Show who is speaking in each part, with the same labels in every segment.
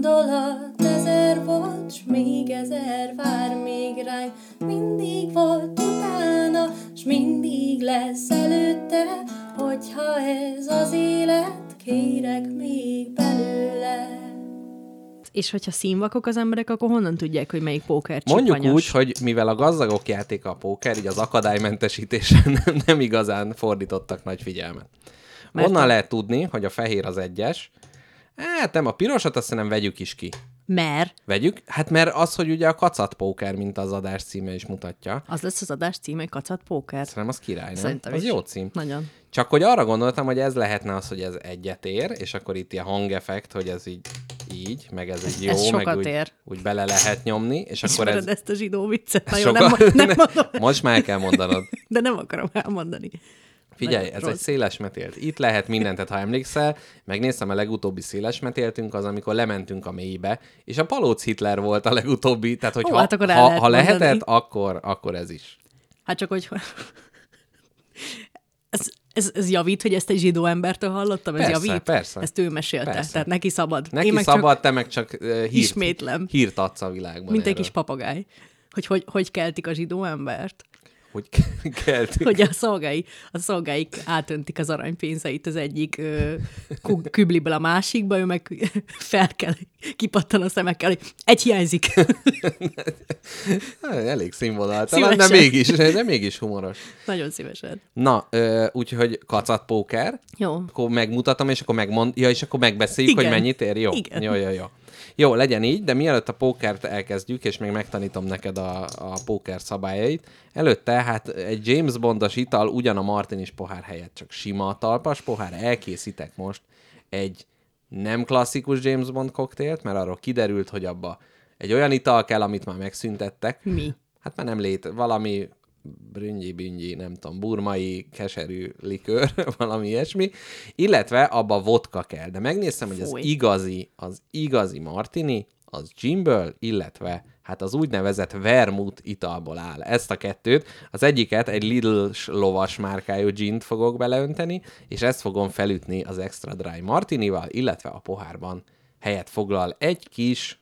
Speaker 1: maradt ezer volt, s még ezer vár még ránk. Mindig volt utána, s mindig lesz előtte, hogyha ez az élet, kérek még belőle.
Speaker 2: És hogyha színvakok az emberek, akkor honnan tudják, hogy melyik póker
Speaker 3: Mondjuk
Speaker 2: csipanyos?
Speaker 3: úgy, hogy mivel a gazdagok játéka a póker, így az akadálymentesítésen nem, nem igazán fordítottak nagy figyelmet.
Speaker 2: Mert-
Speaker 3: Mert Onnan lehet tudni, hogy a fehér az egyes. Hát nem, a pirosat azt nem vegyük is ki.
Speaker 2: Mert
Speaker 3: Vegyük? Hát mert az, hogy ugye a kacat póker, mint az adás címe is mutatja,
Speaker 2: az lesz az adás címe, kacat póker.
Speaker 3: szerintem az király, nem?
Speaker 2: Szerintem
Speaker 3: az
Speaker 2: is.
Speaker 3: jó cím.
Speaker 2: Nagyon.
Speaker 3: Csak hogy arra gondoltam, hogy ez lehetne az, hogy ez egyet ér, és akkor itt ilyen hangeffekt, hogy ez így, így, meg ez egy jó,
Speaker 2: ez sokat
Speaker 3: meg úgy,
Speaker 2: ér.
Speaker 3: úgy bele lehet nyomni, és akkor
Speaker 2: Ismered
Speaker 3: ez...
Speaker 2: ez... ezt a zsidó viccet? Na
Speaker 3: ez
Speaker 2: jó, nem, mo- nem mondom,
Speaker 3: Most már el kell mondanod.
Speaker 2: de nem akarom elmondani.
Speaker 3: Figyelj,
Speaker 2: Nagyon
Speaker 3: ez
Speaker 2: rossz.
Speaker 3: egy széles metélt. Itt lehet mindent, tehát ha emlékszel, megnéztem a legutóbbi széles metéltünk, az amikor lementünk a mélybe, és a Palóc Hitler volt a legutóbbi, tehát hogy
Speaker 2: Ó,
Speaker 3: ha,
Speaker 2: hát akkor el
Speaker 3: ha,
Speaker 2: lehet
Speaker 3: ha
Speaker 2: mondani.
Speaker 3: lehetett, akkor, akkor ez is.
Speaker 2: Hát csak, hogy... Ez, ez, ez javít, hogy ezt egy zsidó embertől hallottam? Ez
Speaker 3: Persze,
Speaker 2: javít?
Speaker 3: persze.
Speaker 2: Ezt ő mesélte,
Speaker 3: Persze.
Speaker 2: tehát neki szabad.
Speaker 3: Neki
Speaker 2: Én meg csak-
Speaker 3: szabad, te meg csak uh, hírt,
Speaker 2: Ismétlem.
Speaker 3: hírt adsz a világban.
Speaker 2: Mint egy
Speaker 3: erről.
Speaker 2: kis papagáj. Hogy, hogy hogy keltik a zsidó embert?
Speaker 3: Hogy keltünk.
Speaker 2: Hogy a szolgái, a szolgáik átöntik az aranypénzeit az egyik ö, ku- kübliből a másikba, ő meg fel kell, kipattan a szemekkel, hogy egy hiányzik.
Speaker 3: Hát, Elég színvonaltalan, de
Speaker 2: Szívesen.
Speaker 3: mégis, de mégis humoros.
Speaker 2: Nagyon szívesen.
Speaker 3: Na, ö, úgyhogy kacatpóker,
Speaker 2: Jó.
Speaker 3: akkor megmutatom, és akkor megmond, ja, és akkor megbeszéljük,
Speaker 2: Igen.
Speaker 3: hogy mennyit ér, jó?
Speaker 2: Igen.
Speaker 3: Jó, jó, jó. Jó, legyen így, de mielőtt a pókert elkezdjük, és még megtanítom neked a, a póker szabályait, előtte hát egy James Bondos ital ugyan a martinis pohár helyett, csak sima talpas pohár, elkészítek most egy nem klasszikus James Bond koktélt, mert arról kiderült, hogy abba egy olyan ital kell, amit már megszüntettek,
Speaker 2: Mi?
Speaker 3: Hát már nem lét, valami brüngyi-büngyi, nem tudom, burmai keserű likőr, valami ilyesmi, illetve abba vodka kell. De megnéztem, hogy az
Speaker 2: Fúj.
Speaker 3: igazi, az igazi martini, az gimből, illetve hát az úgynevezett vermut italból áll. Ezt a kettőt, az egyiket egy lidl lovas márkájú gint fogok beleönteni, és ezt fogom felütni az extra dry martinival, illetve a pohárban helyet foglal egy kis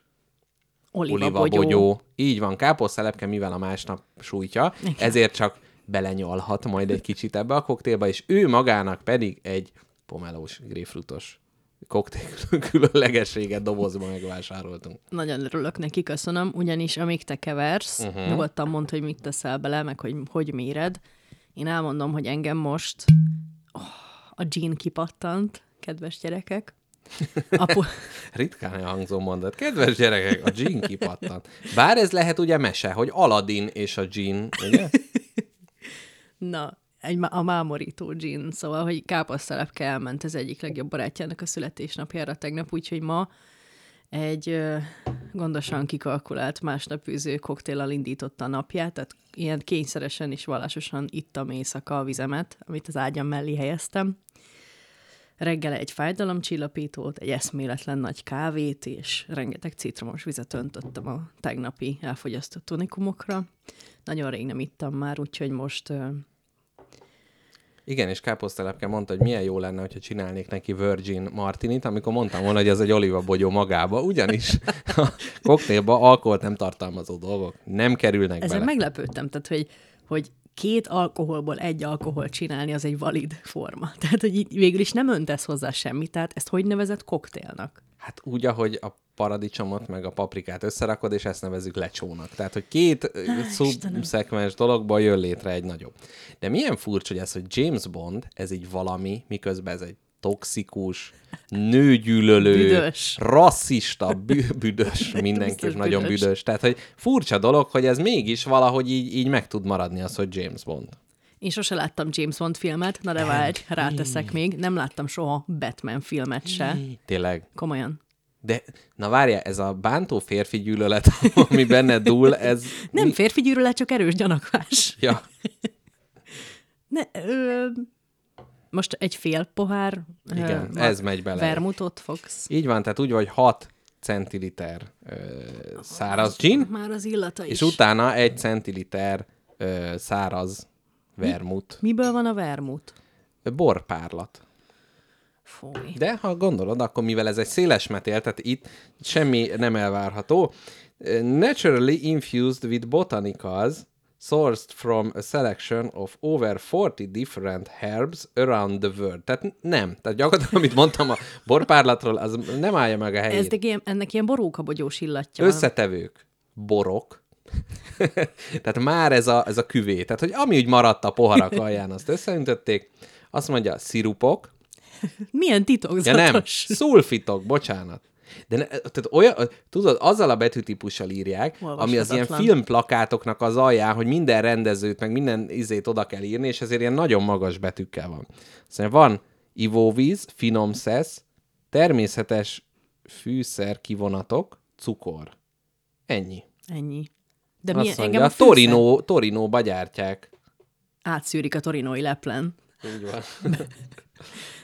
Speaker 2: Oliva,
Speaker 3: oliva bogyó. Így van, káposztelepke, mivel a másnap sújtja, Igen. ezért csak belenyalhat majd egy kicsit ebbe a koktélba, és ő magának pedig egy pomelós, gréfrutos koktél különlegességet dobozba megvásároltunk.
Speaker 2: Nagyon örülök neki, köszönöm, ugyanis amíg te keversz, uh-huh. nyugodtan mondd, hogy mit teszel bele, meg hogy hogy méred. Én elmondom, hogy engem most oh, a jean kipattant, kedves gyerekek. A po-
Speaker 3: Ritkán elhangzó mondat. Kedves gyerekek, a gin kipattant. Bár ez lehet ugye mese, hogy Aladdin és a gin, ugye?
Speaker 2: Na, egy, má- a mámorító gin, szóval, hogy káposztelepke elment az egyik legjobb barátjának a születésnapjára tegnap, úgyhogy ma egy ö, gondosan kikalkulált másnap fűző koktéllal indította a napját, tehát ilyen kényszeresen és vallásosan ittam éjszaka a vizemet, amit az ágyam mellé helyeztem. Reggel egy fájdalomcsillapítót, egy eszméletlen nagy kávét és rengeteg citromos vizet öntöttem a tegnapi elfogyasztott tonikumokra. Nagyon rég nem ittam már, úgyhogy most ö,
Speaker 3: Igen, és káposztelepke mondta, hogy milyen jó lenne, hogyha csinálnék neki Virgin Martinit, amikor mondtam volna, hogy ez egy olivabogyó magába, ugyanis a koktélba alkoholt nem tartalmazó dolgok nem kerülnek
Speaker 2: Ezzel
Speaker 3: bele.
Speaker 2: meglepődtem, tehát hogy, hogy két alkoholból egy alkohol csinálni, az egy valid forma. Tehát, hogy így végül is nem öntesz hozzá semmit, tehát ezt hogy nevezett koktélnak?
Speaker 3: Hát úgy, ahogy a paradicsomot meg a paprikát összerakod, és ezt nevezzük lecsónak. Tehát, hogy két Á, szubszekvens dologból jön létre egy nagyobb. De milyen furcsa, hogy ez, hogy James Bond, ez így valami, miközben ez egy toxikus, nőgyűlölő,
Speaker 2: Büdös.
Speaker 3: rasszista, bü- büdös, mindenki
Speaker 2: Biztos
Speaker 3: nagyon
Speaker 2: büdös.
Speaker 3: büdös. büdös. Tehát, hogy furcsa dolog, hogy ez mégis valahogy így, így meg tud maradni az, hogy James Bond.
Speaker 2: Én sose láttam James Bond filmet, na de várj, ráteszek még, nem láttam soha Batman filmet se.
Speaker 3: Tényleg.
Speaker 2: Komolyan.
Speaker 3: De, na várjál, ez a bántó férfi gyűlölet, ami benne dúl, ez...
Speaker 2: Nem férfi gyűlölet, csak erős gyanakvás.
Speaker 3: Ja.
Speaker 2: Ne, ö, most egy fél pohár
Speaker 3: Igen,
Speaker 2: ma-
Speaker 3: ez megy bele.
Speaker 2: vermutot fogsz.
Speaker 3: Így van, tehát úgy vagy 6 centiliter ö, száraz gin,
Speaker 2: Már az illata is.
Speaker 3: és utána 1 centiliter ö, száraz vermut.
Speaker 2: Miből van a vermut?
Speaker 3: Borpárlat.
Speaker 2: Fúj.
Speaker 3: De ha gondolod, akkor mivel ez egy széles metél, tehát itt semmi nem elvárható. Naturally infused with botanicals, sourced from a selection of over 40 different herbs around the world. Tehát nem. Tehát gyakorlatilag, amit mondtam a borpárlatról, az nem állja meg a
Speaker 2: Ez
Speaker 3: helyét.
Speaker 2: de ilyen, ennek ilyen borókabogyós illatja van.
Speaker 3: Összetevők. Borok. Tehát már ez a, ez a küvé. Tehát, hogy ami úgy maradt a poharak alján, azt összeöntötték. Azt mondja, szirupok,
Speaker 2: Milyen
Speaker 3: Ja nem,
Speaker 2: titokzatos.
Speaker 3: szulfitok, bocsánat. De ne, tehát olyan, tudod, azzal a betűtípussal írják, ami az ilyen
Speaker 2: Olvashatatlan.
Speaker 3: filmplakátoknak az alján, hogy minden rendezőt, meg minden izét oda kell írni, és ezért ilyen nagyon magas betűkkel van. Azt mondja, van ivóvíz, finom szesz, természetes fűszer kivonatok, cukor. Ennyi.
Speaker 2: Ennyi. De
Speaker 3: Azt
Speaker 2: milyen, engem
Speaker 3: mondja,
Speaker 2: a,
Speaker 3: a
Speaker 2: fűszer
Speaker 3: Torino, Torinóba gyártják.
Speaker 2: Átszűrik a torinói leplen.
Speaker 3: Így van.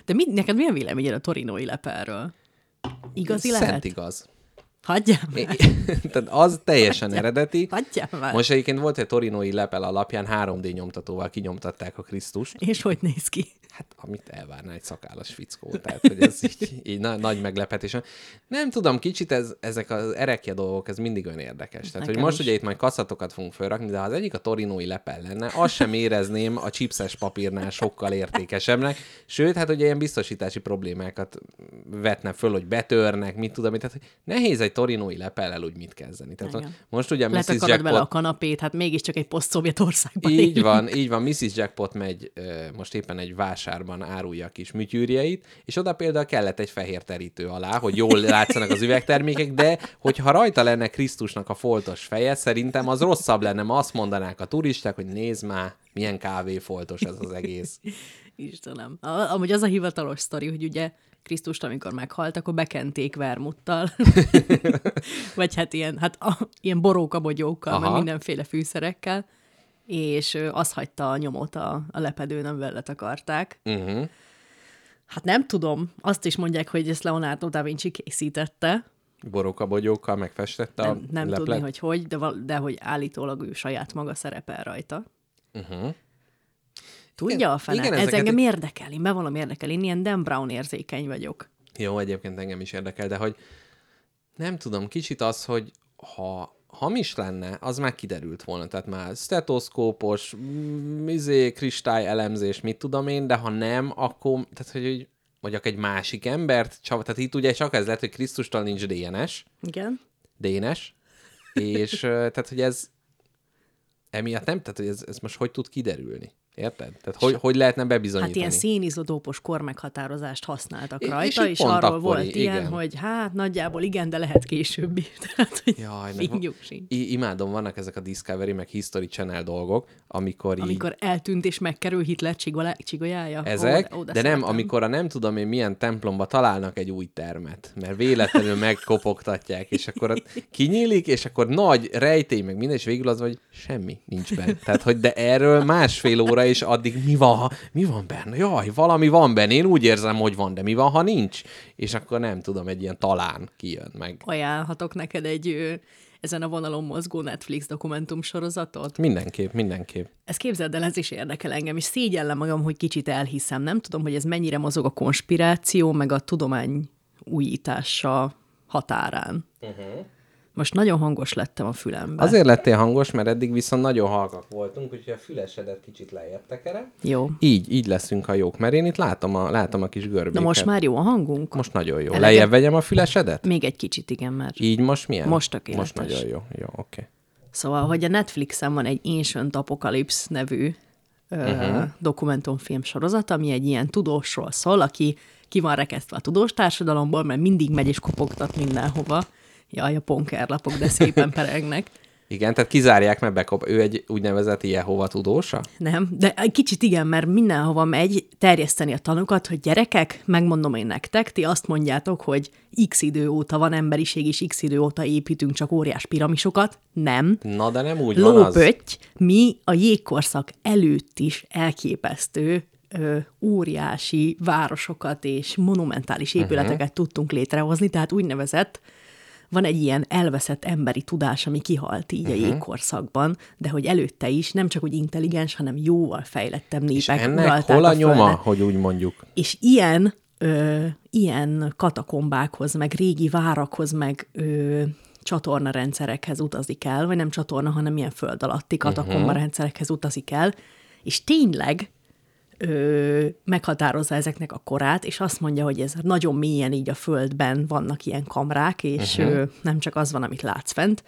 Speaker 2: De mi, neked milyen véleményed a torinói leperről? Igazi
Speaker 3: Szent
Speaker 2: lehet?
Speaker 3: igaz.
Speaker 2: Hagyjál
Speaker 3: É-
Speaker 2: már.
Speaker 3: Tehát az teljesen eredeti.
Speaker 2: Hagyjál már.
Speaker 3: Most egyébként volt egy torinói lepel alapján 3D nyomtatóval kinyomtatták a Krisztust,
Speaker 2: És hogy néz ki?
Speaker 3: hát amit elvárná egy szakállas fickó, tehát hogy ez így, így na, nagy meglepetés. Nem tudom, kicsit ez, ezek az erekje dolgok, ez mindig olyan érdekes. Tehát, hogy
Speaker 2: Nekem
Speaker 3: most
Speaker 2: is.
Speaker 3: ugye itt majd kasszatokat fogunk felrakni, de ha az egyik a torinói lepel lenne, azt sem érezném a chipses papírnál sokkal értékesebbnek, sőt, hát ugye ilyen biztosítási problémákat vetne föl, hogy betörnek, mit tudom, én. tehát hogy nehéz egy torinói lepellel úgy mit kezdeni. Tehát
Speaker 2: Igen.
Speaker 3: most ugye Mrs.
Speaker 2: Letakarod bele a
Speaker 3: Jackpot
Speaker 2: kanapét, hát mégiscsak egy poszt-szovjet országban
Speaker 3: így
Speaker 2: élünk.
Speaker 3: van, így van. Mrs. Jackpot megy ö, most éppen egy vásárban árulja a kis műtyűrjeit, és oda például kellett egy fehér terítő alá, hogy jól látszanak az üvegtermékek, de hogyha rajta lenne Krisztusnak a foltos feje, szerintem az rosszabb lenne, ma azt mondanák a turisták, hogy nézd már, milyen kávéfoltos ez az egész.
Speaker 2: Istenem. A, amúgy az a hivatalos sztori, hogy ugye Krisztust, amikor meghalt, akkor bekenték vermuttal. Vagy hát ilyen, hát a, ilyen borókabogyókkal, meg
Speaker 3: Aha.
Speaker 2: mindenféle fűszerekkel. És ö, az hagyta a nyomot a, a lepedőn, amivel letakarták.
Speaker 3: Uh-huh.
Speaker 2: Hát nem tudom, azt is mondják, hogy ezt Leonardo da Vinci készítette.
Speaker 3: Borokabogyókkal megfestette a
Speaker 2: Nem, nem
Speaker 3: leplet.
Speaker 2: tudni, hogy hogy, de, val- de hogy állítólag ő saját maga szerepel rajta.
Speaker 3: Uh-huh.
Speaker 2: Tudja
Speaker 3: Igen,
Speaker 2: a fene?
Speaker 3: igen,
Speaker 2: Ez
Speaker 3: ezeket-
Speaker 2: engem érdekel, én bevallom érdekel, én ilyen Dan Brown érzékeny vagyok.
Speaker 3: Jó, egyébként engem is érdekel, de hogy nem tudom, kicsit az, hogy ha hamis lenne, az már kiderült volna. Tehát már stetoszkópos, mm, izé, kristály elemzés, mit tudom én, de ha nem, akkor, tehát hogy, hogy mondjak egy másik embert, csak, tehát itt ugye csak ez lehet, hogy Krisztustól nincs DNS,
Speaker 2: Igen?
Speaker 3: Dénes, és ö, tehát, hogy ez emiatt nem, tehát, hogy ez, ez most hogy tud kiderülni? Érted? Tehát hogy, hogy lehetne bebizonyítani?
Speaker 2: Hát ilyen szénizodópos kormeghatározást használtak
Speaker 3: És-
Speaker 2: rajta,
Speaker 3: és
Speaker 2: és,
Speaker 3: így pont
Speaker 2: arról
Speaker 3: akkori,
Speaker 2: volt ilyen,
Speaker 3: igen.
Speaker 2: hogy hát nagyjából igen, de lehet későbbi. Tehát, hogy
Speaker 3: Jaj, meg-
Speaker 2: fingjuk sincs.
Speaker 3: I- imádom, vannak ezek a Discovery, meg History Channel dolgok, amikor, amikor
Speaker 2: Amikor eltűnt és megkerül Hitler csigolá- csigolyája.
Speaker 3: így ezek,
Speaker 2: Ó, ó,
Speaker 3: de, de nem,
Speaker 2: szeretem.
Speaker 3: amikor a nem tudom én milyen templomba találnak egy új termet, mert véletlenül megkopogtatják, és akkor ott kinyílik, és akkor nagy rejtély, meg minden, és végül az, van, hogy semmi nincs benne. Tehát, hogy de erről másfél óra, és addig mi van, ha, mi van benne? Jaj, valami van benne, én úgy érzem, hogy van, de mi van, ha nincs? És akkor nem tudom, egy ilyen talán kijön meg.
Speaker 2: Ajánlhatok neked egy ö, ezen a vonalon mozgó Netflix dokumentum sorozatot?
Speaker 3: Mindenképp, mindenképp.
Speaker 2: Ez képzeld el, ez is érdekel engem, és szégyellem magam, hogy kicsit elhiszem. Nem tudom, hogy ez mennyire mozog a konspiráció, meg a tudomány újítása határán. Uh-huh. Most nagyon hangos lettem a fülemben.
Speaker 3: Azért lettél hangos, mert eddig viszont nagyon halkak voltunk, úgyhogy a fülesedet kicsit lejjebb tekerem.
Speaker 2: Jó.
Speaker 3: Így, így leszünk a jók, mert én itt látom a, látom a kis görbéket.
Speaker 2: Na most már jó a hangunk?
Speaker 3: Most nagyon jó.
Speaker 2: Eleget-
Speaker 3: Lejjebb vegyem a fülesedet?
Speaker 2: Még egy kicsit, igen, mert...
Speaker 3: Így most milyen?
Speaker 2: Most
Speaker 3: Most
Speaker 2: tökéletes.
Speaker 3: nagyon jó. Jó, oké.
Speaker 2: Szóval, hogy a Netflixen van egy Ancient Apocalypse nevű uh-huh. dokumentumfilm sorozat, ami egy ilyen tudósról szól, aki ki van rekesztve a tudós társadalomból, mert mindig megy és kopogtat mindenhova. Jaj, a ponkerlapok, de szépen perengnek.
Speaker 3: Igen, tehát kizárják, mert bekop. Ő egy úgynevezett Jehova tudósa?
Speaker 2: Nem, de egy kicsit igen, mert mindenhova megy terjeszteni a tanukat, hogy gyerekek, megmondom én nektek, ti azt mondjátok, hogy x idő óta van emberiség, és x idő óta építünk csak óriás piramisokat. Nem.
Speaker 3: Na, de nem úgy van az.
Speaker 2: Lópötty, mi a jégkorszak előtt is elképesztő ö, óriási városokat és monumentális
Speaker 3: Mhm.
Speaker 2: épületeket uh-huh. tudtunk létrehozni, tehát úgynevezett van egy ilyen elveszett emberi tudás, ami kihalt így
Speaker 3: Mhm.
Speaker 2: uh-huh. a jégkorszakban, de hogy előtte is nem csak úgy intelligens, hanem jóval fejlettebb népek
Speaker 3: És ennek
Speaker 2: uralták
Speaker 3: hol a
Speaker 2: Földet.
Speaker 3: nyoma, hogy úgy mondjuk?
Speaker 2: És ilyen ö, ilyen katakombákhoz, meg régi várakhoz, meg ö, csatornarendszerekhez utazik el, vagy nem csatorna, hanem ilyen föld alatti katakombarendszerekhez utazik el, és tényleg ö, meghatározza ezeknek a korát, és azt mondja, hogy ez nagyon mélyen így a földben vannak ilyen kamrák, és uh-huh. ö, nem csak az van, amit látsz fent,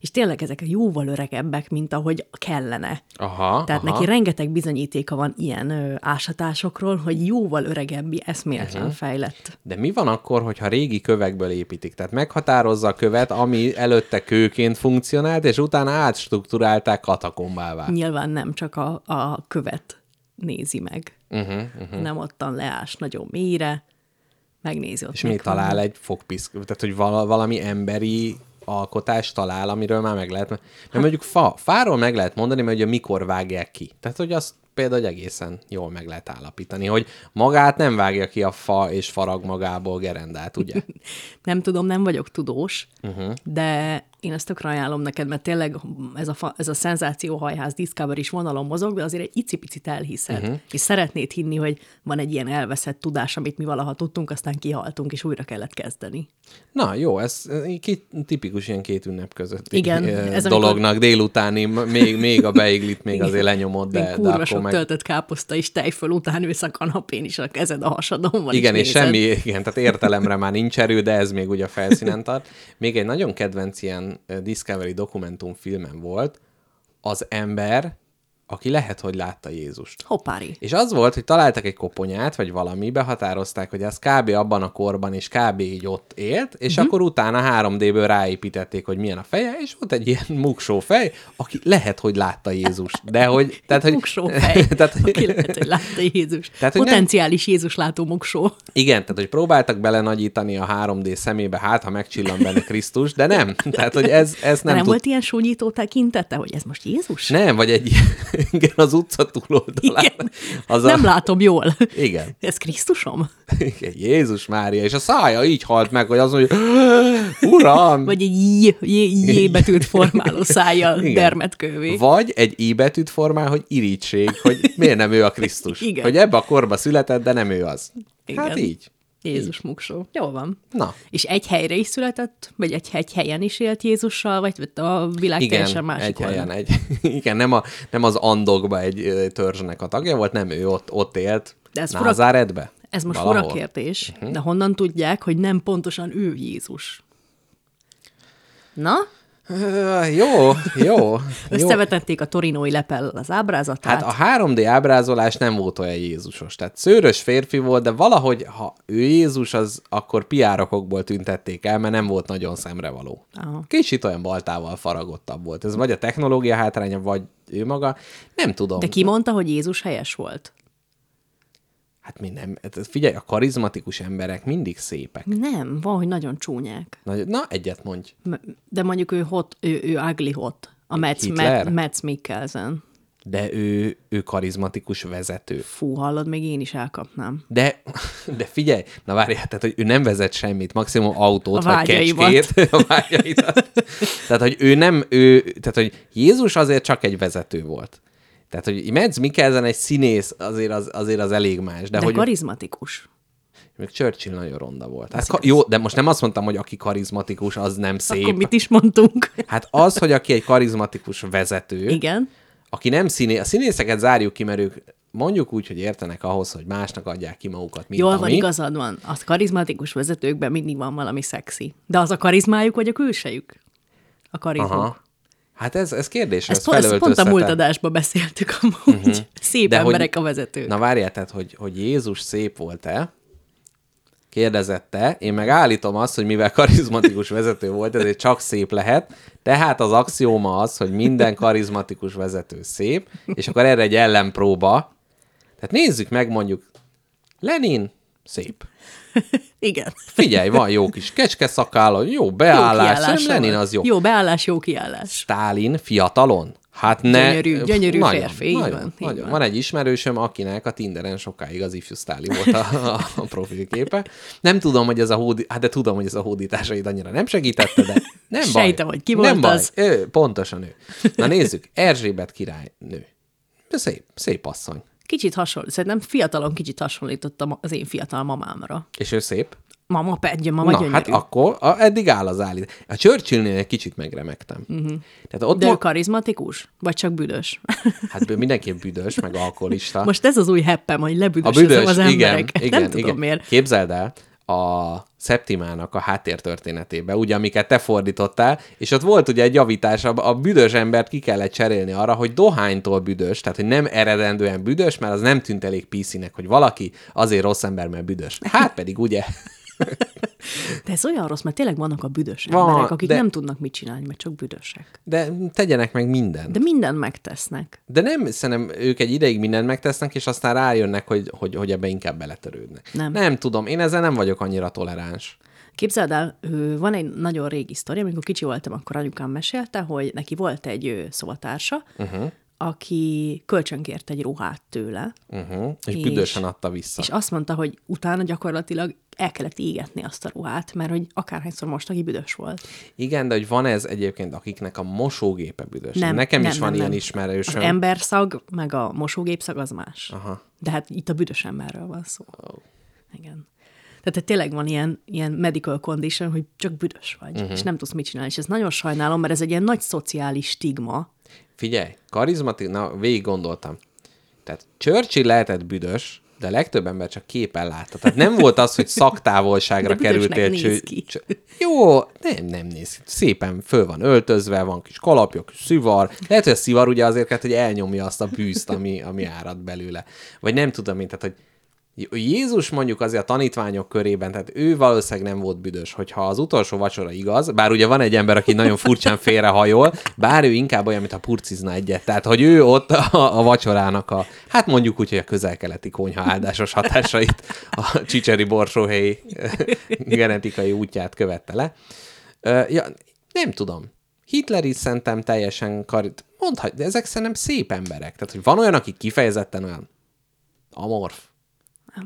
Speaker 2: és tényleg ezek jóval öregebbek, mint ahogy kellene.
Speaker 3: Aha,
Speaker 2: Tehát
Speaker 3: aha.
Speaker 2: neki rengeteg bizonyítéka van ilyen ö, ásatásokról, hogy jóval öregebbi, eszméletlen uh-huh. fejlett.
Speaker 3: De mi van akkor, hogyha régi kövekből építik? Tehát meghatározza a követ, ami előtte kőként funkcionált, és utána átstruktúrálták katakombává.
Speaker 2: Nyilván nem csak a, a követ nézi meg, uh-huh, uh-huh. nem ottan leás nagyon mélyre, megnézi ott.
Speaker 3: És mi
Speaker 2: mik vannak.
Speaker 3: talál egy fogpiszk? Tehát, hogy vala- valami emberi alkotás talál, amiről már meg lehet... Mert mondjuk fa, fáról meg lehet mondani, mert ugye mikor vágják ki. Tehát, hogy azt például hogy egészen jól meg lehet állapítani, hogy magát nem vágja ki a fa, és farag magából gerendát, ugye?
Speaker 2: Nem tudom, nem vagyok tudós, uh-huh. de én ezt tökre ajánlom neked, mert tényleg ez a, fa, ez a szenzációhajház Discovery is vonalon mozog, de azért egy icipicit elhiszed, uh-huh. és szeretnéd hinni, hogy van egy ilyen elveszett tudás, amit mi valaha tudtunk, aztán kihaltunk, és újra kellett kezdeni.
Speaker 3: Na jó, ez eh, két, tipikus ilyen két ünnep közötti
Speaker 2: Igen,
Speaker 3: eh,
Speaker 2: ez amikor-
Speaker 3: dolognak délutáni, m- még, még a beiglit még azért lenyomod, de,
Speaker 2: De,
Speaker 3: de
Speaker 2: kurva
Speaker 3: akkor
Speaker 2: sok meg...
Speaker 3: meg...
Speaker 2: töltött káposzta és tejföl után ülsz a kanapén, és a kezed a hasadon van.
Speaker 3: Igen, és
Speaker 2: nézed.
Speaker 3: semmi, igen, tehát értelemre már nincs erő, de ez még ugye a felszínen tart. Még egy nagyon kedvenc ilyen eh, Discovery dokumentumfilmen volt, az ember, aki lehet, hogy látta Jézust.
Speaker 2: Hoppári.
Speaker 3: És az volt, hogy találtak egy koponyát, vagy valami, behatározták, hogy ez kb. abban a korban, és kb. így ott élt, és
Speaker 2: Mhm.
Speaker 3: uh-huh. akkor utána 3D-ből ráépítették, hogy milyen a feje, és volt egy ilyen muksó fej, aki lehet, hogy látta Jézust, de hogy... Tehát, hogy
Speaker 2: Moksó fej.
Speaker 3: tehát, hogy-
Speaker 2: Aki lehet, hogy látta Jézus.
Speaker 3: Tehát,
Speaker 2: Tehát,
Speaker 3: hogy nem-
Speaker 2: Potenciális nem... Jézus látó moksó.
Speaker 3: Igen, tehát hogy próbáltak belenagyítani a 3D szemébe, hát ha megcsillan benne Krisztus, de nem. Tehát, hogy ez,
Speaker 2: Nem,
Speaker 3: ez nem,
Speaker 2: nem
Speaker 3: tud...
Speaker 2: volt ilyen súnyító tekintete, hogy ez most Jézus?
Speaker 3: Nem, vagy egy igen, az utca túloldalán.
Speaker 2: Igen. Az nem a... látom jól.
Speaker 3: Igen.
Speaker 2: Ez Krisztusom?
Speaker 3: igen. Jézus Mária, és a szája így halt meg, hogy az mondja, uram!
Speaker 2: Vagy egy j, j, j betűt formáló szájjal
Speaker 3: Igen.
Speaker 2: dermet kövé.
Speaker 3: Vagy egy I betűt formál, hogy irítség, hogy miért nem ő a Krisztus.
Speaker 2: Igen.
Speaker 3: Hogy ebbe a korba született, de nem ő az.
Speaker 2: Igen.
Speaker 3: Hát így.
Speaker 2: Jézus muksó. Jól van.
Speaker 3: Na.
Speaker 2: És egy helyre is született, vagy egy, egy helyen is élt Jézussal, vagy a világ igen, teljesen másik
Speaker 3: egy
Speaker 2: oldalán?
Speaker 3: helyen, egy, igen, nem, a, nem az Andokba egy ö, törzsnek a tagja volt, nem ő ott, ott élt.
Speaker 2: De ez fura-
Speaker 3: Názáretbe?
Speaker 2: Ez most
Speaker 3: Valahol. Mhm.
Speaker 2: fura kérdés, uh-huh. de honnan tudják, hogy nem pontosan ő Jézus? Na,
Speaker 3: Ö, jó, jó. jó.
Speaker 2: összevetették a torinói lepel az ábrázatát.
Speaker 3: Hát a 3D ábrázolás nem volt olyan Jézusos. Tehát szőrös férfi volt, de valahogy, ha ő Jézus, az akkor piárokokból tüntették el, mert nem volt nagyon szemrevaló.
Speaker 2: Aha.
Speaker 3: Kicsit olyan baltával faragottabb volt. Ez vagy a technológia hátránya, vagy ő maga. Nem tudom.
Speaker 2: De ki mondta, hogy Jézus helyes volt?
Speaker 3: Hát mi nem. Hát Figyelj, a karizmatikus emberek mindig szépek.
Speaker 2: Nem, van, hogy nagyon csúnyák.
Speaker 3: Na, na egyet mondj.
Speaker 2: M- De mondjuk ő hot, ő, ő ugly hot. A Metz,
Speaker 3: Hitler?
Speaker 2: Metz, Metz Mikkelsen.
Speaker 3: De ő, ő karizmatikus vezető.
Speaker 2: Fú, hallod, még én is elkapnám.
Speaker 3: De, de figyelj, na várjál, tehát, hogy ő nem vezet semmit, maximum autót,
Speaker 2: A
Speaker 3: vagy
Speaker 2: vágyaimat.
Speaker 3: kecskét, a vágyaidat. Tehát, hogy ő nem, ő, tehát, hogy Jézus azért csak egy vezető volt. Tehát, hogy Metz Mikkelsen egy színész, azért az, azért az elég más. De,
Speaker 2: De, de
Speaker 3: hogy
Speaker 2: hogy... karizmatikus.
Speaker 3: még Churchill nagyon ronda volt. Hát, ka- jó, de most nem azt mondtam, hogy aki karizmatikus, az nem szép.
Speaker 2: Akkor mit is mondtunk?
Speaker 3: Hát az, hogy aki egy karizmatikus vezető,
Speaker 2: Igen.
Speaker 3: aki nem színé, a színészeket zárjuk ki, mert ők mondjuk úgy, hogy értenek ahhoz, hogy másnak adják ki magukat, mint
Speaker 2: Jól
Speaker 3: ami.
Speaker 2: van, igazad van. Az karizmatikus vezetőkben mindig van valami szexi. De az a karizmájuk, vagy a külsejük? A karizmuk.
Speaker 3: Aha. Hát ez, ez kérdés, ez,
Speaker 2: Ezt, po- ezt pont a múlt
Speaker 3: felöltöztetett.
Speaker 2: adásban beszéltük amúgy. Uh-huh. Szép
Speaker 3: Mhm. De
Speaker 2: De
Speaker 3: hogy-
Speaker 2: emberek hogy... a vezetők.
Speaker 3: Na várjál, tehát, hogy, hogy Jézus szép volt-e? Kérdezette, én meg állítom azt, hogy mivel karizmatikus vezető volt, ezért csak szép lehet, tehát az axióma az, hogy minden karizmatikus vezető szép, és akkor erre egy ellenpróba. Tehát nézzük meg mondjuk, Lenin szép.
Speaker 2: Igen.
Speaker 3: Figyelj, van jó kis kecske szakála, jó
Speaker 2: Jó
Speaker 3: beállás,
Speaker 2: kiállása
Speaker 3: jó Lenin
Speaker 2: van.
Speaker 3: az jó.
Speaker 2: Jó beállás, jó kiállás.
Speaker 3: Stálin fiatalon? Hát ne...
Speaker 2: Gyönyörű- gyönyörű
Speaker 3: nagyon,
Speaker 2: férfi, így
Speaker 3: nagyon,
Speaker 2: van, így
Speaker 3: nagyon.
Speaker 2: van.
Speaker 3: Van egy ismerősöm, akinek a Tinderen sokáig az ifjú Stálin volt a, a, a profilképe. Nem tudom, hogy ez a hódi... Hát de tudom, hogy ez a hódításaid annyira nem segítette, de nem baj.
Speaker 2: Sejtem, hogy ki
Speaker 3: nem
Speaker 2: volt
Speaker 3: baj.
Speaker 2: az.
Speaker 3: Ő, pontosan ő. Na nézzük, Erzsébet királynő. Szép, szép asszony.
Speaker 2: Kicsit hasonlít, szerintem fiatalon kicsit hasonlítottam az én fiatal mamámra.
Speaker 3: És ő szép.
Speaker 2: Mama pedje, mama
Speaker 3: Vagy Na,
Speaker 2: gyönyörű.
Speaker 3: hát akkor a, eddig áll az állít. A Churchillnél egy kicsit megremegtem. Uh-huh. Tehát ott
Speaker 2: Mhm. De ő
Speaker 3: ma,
Speaker 2: karizmatikus? Vagy csak büdös?
Speaker 3: hát ő mindenképp büdös, meg alkoholista.
Speaker 2: Most ez az új heppem, hogy
Speaker 3: a
Speaker 2: lebüdösözöm
Speaker 3: büdös,
Speaker 2: az
Speaker 3: igen,
Speaker 2: embereket.
Speaker 3: igen,
Speaker 2: Nem tudom
Speaker 3: igen.
Speaker 2: miért.
Speaker 3: Képzeld el, a Szeptimának a háttértörténetébe, ugye, amiket te fordítottál, és ott volt ugye egy javítás, a, a büdös embert ki kellett cserélni arra, hogy dohánytól büdös, tehát hogy nem eredendően büdös, mert az nem tűnt elég pc hogy valaki azért rossz ember, mert büdös. Hát pedig ugye.
Speaker 2: De ez olyan rossz, mert tényleg vannak a büdös
Speaker 3: Van,
Speaker 2: emberek, akik
Speaker 3: de-
Speaker 2: nem tudnak mit csinálni, mert csak büdösek.
Speaker 3: De tegyenek meg mindent.
Speaker 2: De mindent megtesznek.
Speaker 3: De nem, szerintem ők egy ideig mindent megtesznek, és aztán rájönnek, hogy, hogy, hogy ebbe inkább beletörődnek.
Speaker 2: Nem.
Speaker 3: nem tudom, én ezzel nem vagyok annyira toleráns.
Speaker 2: Képzeld el, ö, van egy nagyon régi sztori, amikor kicsi voltam, akkor anyukám mesélte, hogy neki volt egy ö, szobatársa, uh-huh. aki kölcsönkért egy ruhát tőle,
Speaker 3: Uh-huh. És,
Speaker 2: És-
Speaker 3: büdösen adta vissza.
Speaker 2: és azt mondta, hogy utána gyakorlatilag el kellett égetni azt a ruhát, mert hogy akárhányszor most, aki büdös volt.
Speaker 3: Igen, de hogy van ez egyébként, akiknek a mosógépe büdös.
Speaker 2: Nem,
Speaker 3: Nekem
Speaker 2: nem,
Speaker 3: is van
Speaker 2: nem,
Speaker 3: ilyen
Speaker 2: nem. Az
Speaker 3: ismerősöm.
Speaker 2: emberszag, meg a mosógépszag az más.
Speaker 3: Aha.
Speaker 2: De hát itt a büdös emberről van szó. Oh. Igen. Tehát te tényleg van ilyen, ilyen medical condition, hogy csak büdös vagy,
Speaker 3: Mhm.
Speaker 2: uh-huh. és nem tudsz mit csinálni. És ezt nagyon sajnálom, mert ez egy ilyen nagy szociális stigma.
Speaker 3: Figyelj, karizmatik, na végig gondoltam. Tehát Churchill lehetett büdös, de a legtöbb ember csak képen látta. Tehát nem volt az, hogy
Speaker 2: De
Speaker 3: szaktávolságra
Speaker 2: büdösnek
Speaker 3: kerültél.
Speaker 2: néz
Speaker 3: cső-
Speaker 2: ki.
Speaker 3: cső- Jó, nem, nem néz ki. Szépen föl van öltözve, van kis kalapja, kis szivar. Lehet, hogy a szivar ugye azért, kell, hogy elnyomja azt a bűzt, ami, ami árad belőle. Vagy nem tudom én, tehát, hogy Jézus mondjuk azért a tanítványok körében, tehát ő valószínűleg nem volt büdös, hogyha az utolsó vacsora igaz, bár ugye van egy ember, aki nagyon furcsán félrehajol, bár ő inkább olyan, mintha purcizna egyet, tehát hogy ő ott a, a vacsorának a, hát mondjuk úgy, hogy a közel-keleti konyha áldásos hatásait, a csicseri borsóhelyi genetikai útját követte le. Ö, ja, nem tudom. Hitler is szerintem teljesen karit. Mondhat, de ezek szerintem szép emberek. Tehát, hogy van olyan, aki kifejezetten olyan amorf.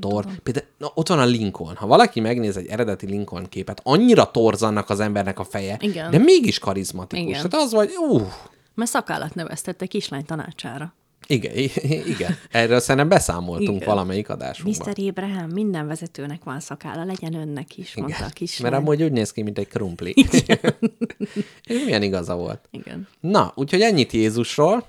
Speaker 3: Tor. Például, na, ott van a Lincoln. Ha valaki megnéz egy eredeti Lincoln képet, annyira torz annak az embernek a feje,
Speaker 2: Igen.
Speaker 3: de mégis karizmatikus.
Speaker 2: Igen.
Speaker 3: Tehát az vagy, uh, ú,
Speaker 2: Mert szakállat neveztette kislány tanácsára.
Speaker 3: igen, i- igen. Erről szerintem beszámoltunk
Speaker 2: Igen.
Speaker 3: valamelyik adásunkban.
Speaker 2: Mr. Abraham, minden vezetőnek van szakála, legyen önnek is, mondta a kislány.
Speaker 3: Mert amúgy úgy néz ki, mint egy krumpli. És milyen igaza volt.
Speaker 2: Igen.
Speaker 3: Na, úgyhogy ennyit Jézusról.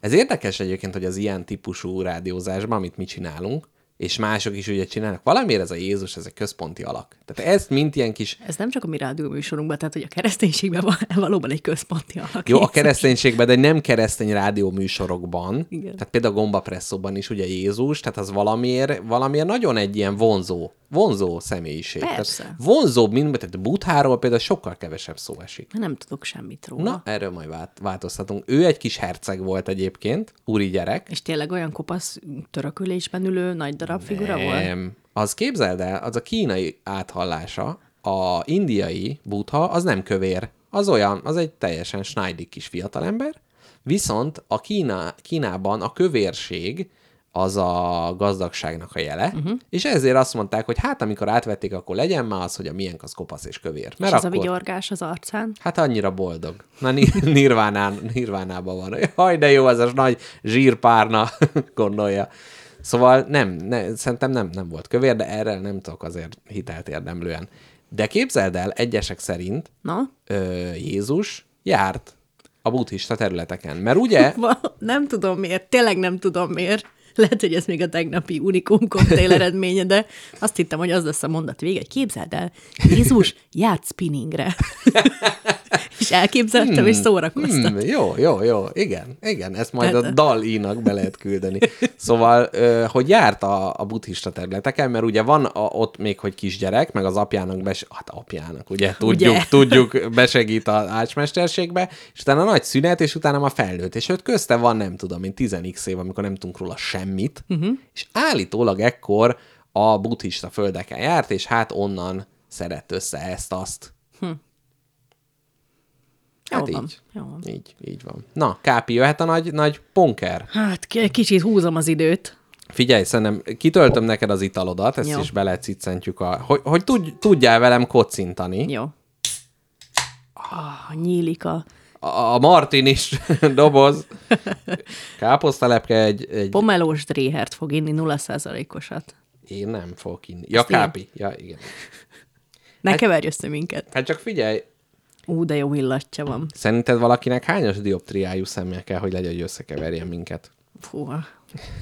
Speaker 3: Ez érdekes egyébként, hogy az ilyen típusú rádiózásban, amit mi csinálunk, és mások is ugye csinálnak, valamiért ez a Jézus, ez egy központi alak. Tehát ezt mint ilyen kis...
Speaker 2: Ez nem csak a mi rádióműsorunkban, tehát hogy a kereszténységben van, valóban egy központi alak.
Speaker 3: Jó, a kereszténységben, de nem keresztény rádió műsorokban.
Speaker 2: Igen.
Speaker 3: Tehát például a gombapresszóban is ugye Jézus, tehát az valamiért, valamiért nagyon egy ilyen vonzó, vonzó személyiség.
Speaker 2: Persze.
Speaker 3: Tehát vonzóbb, mint tehát Butháról például sokkal kevesebb szó esik.
Speaker 2: Nem tudok semmit róla.
Speaker 3: Na, erről majd vált- változtatunk. Ő egy kis herceg volt egyébként, úri gyerek.
Speaker 2: És tényleg olyan kopasz törökülésben ülő nagy darab figura volt?
Speaker 3: Nem. Az képzeld el, az a kínai áthallása, a indiai butha, az nem kövér. Az olyan, az egy teljesen snájdik kis fiatalember, viszont a Kína, Kínában a kövérség az a gazdagságnak a jele,
Speaker 2: Mhm.
Speaker 3: uh-huh. és ezért azt mondták, hogy hát amikor átvették, akkor legyen már az, hogy a miénk az kopasz és kövér.
Speaker 2: És
Speaker 3: Mert
Speaker 2: az a
Speaker 3: akkor...
Speaker 2: vigyorgás az arcán?
Speaker 3: Hát annyira boldog. Na, ni- nirvánán, nirvánában van. Haj, de jó, ez a nagy zsírpárna, gondolja. Szóval nem, ne, szerintem nem, nem volt kövér, de erre nem tudok azért hitelt érdemlően. De képzeld el, egyesek szerint
Speaker 2: Na?
Speaker 3: ö, Jézus járt a buddhista területeken. Mert ugye
Speaker 2: Va- Nem tudom miért, tényleg nem tudom miért. Lehet, hogy ez még a tegnapi unikum koktél eredménye, de azt hittem, hogy az lesz a mondat vége, hogy képzeld el, Jézus, járt spinningre. és elképzeltem, és szórakoztam.
Speaker 3: Hmm, jó, jó, jó, igen, igen, ezt majd
Speaker 2: Tehát-
Speaker 3: a dal-ínak be lehet küldeni. Szóval, ö, hogy járt a, a buddhista területeken, mert ugye van a, ott még, hogy kisgyerek, meg az apjának, bes, hát apjának, ugye, tudjuk,
Speaker 2: Ugye?
Speaker 3: tudjuk, besegít az ácsmesterségbe, és utána nagy szünet, és utána már felnőtt, és őt közte van, nem tudom én, 10 év, amikor nem tudunk róla semmit, uh-huh. és állítólag ekkor a buddhista földeken járt, és hát onnan szedett össze ezt-azt.
Speaker 2: Jól
Speaker 3: Hát
Speaker 2: van,
Speaker 3: így.
Speaker 2: jól van.
Speaker 3: Így, így van. Na, Kápi, jöhet a nagy, nagy ponker.
Speaker 2: Hát k- kicsit húzom az időt.
Speaker 3: Figyelj, szerintem kitöltöm neked az italodat, ezt Jó.
Speaker 2: Jó.
Speaker 3: is belecicentjük, a, hogy, hogy tudj, tudjál velem kocintani.
Speaker 2: Jó. Ah, nyílik a
Speaker 3: a Martin is doboz, káposztalepke egy, egy...
Speaker 2: Pomelós dréhert fog inni 0%-osat.
Speaker 3: Én nem fogok inni. Ja,
Speaker 2: Ezt én.
Speaker 3: kápi. Ja, igen.
Speaker 2: Ne
Speaker 3: Hát-
Speaker 2: keverj össze minket.
Speaker 3: Hát csak figyelj,
Speaker 2: Ú, de jó illatja van.
Speaker 3: szerinted valakinek hányas dioptriájú szemmel kell, hogy legyen, hogy összekeverjen minket?
Speaker 2: Fúha.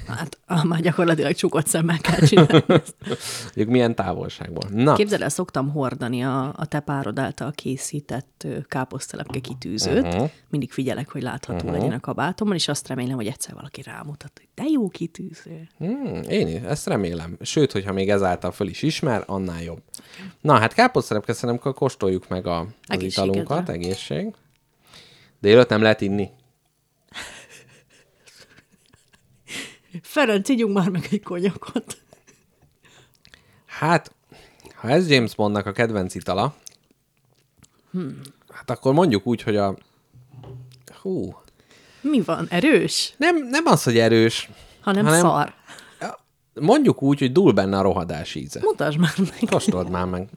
Speaker 2: Hát ah, már gyakorlatilag csukott szemmel kell csinálni.
Speaker 3: Mondjuk milyen távolságból? Na,
Speaker 2: Képzeld el, szoktam hordani a, a te párod által készített ö, káposztalepke kitűzőt. Uh-huh. Mindig figyelek, hogy látható uh-huh. legyen a kabátomon, és azt remélem, hogy egyszer valaki rámutat, hogy de jó kitűző.
Speaker 3: Hmm, én is, ezt remélem. Sőt, hogyha még ezáltal föl is ismer, annál jobb. Na, hát káposzterepke szerintem akkor kóstoljuk meg a, az
Speaker 2: Egészségedre.
Speaker 3: italunkat, egészség. Délőtt nem lehet inni.
Speaker 2: Ferenc, ígyunk már meg egy konyakot.
Speaker 3: Hát, ha ez James Bondnak a kedvenc itala, hmm. hát akkor mondjuk úgy, hogy a... Hú,
Speaker 2: Mi van? Erős?
Speaker 3: nem, nem az, hogy erős,
Speaker 2: Hanem,
Speaker 3: Hanem-
Speaker 2: Hanem... szar.
Speaker 3: mondjuk úgy, hogy dúl benne a rohadás íze.
Speaker 2: Mutasd már meg.
Speaker 3: Kóstold már meg.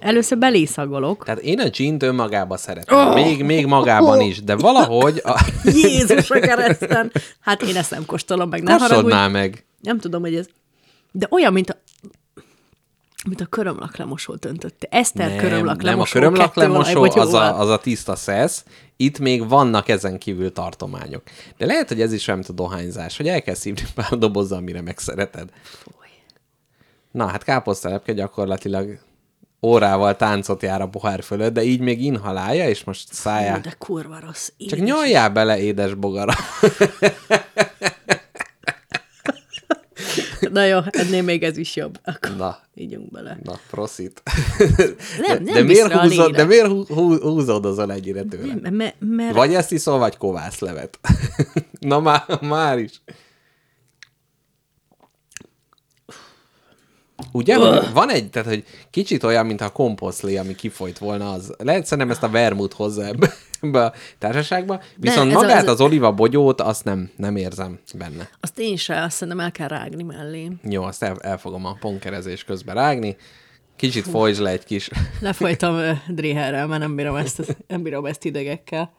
Speaker 2: Először belészagolok.
Speaker 3: Tehát én a gint önmagába szeretem, oh. még, még magában is, de valahogy a...
Speaker 2: Jézus a kereszten! Hát én ezt nem kóstolom meg, ne haragudj.
Speaker 3: kóstolnál meg.
Speaker 2: Nem tudom, hogy ez... De olyan, mint a mint a körömlak lemosó döntötte. Eszter nem, körömlak
Speaker 3: nem, a
Speaker 2: lemosó.
Speaker 3: körömlak
Speaker 2: kettőolaj
Speaker 3: lemosó
Speaker 2: bogyóval.
Speaker 3: az a, az a tiszta szesz. Itt még vannak ezen kívül tartományok. De lehet, hogy ez is olyan, mint a dohányzás, hogy el kell szívni pár dobozzal, amire megszereted.
Speaker 2: Fúj.
Speaker 3: Na, hát káposztelepke gyakorlatilag órával táncot jár a pohár fölött, de így még inhalálja, és most
Speaker 2: Ú,
Speaker 3: szájá.
Speaker 2: De kurva rossz. Én
Speaker 3: Csak nyoljál bele édes bogara.
Speaker 2: Na jó, ennél még ez is jobb. Akkor
Speaker 3: Na,
Speaker 2: ígyunk bele.
Speaker 3: na, proszit.
Speaker 2: Nem, nem
Speaker 3: de, miért
Speaker 2: visz rá a
Speaker 3: húzod, de
Speaker 2: lélek.
Speaker 3: miért hú- hú- húzódozol ennyire tőle?
Speaker 2: Nem, mert, mert
Speaker 3: Vagy ezt iszol, vagy kovászlevet. Na már, már is. Ugye, hogy van egy, tehát, hogy kicsit olyan, mintha a komposztlé, ami kifolyt volna, az lehet szerintem ezt a vermut hozzá ebbe, ebbe a társaságba, viszont
Speaker 2: ez a-
Speaker 3: magát
Speaker 2: ez
Speaker 3: az,
Speaker 2: a-
Speaker 3: az oliva bogyót, azt nem, nem érzem benne.
Speaker 2: azt én se, azt szerintem el kell rágni mellé.
Speaker 3: Jó, azt el, el fogom a ponkerezés közben rágni, kicsit folytsd le egy kis
Speaker 2: Lefolytam ö, dréherrel, mert nem bírom ezt, nem bírom ezt idegekkel.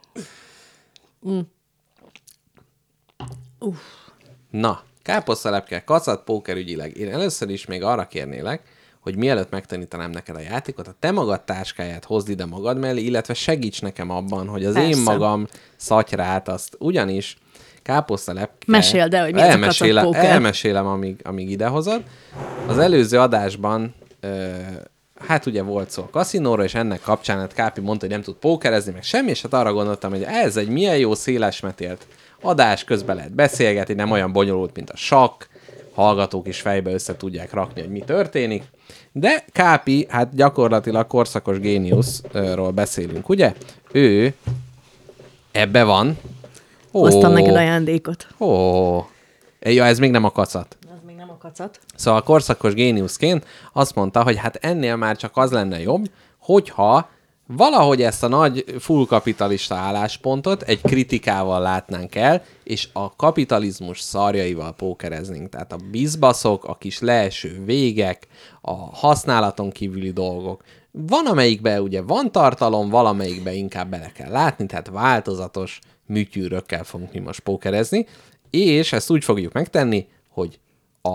Speaker 3: Na, káposztalepke, kacat, póker ügyileg. Én először is még arra kérnélek, hogy mielőtt megtanítanám neked a játékot, a te magad táskáját hozd ide magad mellé, illetve segíts nekem abban, hogy az
Speaker 2: Persze.
Speaker 3: én magam szatyrát, azt ugyanis káposztalepke...
Speaker 2: Meséld el, hogy mi ez a
Speaker 3: elmesélem-
Speaker 2: kacatpóker.
Speaker 3: Elmesélem, amíg, amíg idehozod. Az előző adásban ö, hát ugye volt szó a kaszinóra, és ennek kapcsán hát Kápi mondta, hogy nem tud pókerezni, meg semmi, és hát arra gondoltam, hogy ez egy milyen jó szélesmetélt adás, közben lehet beszélgetni, nem olyan bonyolult, mint a sakk, hallgatók is fejbe össze tudják rakni, hogy mi történik. De Kápi, hát gyakorlatilag korszakos géniuszról beszélünk, ugye? Ő ebbe van. Ó,
Speaker 2: Hoztam neked ajándékot.
Speaker 3: Ó, ja, ez még nem a kacat.
Speaker 2: Az még nem a kacat.
Speaker 3: Szóval a korszakos géniuszként azt mondta, hogy hát ennél már csak az lenne jobb, hogyha valahogy ezt a nagy full kapitalista álláspontot egy kritikával látnánk el, és a kapitalizmus szarjaival pókereznénk. Tehát a bizbaszok, a kis leeső végek, a használaton kívüli dolgok. Van, amelyikben ugye van tartalom, valamelyikben inkább bele kell látni, tehát változatos műtyűrökkel fogunk mi most pókerezni, és ezt úgy fogjuk megtenni, hogy a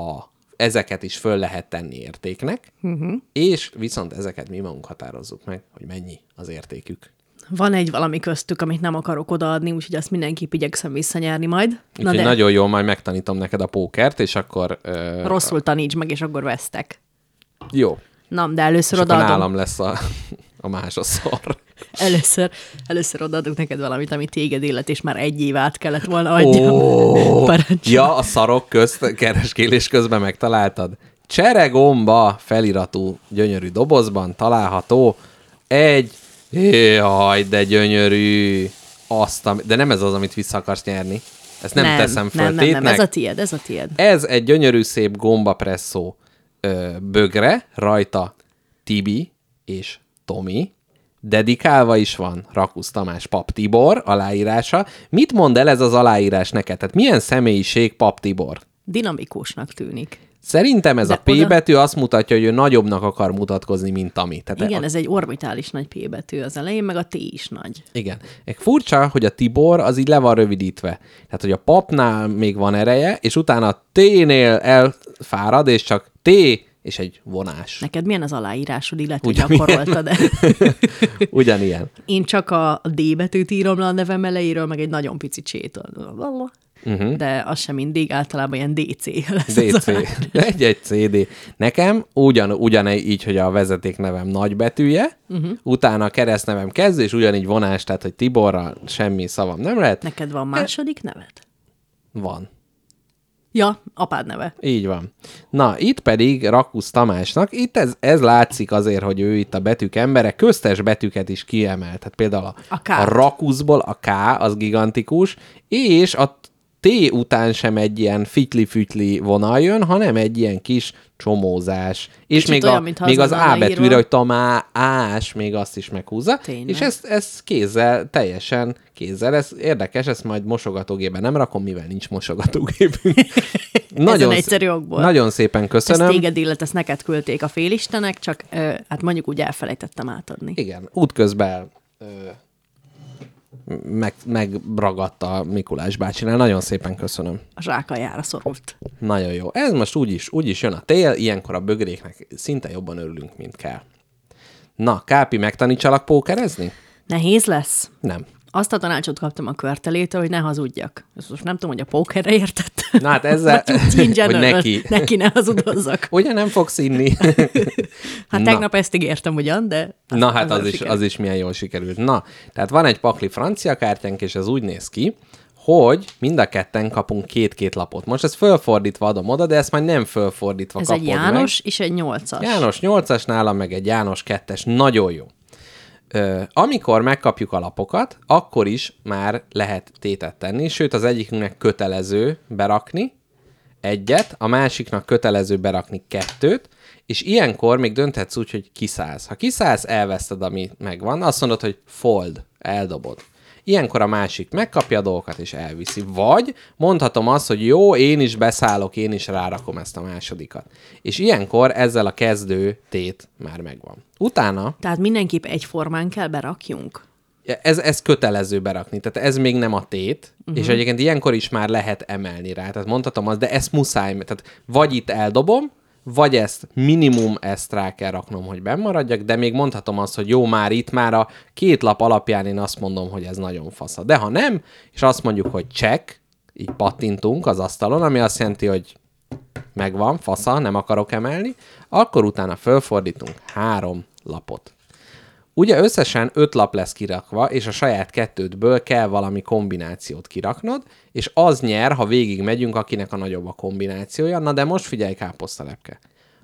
Speaker 3: ezeket is föl lehet tenni értéknek,
Speaker 2: Mhm.
Speaker 3: uh-huh. és viszont ezeket mi magunk határozzuk meg, hogy mennyi az értékük.
Speaker 2: Van egy valami köztük, amit nem akarok odaadni, úgyhogy azt mindenképp igyekszem visszanyerni majd. Na
Speaker 3: Úgyhogy
Speaker 2: de
Speaker 3: nagyon jól majd megtanítom neked a pókert, és akkor ö,
Speaker 2: rosszul taníts meg, és akkor vesztek.
Speaker 3: jó,
Speaker 2: Na, de először
Speaker 3: és akkor
Speaker 2: odaadom.
Speaker 3: nálam lesz a, a másosszor.
Speaker 2: Először, először odaadok neked valamit, ami téged illet, és már egy év át kellett volna adjam. Parancs.
Speaker 3: Ja, a szarok közt, kereskélés közben megtaláltad. Cseregomba feliratú gyönyörű dobozban található egy, jaj, de gyönyörű, azt, am- de nem ez az, amit vissza akarsz nyerni. Ezt nem, teszem föl
Speaker 2: nem, nem, nem,
Speaker 3: tétnek.
Speaker 2: ez a tied, ez a tied.
Speaker 3: Ez egy gyönyörű szép gombapresszó ö, bögre, rajta Tibi és Tomi, dedikálva is van Rakusz Tamás Pap Tibor aláírása. Mit mond el ez az aláírás neked? Tehát milyen személyiség Pap Tibor?
Speaker 2: Dinamikusnak tűnik.
Speaker 3: Szerintem ez
Speaker 2: De
Speaker 3: a P
Speaker 2: oda-
Speaker 3: betű azt mutatja, hogy ő nagyobbnak akar mutatkozni, mint ami. Tehát e-
Speaker 2: Igen,
Speaker 3: a...
Speaker 2: ez egy orbitális nagy P betű az elején, meg a T is nagy.
Speaker 3: Igen. Egy furcsa, hogy a Tibor az így le van rövidítve. Tehát, hogy a papnál még van ereje, és utána a T-nél elfárad, és csak T és egy vonás.
Speaker 2: Neked milyen az aláírásod, illetve hogy
Speaker 3: Ugyanilyen.
Speaker 2: gyakoroltad-e?
Speaker 3: Ugyanilyen.
Speaker 2: Én csak a a D betűt írom le a nevem elejéről, meg egy nagyon pici csét.
Speaker 3: Mhm.
Speaker 2: Uh-huh. De az sem mindig, általában ilyen DC lesz. az
Speaker 3: DC.
Speaker 2: alá-
Speaker 3: Egy-egy CD. Nekem ugyan, ugyanígy, hogy a vezeték nevem nagybetűje, uh-huh. utána a keresztnevem kezdő, és ugyanígy vonás, tehát, hogy Tiborral semmi szavam nem lehet.
Speaker 2: Neked van második neved?
Speaker 3: Van.
Speaker 2: Ja, apád neve.
Speaker 3: Így van. Na, itt pedig Rakusz Tamásnak, itt ez, ez látszik azért, hogy ő itt a betűk embere, köztes betűket is kiemelt. Tehát például a,
Speaker 2: A K-t.
Speaker 3: a Rakuszból a K, az gigantikus, és a T után sem egy ilyen fitli-fütli vonal jön, hanem egy ilyen kis csomózás. És
Speaker 2: Kicsit
Speaker 3: még,
Speaker 2: olyan,
Speaker 3: a,
Speaker 2: mintha
Speaker 3: még
Speaker 2: az
Speaker 3: az
Speaker 2: lenne
Speaker 3: A betűre,
Speaker 2: írva.
Speaker 3: hogy Tamás, még azt is meghúzza.
Speaker 2: Tényleg.
Speaker 3: És ezt, ezt kézzel, teljesen kézzel. Ez érdekes, ezt majd mosogatógébe nem rakom, mivel nincs mosogatógépünk.
Speaker 2: Ezen
Speaker 3: szé-
Speaker 2: egyszerű okból.
Speaker 3: Nagyon szépen
Speaker 2: Ezt
Speaker 3: köszönöm.
Speaker 2: téged illet, ezt neked küldték a félistenek, csak ö, hát mondjuk úgy elfelejtettem átadni.
Speaker 3: Igen, útközben ö, meg, megragadta Mikulás bácsinál. Nagyon szépen köszönöm.
Speaker 2: A zsákajára szorult.
Speaker 3: Nagyon jó. Ez most úgy is, úgy is jön a tél, ilyenkor a bögréknek szinte jobban örülünk, mint kell. Na, Kápi, megtanítsalak pókerezni?
Speaker 2: Nehéz lesz?
Speaker 3: Nem.
Speaker 2: Azt a tanácsot kaptam a körtelétől, hogy ne hazudjak. Ezt most nem tudom, hogy a pókerre értettem.
Speaker 3: Na hát ezzel-
Speaker 2: Vagy úgy in
Speaker 3: hogy
Speaker 2: general.
Speaker 3: neki.
Speaker 2: Neki ne hazudozzak.
Speaker 3: Ugye nem fogsz inni?
Speaker 2: Hát
Speaker 3: Na.
Speaker 2: tegnap ezt ígértem ugyan, de... az-
Speaker 3: Na hát
Speaker 2: azzal
Speaker 3: az is,
Speaker 2: sikerült.
Speaker 3: az is milyen jól sikerült. Na, tehát van egy pakli francia kártyánk, és ez úgy néz ki, hogy mind a ketten kapunk két-két lapot. Most ezt fölfordítva adom oda, de ezt már nem fölfordítva
Speaker 2: Ez
Speaker 3: kapod
Speaker 2: egy János és egy nyolcas.
Speaker 3: meg. János 8-as, nálam meg egy János 2-es. Nagyon jó. Ö, amikor megkapjuk a lapokat, akkor is már lehet tétet tenni, sőt az egyikünknek kötelező berakni egyet, a másiknak kötelező berakni kettőt, és ilyenkor még dönthetsz úgy, hogy kiszállsz. Ha kiszállsz, elveszted, ami megvan, azt mondod, hogy fold, eldobod. Ilyenkor a másik megkapja a dolgokat és elviszi. Vagy mondhatom azt, hogy jó, én is beszállok, én is rárakom ezt a másodikat. És ilyenkor ezzel a kezdő tét már megvan. Utána
Speaker 2: Tehát mindenképp egyformán kell berakjunk.
Speaker 3: ez, ez kötelező berakni, tehát ez még nem a tét, uh-huh. és egyébként ilyenkor is már lehet emelni rá, tehát mondhatom azt, de ezt muszáj, tehát vagy itt eldobom, vagy ezt minimum ezt rá kell raknom, hogy bennmaradjak, de még mondhatom azt, hogy jó, már itt már a két lap alapján én azt mondom, hogy ez nagyon fasza. De ha nem, és azt mondjuk, hogy check, így pattintunk az asztalon, ami azt jelenti, hogy megvan, fasza, nem akarok emelni, akkor utána fölfordítunk három lapot. Ugye összesen öt lap lesz kirakva, és a saját kettődből kell valami kombinációt kiraknod, és az nyer, ha végig megyünk, akinek a nagyobb a kombinációja. Na de most figyelj, káposztalepke.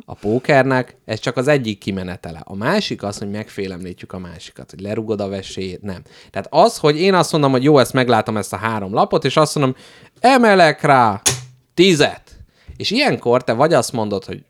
Speaker 3: A pókernek ez csak az egyik kimenetele. A másik az, hogy megfélemlítjük a másikat, hogy lerugod a vesélyét, nem. Tehát az, hogy én azt mondom, hogy jó, ezt meglátom ezt a három lapot, és azt mondom, emelek rá tízet. És ilyenkor te vagy azt mondod, hogy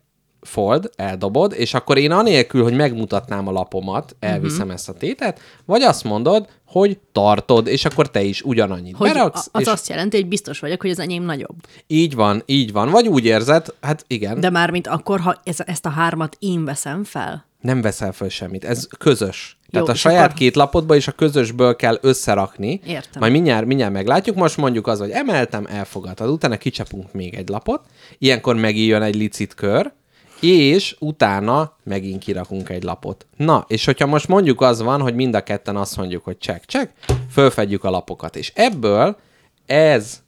Speaker 3: fold, eldobod, és akkor én anélkül, hogy megmutatnám a lapomat, elviszem
Speaker 2: Mhm.
Speaker 3: ezt a tétet, vagy azt mondod, hogy tartod, és akkor te is ugyanannyit
Speaker 2: Hogy
Speaker 3: beraksz,
Speaker 2: a- az
Speaker 3: és
Speaker 2: azt jelenti, hogy biztos vagyok, hogy az enyém nagyobb.
Speaker 3: így van, így van. Vagy úgy érzed, hát igen,
Speaker 2: De mármint akkor, ha ez, ezt a hármat én veszem fel,
Speaker 3: nem veszel föl semmit. Ez közös.
Speaker 2: Jó,
Speaker 3: Tehát a
Speaker 2: és
Speaker 3: saját
Speaker 2: akkor-
Speaker 3: két lapodba és a közösből kell összerakni.
Speaker 2: Értem.
Speaker 3: Majd mindjárt, mindjárt meglátjuk. Most mondjuk az, hogy emeltem, elfogadtad. Utána kicsapunk még egy lapot. Ilyenkor megint jön egy licit kör, és utána megint kirakunk egy lapot. Na, és hogyha most mondjuk az van, hogy mind a ketten azt mondjuk, hogy check, check, fölfedjük a lapokat. És ebből ez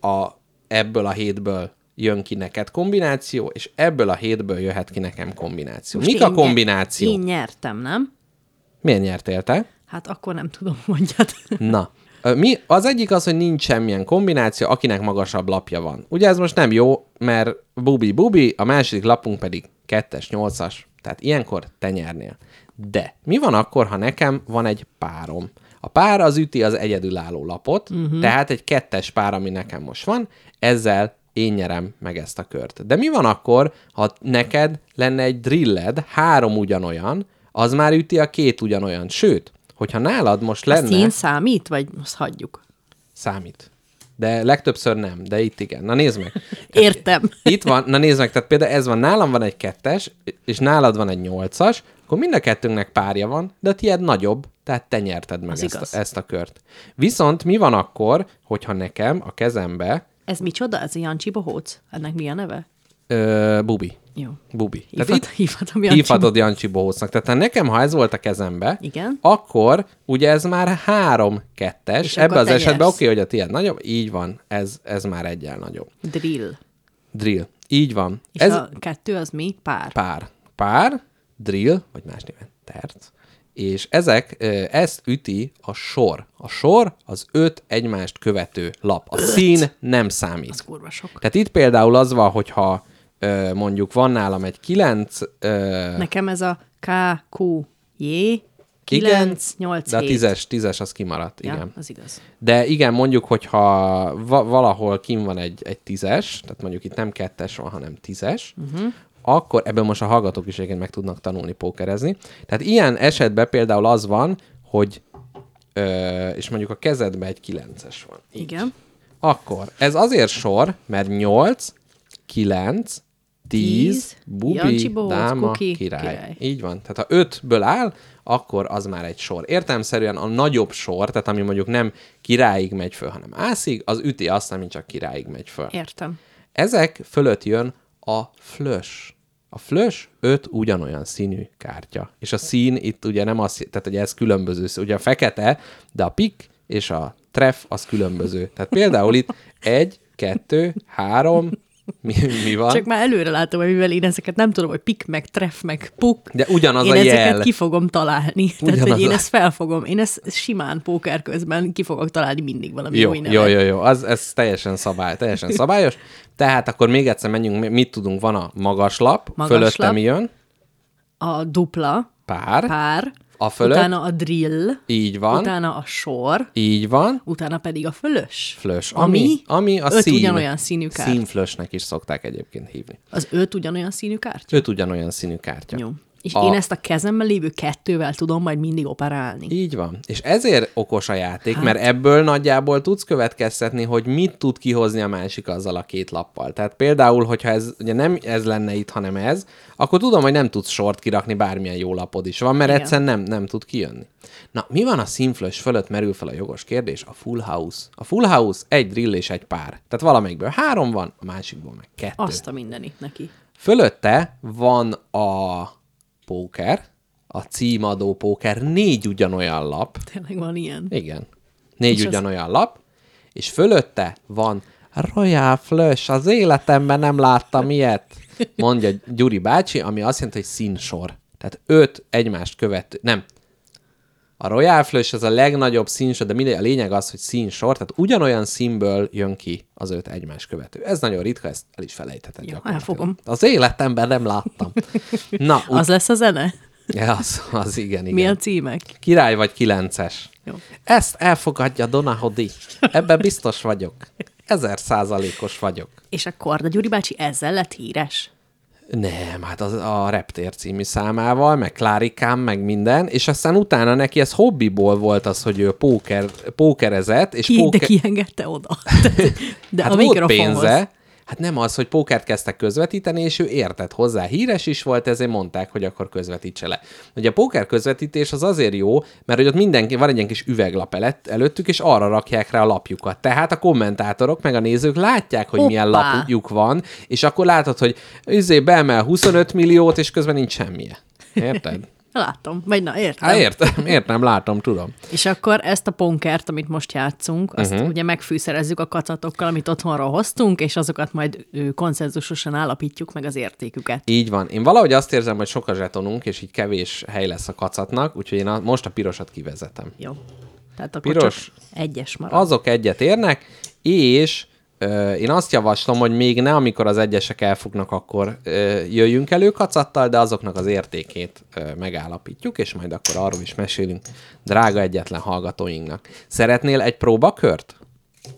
Speaker 3: a, ebből a hétből jön ki neked kombináció, és ebből a hétből jöhet ki nekem kombináció.
Speaker 2: Most
Speaker 3: Mik a
Speaker 2: én nyer-
Speaker 3: kombináció?
Speaker 2: Én nyertem, nem?
Speaker 3: Miért nyertél te?
Speaker 2: Hát akkor nem tudom, mondjad.
Speaker 3: Na, ö, mi, az egyik az, hogy nincs semmilyen kombináció, akinek magasabb lapja van. Ugye ez most nem jó, mert bubi-bubi, a második lapunk pedig kettes, nyolcas. Tehát ilyenkor te nyernél. De mi van akkor, ha nekem van egy párom? A pár az üti az egyedülálló lapot, uh-huh. tehát egy kettes pár, ami nekem most van, ezzel én nyerem meg ezt a kört. De mi van akkor, ha neked lenne egy drilled, három ugyanolyan, az már üti a két ugyanolyan. Sőt, hogyha nálad most lenne... Hát-
Speaker 2: Szín számít, vagy azt hagyjuk?
Speaker 3: Számít. de legtöbbször nem, de itt igen. Na nézd meg.
Speaker 2: Értem.
Speaker 3: Itt van, na nézd meg, tehát például ez van, nálam van egy kettes, és nálad van egy nyolcas, akkor mind a kettőnknek párja van, de a tiéd nagyobb, tehát te nyerted meg
Speaker 2: Az
Speaker 3: ezt,
Speaker 2: igaz.
Speaker 3: a- ezt a kört. Viszont mi van akkor, hogyha nekem a kezembe
Speaker 2: Ez micsoda? Ez ilyen Jancsi Bohóc? Ennek mi a neve?
Speaker 3: ö, bubi,
Speaker 2: Jó.
Speaker 3: bubi. Tehát
Speaker 2: Hívhat, hívhatom Jancsi.
Speaker 3: hívhatod Jancsi Bohócnak. Tehát ha nekem, ha ez volt a kezembe,
Speaker 2: Igen.
Speaker 3: akkor ugye ez már három kettes.
Speaker 2: És
Speaker 3: Ebben
Speaker 2: akkor
Speaker 3: az
Speaker 2: te
Speaker 3: esetben
Speaker 2: nyersz.
Speaker 3: oké, hogy a tiéd nagyobb, így van, ez, ez már egyel nagyobb.
Speaker 2: Drill.
Speaker 3: Drill. Így van.
Speaker 2: És
Speaker 3: ez
Speaker 2: ez... a kettő az mi? Pár.
Speaker 3: pár. Pár, drill, vagy más néven terc, és ezek, ö, ezt üti a sor. A sor az öt egymást követő lap. A szín nem számít.
Speaker 2: Ez kurva sok.
Speaker 3: Tehát itt például az van, hogyha ö, mondjuk van nálam egy kilenc, ö,
Speaker 2: Nekem ez a K, Q, J, 9, 8,
Speaker 3: de a
Speaker 2: 7.
Speaker 3: tízes, tízes az kimaradt,
Speaker 2: Ja,
Speaker 3: igen.
Speaker 2: az igaz.
Speaker 3: De igen, mondjuk, hogyha va- valahol kim van egy, egy tízes, tehát mondjuk itt nem kettes van, hanem tízes,
Speaker 2: Mhm.
Speaker 3: uh-huh. akkor ebből most a hallgatók is egyébként meg tudnak tanulni pókerezni. Tehát ilyen esetben például az van, hogy ö, és mondjuk a kezedben egy kilences van. Így.
Speaker 2: Igen.
Speaker 3: Akkor ez azért sor, mert 8, 9, 10,
Speaker 2: Tíz, Jancsi
Speaker 3: bubi,
Speaker 2: Bohóc,
Speaker 3: dáma,
Speaker 2: kuki,
Speaker 3: király. király.
Speaker 2: király.
Speaker 3: Így van. Tehát ha 5-ből áll, akkor az már egy sor. Értelmszerűen a nagyobb sor, tehát ami mondjuk nem királyig megy föl, hanem ászig, az üti azt, ami csak királyig megy föl.
Speaker 2: Értem.
Speaker 3: Ezek fölött jön a flös. A flös öt ugyanolyan színű kártya. És a szín itt ugye nem az, tehát ugye ez különböző, szín. ugye a fekete, de a pik és a tref az különböző. Tehát például itt egy, kettő, három, mi, mi van?
Speaker 2: Csak már előre látom, hogy mivel én ezeket nem tudom, hogy pik, meg tref, meg puk.
Speaker 3: De ugyanaz
Speaker 2: én
Speaker 3: a
Speaker 2: ezeket
Speaker 3: jel.
Speaker 2: ki fogom találni. Tehát,
Speaker 3: Ugyanaz
Speaker 2: hogy én
Speaker 3: a-
Speaker 2: ezt felfogom. Én ezt simán póker közben ki fogok találni mindig valami
Speaker 3: Jó,
Speaker 2: új nevet.
Speaker 3: jó, jó, jó, az, ez teljesen szabály, teljesen szabályos. Tehát akkor még egyszer menjünk, mi- mit tudunk, van a magas lap,
Speaker 2: Magas
Speaker 3: fölötte
Speaker 2: lap.
Speaker 3: mi jön?
Speaker 2: A dupla,
Speaker 3: Pár,
Speaker 2: pár,
Speaker 3: A fölött?
Speaker 2: utána a drill,
Speaker 3: így van,
Speaker 2: utána a sor,
Speaker 3: így van,
Speaker 2: utána pedig a fölös.
Speaker 3: Flös. Ami,
Speaker 2: Ami,
Speaker 3: ami a
Speaker 2: öt
Speaker 3: szín.
Speaker 2: ugyanolyan színű kártya.
Speaker 3: Színflösnek is szokták egyébként hívni.
Speaker 2: Az öt ugyanolyan színű kártya?
Speaker 3: Öt ugyanolyan színű kártya.
Speaker 2: Jó. És
Speaker 3: A-
Speaker 2: a... én ezt a kezemben lévő kettővel tudom majd mindig operálni.
Speaker 3: Így van. És ezért okos a játék, hát. mert ebből nagyjából tudsz következtetni, hogy mit tud kihozni a másik azzal a két lappal. Tehát például, hogyha ez ugye nem ez lenne itt, hanem ez, akkor tudom, hogy nem tudsz sort kirakni, bármilyen jó lapod is van, mert
Speaker 2: Igen.
Speaker 3: egyszerűen nem, nem tud kijönni. Na, mi van a színflös fölött, merül fel a jogos kérdés, a full house. A full house egy drill és egy pár. Tehát valamelyikből három van, a másikból meg kettő.
Speaker 2: Azt a mindenit neki.
Speaker 3: Fölötte van a póker, a címadó póker, négy ugyanolyan lap.
Speaker 2: Tényleg van ilyen.
Speaker 3: Igen. Négy
Speaker 2: És az-
Speaker 3: ugyanolyan lap, és fölötte van Royal Flush, az életemben nem láttam ilyet, mondja Gyuri bácsi, ami azt jelenti, hogy színsor. Tehát öt egymást követő, nem, a Royal Flush az a legnagyobb színsor, de mindegy, a lényeg az, hogy színsor, tehát ugyanolyan színből jön ki az öt egymás követő. Ez nagyon ritka, ezt el is felejtheted. Jó,
Speaker 2: elfogom.
Speaker 3: Az életemben nem láttam. Na,
Speaker 2: Az lesz a zene?
Speaker 3: ut- az, az igen, igen.
Speaker 2: Mi a címek?
Speaker 3: Király vagy kilences.
Speaker 2: Jó.
Speaker 3: Ezt elfogadja Donahodi. Ebben biztos vagyok. Ezer százalékos vagyok.
Speaker 2: És a Korda Gyuri bácsi ezzel lett híres?
Speaker 3: Nem, hát az a Reptér című számával, meg Klárikám, meg minden, és aztán utána neki ez hobbiból volt az, hogy ő póker, pókerezett, és
Speaker 2: Ki,
Speaker 3: póker...
Speaker 2: De kiengedte oda. Tehát, De
Speaker 3: hát
Speaker 2: a
Speaker 3: volt
Speaker 2: mikrofonhoz.
Speaker 3: pénze, hát nem az, hogy pókert kezdtek közvetíteni, és ő értett hozzá. Híres is volt, ezért mondták, hogy akkor közvetítse le. Ugye a póker közvetítés az azért jó, mert hogy ott mindenki, van egy ilyen kis üveglap elett, előttük, és arra rakják rá a lapjukat. Tehát a kommentátorok meg a nézők látják, hogy milyen
Speaker 2: Hoppá!
Speaker 3: lapjuk van, és akkor látod, hogy üzé beemel 25 milliót, és közben nincs semmije. Érted?
Speaker 2: Látom, vagy na, értem.
Speaker 3: Hát értem, értem, látom, tudom.
Speaker 2: És akkor ezt a ponkert, amit most játszunk, azt
Speaker 3: Mhm.
Speaker 2: uh-huh. ugye megfűszerezzük a kacatokkal, amit otthonról hoztunk, és azokat majd ő, konszenzusosan állapítjuk meg az értéküket.
Speaker 3: Így van. Én valahogy azt érzem, hogy sok a zsetonunk, és így kevés hely lesz a kacatnak, úgyhogy én a, most a pirosat kivezetem.
Speaker 2: Jó. Tehát akkor
Speaker 3: Piros.
Speaker 2: csak egyes marad. Az...
Speaker 3: Azok egyet érnek, és ö, én azt javaslom, hogy még ne amikor az egyesek elfognak, akkor ö, jöjjünk elő kacattal, de azoknak az értékét ö, megállapítjuk, és majd akkor arról is mesélünk drága egyetlen hallgatóinknak. Szeretnél egy próbakört?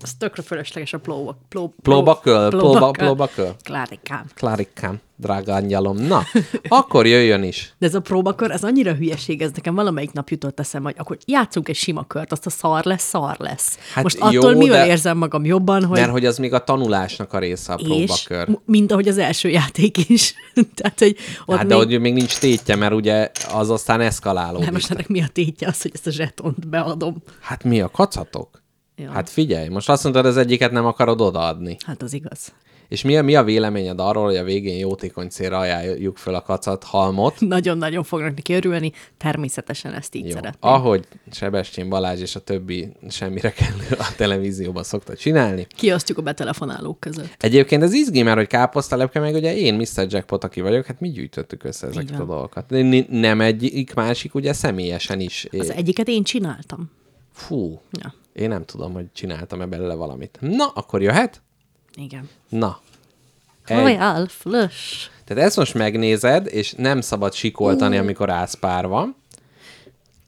Speaker 2: Ez tökre fölösleges a plóba. Pló,
Speaker 3: Plóbaköl, plóba,
Speaker 2: plóbaköl.
Speaker 3: plóbaköl.
Speaker 2: Klárikám.
Speaker 3: Klárikám, drága angyalom. Na, akkor jöjjön is.
Speaker 2: De ez a próbakör, ez annyira hülyeség, ez nekem valamelyik nap jutott eszembe, hogy akkor játszunk egy sima kört, azt a szar lesz, szar lesz.
Speaker 3: Hát
Speaker 2: Hát Most
Speaker 3: jó,
Speaker 2: attól mivel
Speaker 3: de-
Speaker 2: érzem magam jobban, hogy...
Speaker 3: Mert hogy az még a tanulásnak a része a
Speaker 2: és,
Speaker 3: próbakör.
Speaker 2: m- mint ahogy az első játék is. Tehát, hogy ott
Speaker 3: Hát
Speaker 2: még...
Speaker 3: de hogy még nincs tétje, mert ugye az aztán eszkalálódik.
Speaker 2: Nem, most ennek mi a tétje az, hogy ezt a zsetont beadom?
Speaker 3: Hát mi a kacatok?
Speaker 2: Ja.
Speaker 3: Hát figyelj, most azt mondtad, az egyiket nem akarod odaadni.
Speaker 2: Hát az igaz.
Speaker 3: És mi a, mi a véleményed arról, hogy a végén jótékony célra ajánljuk fel a kacat halmot?
Speaker 2: Nagyon-nagyon fognak neki örülni, természetesen ezt így
Speaker 3: Jó.
Speaker 2: szeretném.
Speaker 3: Ahogy Sebestyén Balázs és a többi semmire kell a televízióban szokta csinálni.
Speaker 2: Kiosztjuk a betelefonálók között.
Speaker 3: Egyébként ez izgi, mert hogy káposztalepke, meg ugye én Mr. Jackpot, aki vagyok, hát mi gyűjtöttük össze ezeket a
Speaker 2: van.
Speaker 3: dolgokat. Ni- Nem egyik, másik, ugye személyesen is.
Speaker 2: Az
Speaker 3: É-
Speaker 2: egyiket én csináltam.
Speaker 3: Fú,
Speaker 2: Ja,
Speaker 3: én nem tudom, hogy csináltam-e belőle valamit. Na, akkor jöhet?
Speaker 2: igen.
Speaker 3: Na. Egy,
Speaker 2: Royal Flush.
Speaker 3: tehát ezt most megnézed, és nem szabad sikoltani, amikor ászpár van.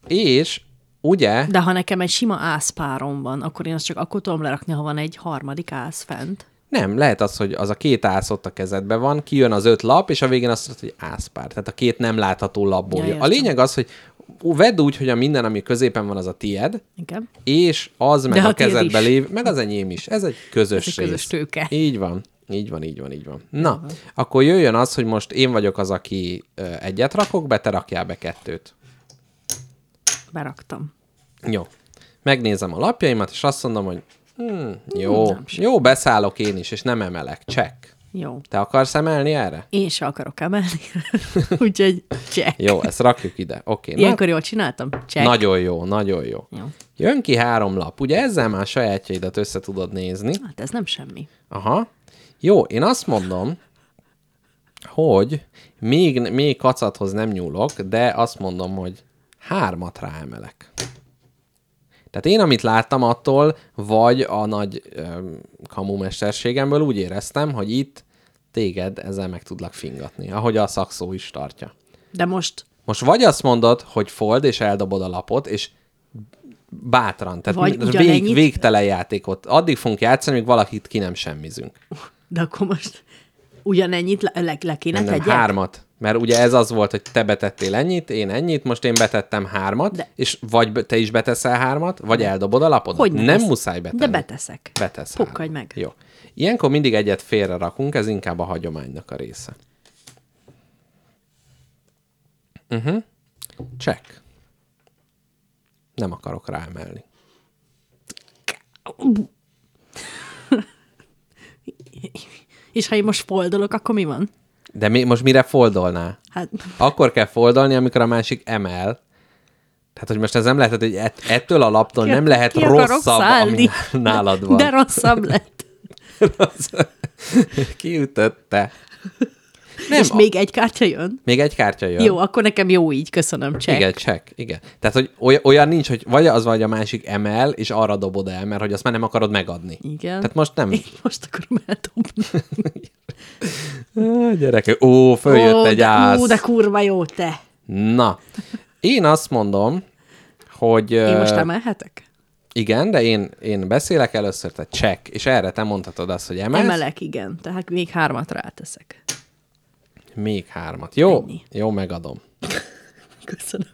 Speaker 3: És ugye,
Speaker 2: De ha nekem egy sima ászpárom van, akkor én azt csak akkor tudom lerakni, ha van egy harmadik ász fent.
Speaker 3: nem, lehet az, hogy az a két ász ott a kezedben van, kijön az öt lap, és a végén azt mondod, hogy ászpár. Tehát a két nem látható lapból.
Speaker 2: Ja,
Speaker 3: Ja, a
Speaker 2: értem.
Speaker 3: lényeg az, hogy vedd úgy, hogy a minden, ami középen van, az a tied,
Speaker 2: Igen.
Speaker 3: és az meg
Speaker 2: De
Speaker 3: a
Speaker 2: a tiéd
Speaker 3: kezedbe
Speaker 2: is.
Speaker 3: lév, meg az enyém is. Ez egy közös
Speaker 2: Ez egy közös
Speaker 3: rész.
Speaker 2: tőke.
Speaker 3: Így van, így van, így van, így van. Na, akkor jöjjön az, hogy most én vagyok az, aki ö, egyet rakok be, te rakjál be kettőt.
Speaker 2: Beraktam.
Speaker 3: Jó. Megnézem a lapjaimat, és azt mondom, hogy hmm, jó, jó, beszállok én is, és nem emelek. Check.
Speaker 2: Jó.
Speaker 3: Te akarsz emelni erre?
Speaker 2: Én se akarok emelni. Úgyhogy check.
Speaker 3: Jó, ezt rakjuk ide. Oké. na-
Speaker 2: Ilyenkor jól csináltam? Check.
Speaker 3: Nagyon jó, nagyon jó.
Speaker 2: Jó.
Speaker 3: Jön ki három lap. Ugye ezzel már sajátjaidat össze tudod nézni.
Speaker 2: Hát ez nem semmi.
Speaker 3: Aha. Jó, én azt mondom, hogy még, még kacathoz nem nyúlok, de azt mondom, hogy hármat ráemelek. Tehát én, amit láttam attól, vagy a nagy öm, kamu mesterségemből úgy éreztem, hogy itt téged ezzel meg tudlak fingatni, ahogy a szakszó is tartja.
Speaker 2: De most
Speaker 3: Most vagy azt mondod, hogy fold, és eldobod a lapot, és bátran, tehát
Speaker 2: Vagy
Speaker 3: vagy vég,
Speaker 2: ugyanennyit-
Speaker 3: végtelen játékot. Addig fogunk játszani, míg valakit ki nem semmizünk.
Speaker 2: De akkor most ugyanennyit le, le, le kéne
Speaker 3: Nem, nem,
Speaker 2: tegyek?
Speaker 3: hármat. Mert ugye ez az volt, hogy te betettél ennyit, én ennyit, most én betettem hármat, De...
Speaker 2: De-
Speaker 3: és vagy be- te is beteszel hármat, vagy eldobod a lapodat.
Speaker 2: Hogy nem,
Speaker 3: nem
Speaker 2: ezt-
Speaker 3: muszáj betenni.
Speaker 2: De beteszek.
Speaker 3: Betesz
Speaker 2: Pukkadj
Speaker 3: hármat.
Speaker 2: meg.
Speaker 3: Jó. Ilyenkor mindig egyet félre rakunk, ez inkább a hagyománynak a része. Uh-huh. Check. Nem akarok ráemelni.
Speaker 2: És ha én most foldolok, akkor mi van?
Speaker 3: De mi, most mire foldolnál?
Speaker 2: Hát
Speaker 3: Akkor kell foldolni, amikor a másik emel. Tehát, hogy most ez nem lehet, hogy ett, ettől a laptól
Speaker 2: ki-
Speaker 3: nem lehet
Speaker 2: ki akarok
Speaker 3: rosszabb, ami
Speaker 2: szállni?
Speaker 3: nálad van.
Speaker 2: De rosszabb lett.
Speaker 3: Kiütötte.
Speaker 2: Nem, és
Speaker 3: a-
Speaker 2: még egy kártya jön?
Speaker 3: Még egy kártya jön.
Speaker 2: Jó, akkor nekem jó így, köszönöm, csek.
Speaker 3: Igen, check, igen. Tehát, hogy oly- olyan nincs, hogy vagy az, vagy a másik emel, és arra dobod el, mert hogy azt már nem akarod megadni.
Speaker 2: Igen.
Speaker 3: Tehát most nem.
Speaker 2: Én most akarom eldobni.
Speaker 3: Á, Gyereke, ó, följött
Speaker 2: Ó,
Speaker 3: egy
Speaker 2: de-
Speaker 3: ász.
Speaker 2: Ó, de kurva jó, te.
Speaker 3: Na, én azt mondom, hogy...
Speaker 2: Én most
Speaker 3: ö,
Speaker 2: emelhetek?
Speaker 3: Igen, de én, én beszélek először, te check, és erre te mondhatod azt, hogy emelsz.
Speaker 2: Emelek, igen. Tehát még hármat ráteszek.
Speaker 3: Még hármat. Jó,
Speaker 2: Ennyi.
Speaker 3: jó, megadom.
Speaker 2: Köszönöm.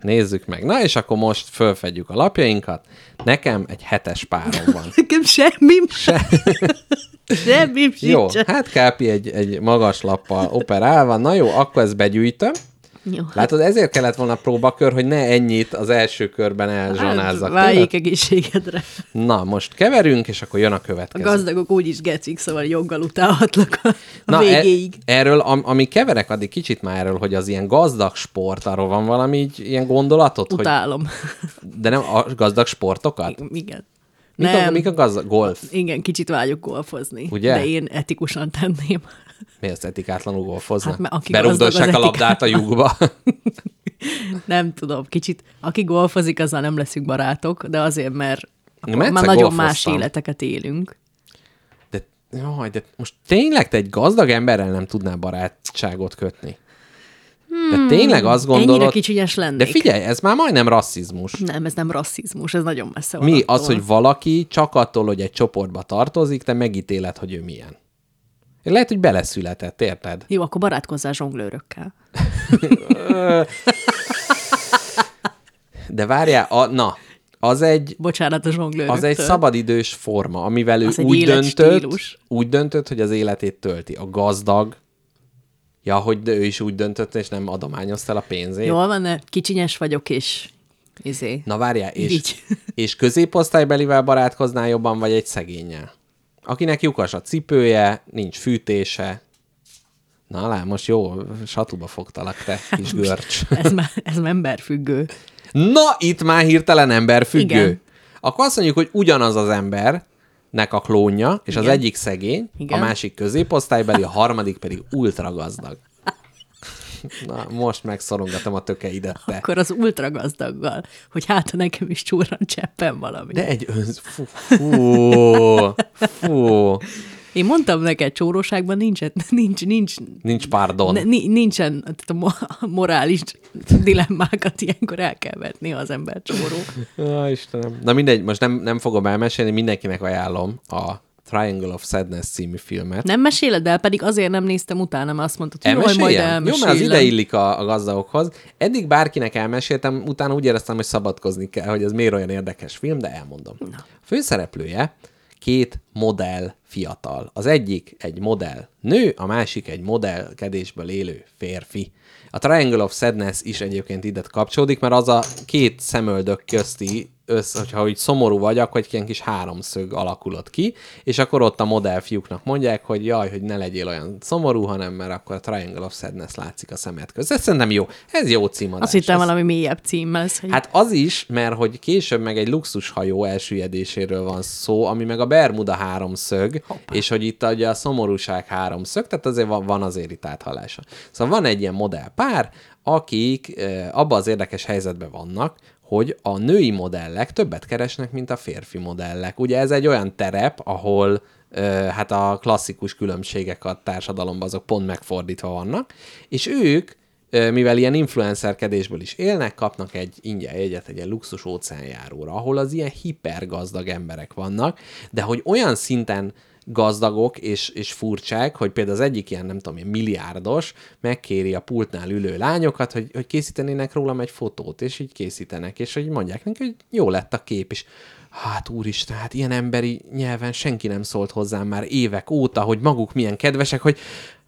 Speaker 3: Nézzük meg. Na, és akkor most fölfedjük a lapjainkat. Nekem egy hetes párom van.
Speaker 2: Nekem semmim se. semmim
Speaker 3: Jó,
Speaker 2: sincs.
Speaker 3: hát Kápi egy, egy magas lappal operálva. Na jó, akkor ezt begyűjtöm.
Speaker 2: Jó.
Speaker 3: Látod, ezért kellett volna próbakör, hogy ne ennyit az első körben
Speaker 2: Hát,
Speaker 3: elzsonázzak.
Speaker 2: Váljék
Speaker 3: tudod?
Speaker 2: egészségedre.
Speaker 3: Na, most keverünk, és akkor jön a
Speaker 2: A
Speaker 3: következő.
Speaker 2: gazdagok úgy is gecik, szóval joggal utálhatlak a Na,
Speaker 3: Na, e-
Speaker 2: végéig.
Speaker 3: erről, am- ami keverek addig kicsit már erről, hogy az ilyen gazdag sport, arról van valami így, ilyen gondolatot, hogy,
Speaker 2: Utálom.
Speaker 3: de nem a gazdag sportokat?
Speaker 2: Igen.
Speaker 3: Mik a,
Speaker 2: Nem.
Speaker 3: mik a gazdag? Golf.
Speaker 2: Igen, kicsit vágyok golfozni.
Speaker 3: Ugye?
Speaker 2: De én etikusan tenném.
Speaker 3: Mi az etikátlanul golfoznak?
Speaker 2: Hát, mert aki
Speaker 3: Berugdossák a
Speaker 2: gazdag, az
Speaker 3: labdát a lyukba.
Speaker 2: Nem tudom, kicsit. Aki golfozik, azzal nem leszünk barátok, de azért, mert akkor
Speaker 3: egyszer
Speaker 2: már nagyon más
Speaker 3: golfoztam.
Speaker 2: életeket élünk.
Speaker 3: De, jaj, de most tényleg te egy gazdag emberrel nem tudnál barátságot kötni? De tényleg azt
Speaker 2: Hmm, Ennyire
Speaker 3: gondolod...
Speaker 2: kicsinyes lennék.
Speaker 3: De figyelj, ez már majdnem rasszizmus.
Speaker 2: Nem, ez nem rasszizmus, ez nagyon messze van.
Speaker 3: Mi
Speaker 2: attól.
Speaker 3: az, hogy valaki csak attól, hogy egy csoportba tartozik, te megítéled, hogy ő milyen. Lehet, hogy beleszületett, érted?
Speaker 2: Jó, akkor barátkozzál zsonglőrökkel.
Speaker 3: De várjál, a, na, az egy,
Speaker 2: Bocsánat a zsonglőröktől.
Speaker 3: az egy szabadidős forma, amivel ő
Speaker 2: Az egy
Speaker 3: úgy döntött,
Speaker 2: életstílus.
Speaker 3: úgy döntött, hogy az életét tölti. A gazdag, ja, hogy de ő is úgy döntött, és nem adományozta el a pénzét.
Speaker 2: Jól van, ne? kicsinyes vagyok, és izé.
Speaker 3: Na várjál, és,
Speaker 2: Így.
Speaker 3: és középosztálybelivel barátkoznál jobban, vagy egy szegényel? Akinek lyukas a cipője, nincs fűtése. Na lá, most jó, satuba fogtalak, te
Speaker 2: Hát
Speaker 3: kis görcs.
Speaker 2: Ez már, ez már emberfüggő.
Speaker 3: Na, itt már hirtelen ember függő.
Speaker 2: Igen.
Speaker 3: Akkor azt mondjuk, hogy ugyanaz az embernek a klónja, és az
Speaker 2: Igen.
Speaker 3: egyik szegény,
Speaker 2: Igen.
Speaker 3: a másik középosztálybeli, a harmadik pedig ultra gazdag. Na, most megszorongatom a tökeidet, te.
Speaker 2: Akkor az ultragazdaggal, hogy hát ha nekem is csúran cseppen valami. De...
Speaker 3: De egy önz... Fú, fú, fú.
Speaker 2: Én mondtam neked, csóróságban nincsen, nincs, nincs,
Speaker 3: Nincs pardon.
Speaker 2: ne, ni- nincsen tehát a mo- a morális dilemmákat ilyenkor el kell vetni, ha az ember csóró.
Speaker 3: Ja, Istenem. Na mindegy, most nem, nem fogom elmesélni, mindenkinek ajánlom a Triangle of Sadness című filmet.
Speaker 2: Nem meséled el, pedig azért nem néztem utána, mert azt mondtad, hogy jól, majd
Speaker 3: Elmeséljem? Jó, mert az
Speaker 2: elmesélem.
Speaker 3: ide illik a, a gazdagokhoz. Eddig bárkinek elmeséltem, utána úgy éreztem, hogy szabadkozni kell, hogy ez miért olyan érdekes film, de elmondom. A főszereplője két modell fiatal. Az egyik egy modell nő, a másik egy modellkedésből élő férfi. A Triangle of Sadness is egyébként ide kapcsolódik, mert az a két szemöldök közti össz, hogyha úgy szomorú vagy, akkor egy ilyen kis háromszög alakulott ki, és akkor ott a modellfiúknak mondják, hogy jaj, hogy ne legyél olyan szomorú, hanem mert akkor a Triangle of Sadness látszik a szemed között. Ez szerintem jó. Ez jó címadás.
Speaker 2: Azt hittem
Speaker 3: Ez-
Speaker 2: valami mélyebb címmel. Hogy... Hát,
Speaker 3: Hát az is, mert hogy később meg egy luxushajó elsüllyedéséről van szó, ami meg a Bermuda háromszög, Hoppá. és hogy itt ugye a szomorúság háromszög, tehát azért van, van azért itt áthalása. Szóval van egy ilyen modellpár, akik eh, abban az érdekes helyzetben vannak, hogy a női modellek többet keresnek, mint a férfi modellek. Ugye ez egy olyan terep, ahol ö, hát a klasszikus különbségek a társadalomban azok pont megfordítva vannak, és ők Ö, mivel ilyen influencerkedésből is élnek, kapnak egy ingyen jegyet egy ilyen luxus óceánjáróra, ahol az ilyen hipergazdag emberek vannak, de hogy olyan szinten gazdagok és, és furcsák, hogy például az egyik ilyen, nem tudom én, milliárdos megkéri a pultnál ülő lányokat, hogy, hogy készítenének rólam egy fotót, és így készítenek, és hogy mondják neki, hogy jó lett a kép, és hát úristen, hát ilyen emberi nyelven senki nem szólt hozzám már évek óta, hogy maguk milyen kedvesek, hogy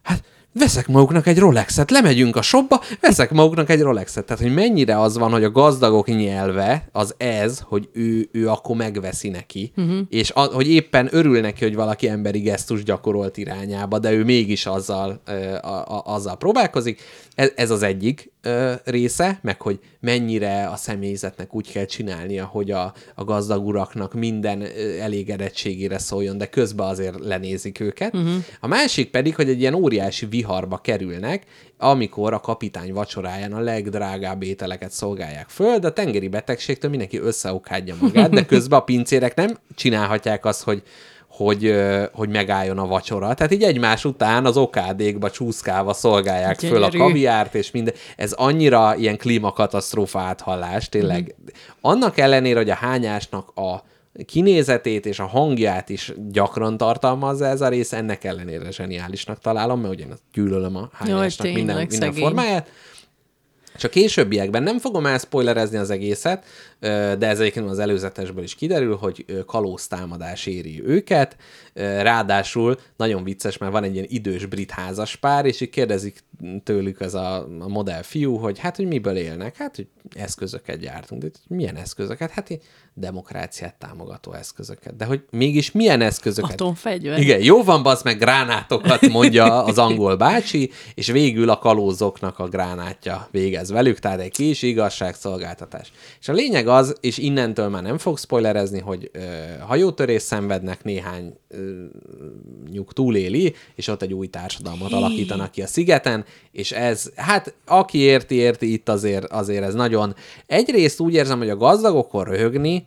Speaker 3: hát veszek maguknak egy Rolexet, lemegyünk a shopba, veszek maguknak egy Rolexet. Tehát, hogy mennyire az van, hogy a gazdagok nyelve az ez, hogy ő, ő akkor megveszi neki, uh-huh. és a, hogy éppen örül neki, hogy valaki emberi gesztus gyakorolt irányába, de ő mégis azzal, ö, a, a, azzal próbálkozik. Ez, ez az egyik ö, része, meg hogy mennyire a személyzetnek úgy kell csinálnia, hogy a, a gazdag uraknak minden ö, elégedettségére szóljon, de közben azért lenézik őket. Uh-huh. A másik pedig, hogy egy ilyen óriási viharba kerülnek, amikor a kapitány vacsoráján a legdrágább ételeket szolgálják föl, de a tengeri betegségtől mindenki összeokhádja magát, de közben a pincérek nem csinálhatják azt, hogy hogy, ö, hogy megálljon a vacsora. Tehát így egymás után az okádékba csúszkálva szolgálják föl a
Speaker 2: Gyönyörű.
Speaker 3: kavi, kiárt, és minden. Ez annyira ilyen klímakatasztrófa áthallás, tényleg. Annak ellenére, hogy a hányásnak a kinézetét és a hangját is gyakran tartalmazza ez a rész, ennek ellenére zseniálisnak találom, mert ugye gyűlölöm a hányásnak
Speaker 2: tényleg,
Speaker 3: minden, minden
Speaker 2: szegény.
Speaker 3: formáját. És a későbbiekben nem fogom elszpoilerezni az egészet, ö, de ez egyébként az előzetesből is kiderül, hogy ö, kalóztámadás éri őket. Ö, Ráadásul nagyon vicces, mert van egy ilyen idős brit házas pár, és így kérdezik tőlük ez a, a modell fiú, hogy hát, hogy miből élnek? Hát, hogy eszközöket gyártunk. De milyen eszközöket? Hát, ilyen demokráciát támogató eszközöket. De hogy mégis milyen eszközöket?
Speaker 2: Atomfegyver.
Speaker 3: Igen, jó van, basz, meg gránátokat mondja az angol bácsi, és végül a kalózoknak a gránátja végez velük, tehát egy kis igazságszolgáltatás. És a lényeg az, és innentől már nem fog spoilerezni, hogy ö, hajótörés szenvednek, néhány ö, nyug túléli, és ott egy új társadalmat alakítanak ki a szigeten, és ez, hát aki érti, érti, itt azért, azért ez nagyon... Egyrészt úgy érzem, hogy a gazdagokon röhögni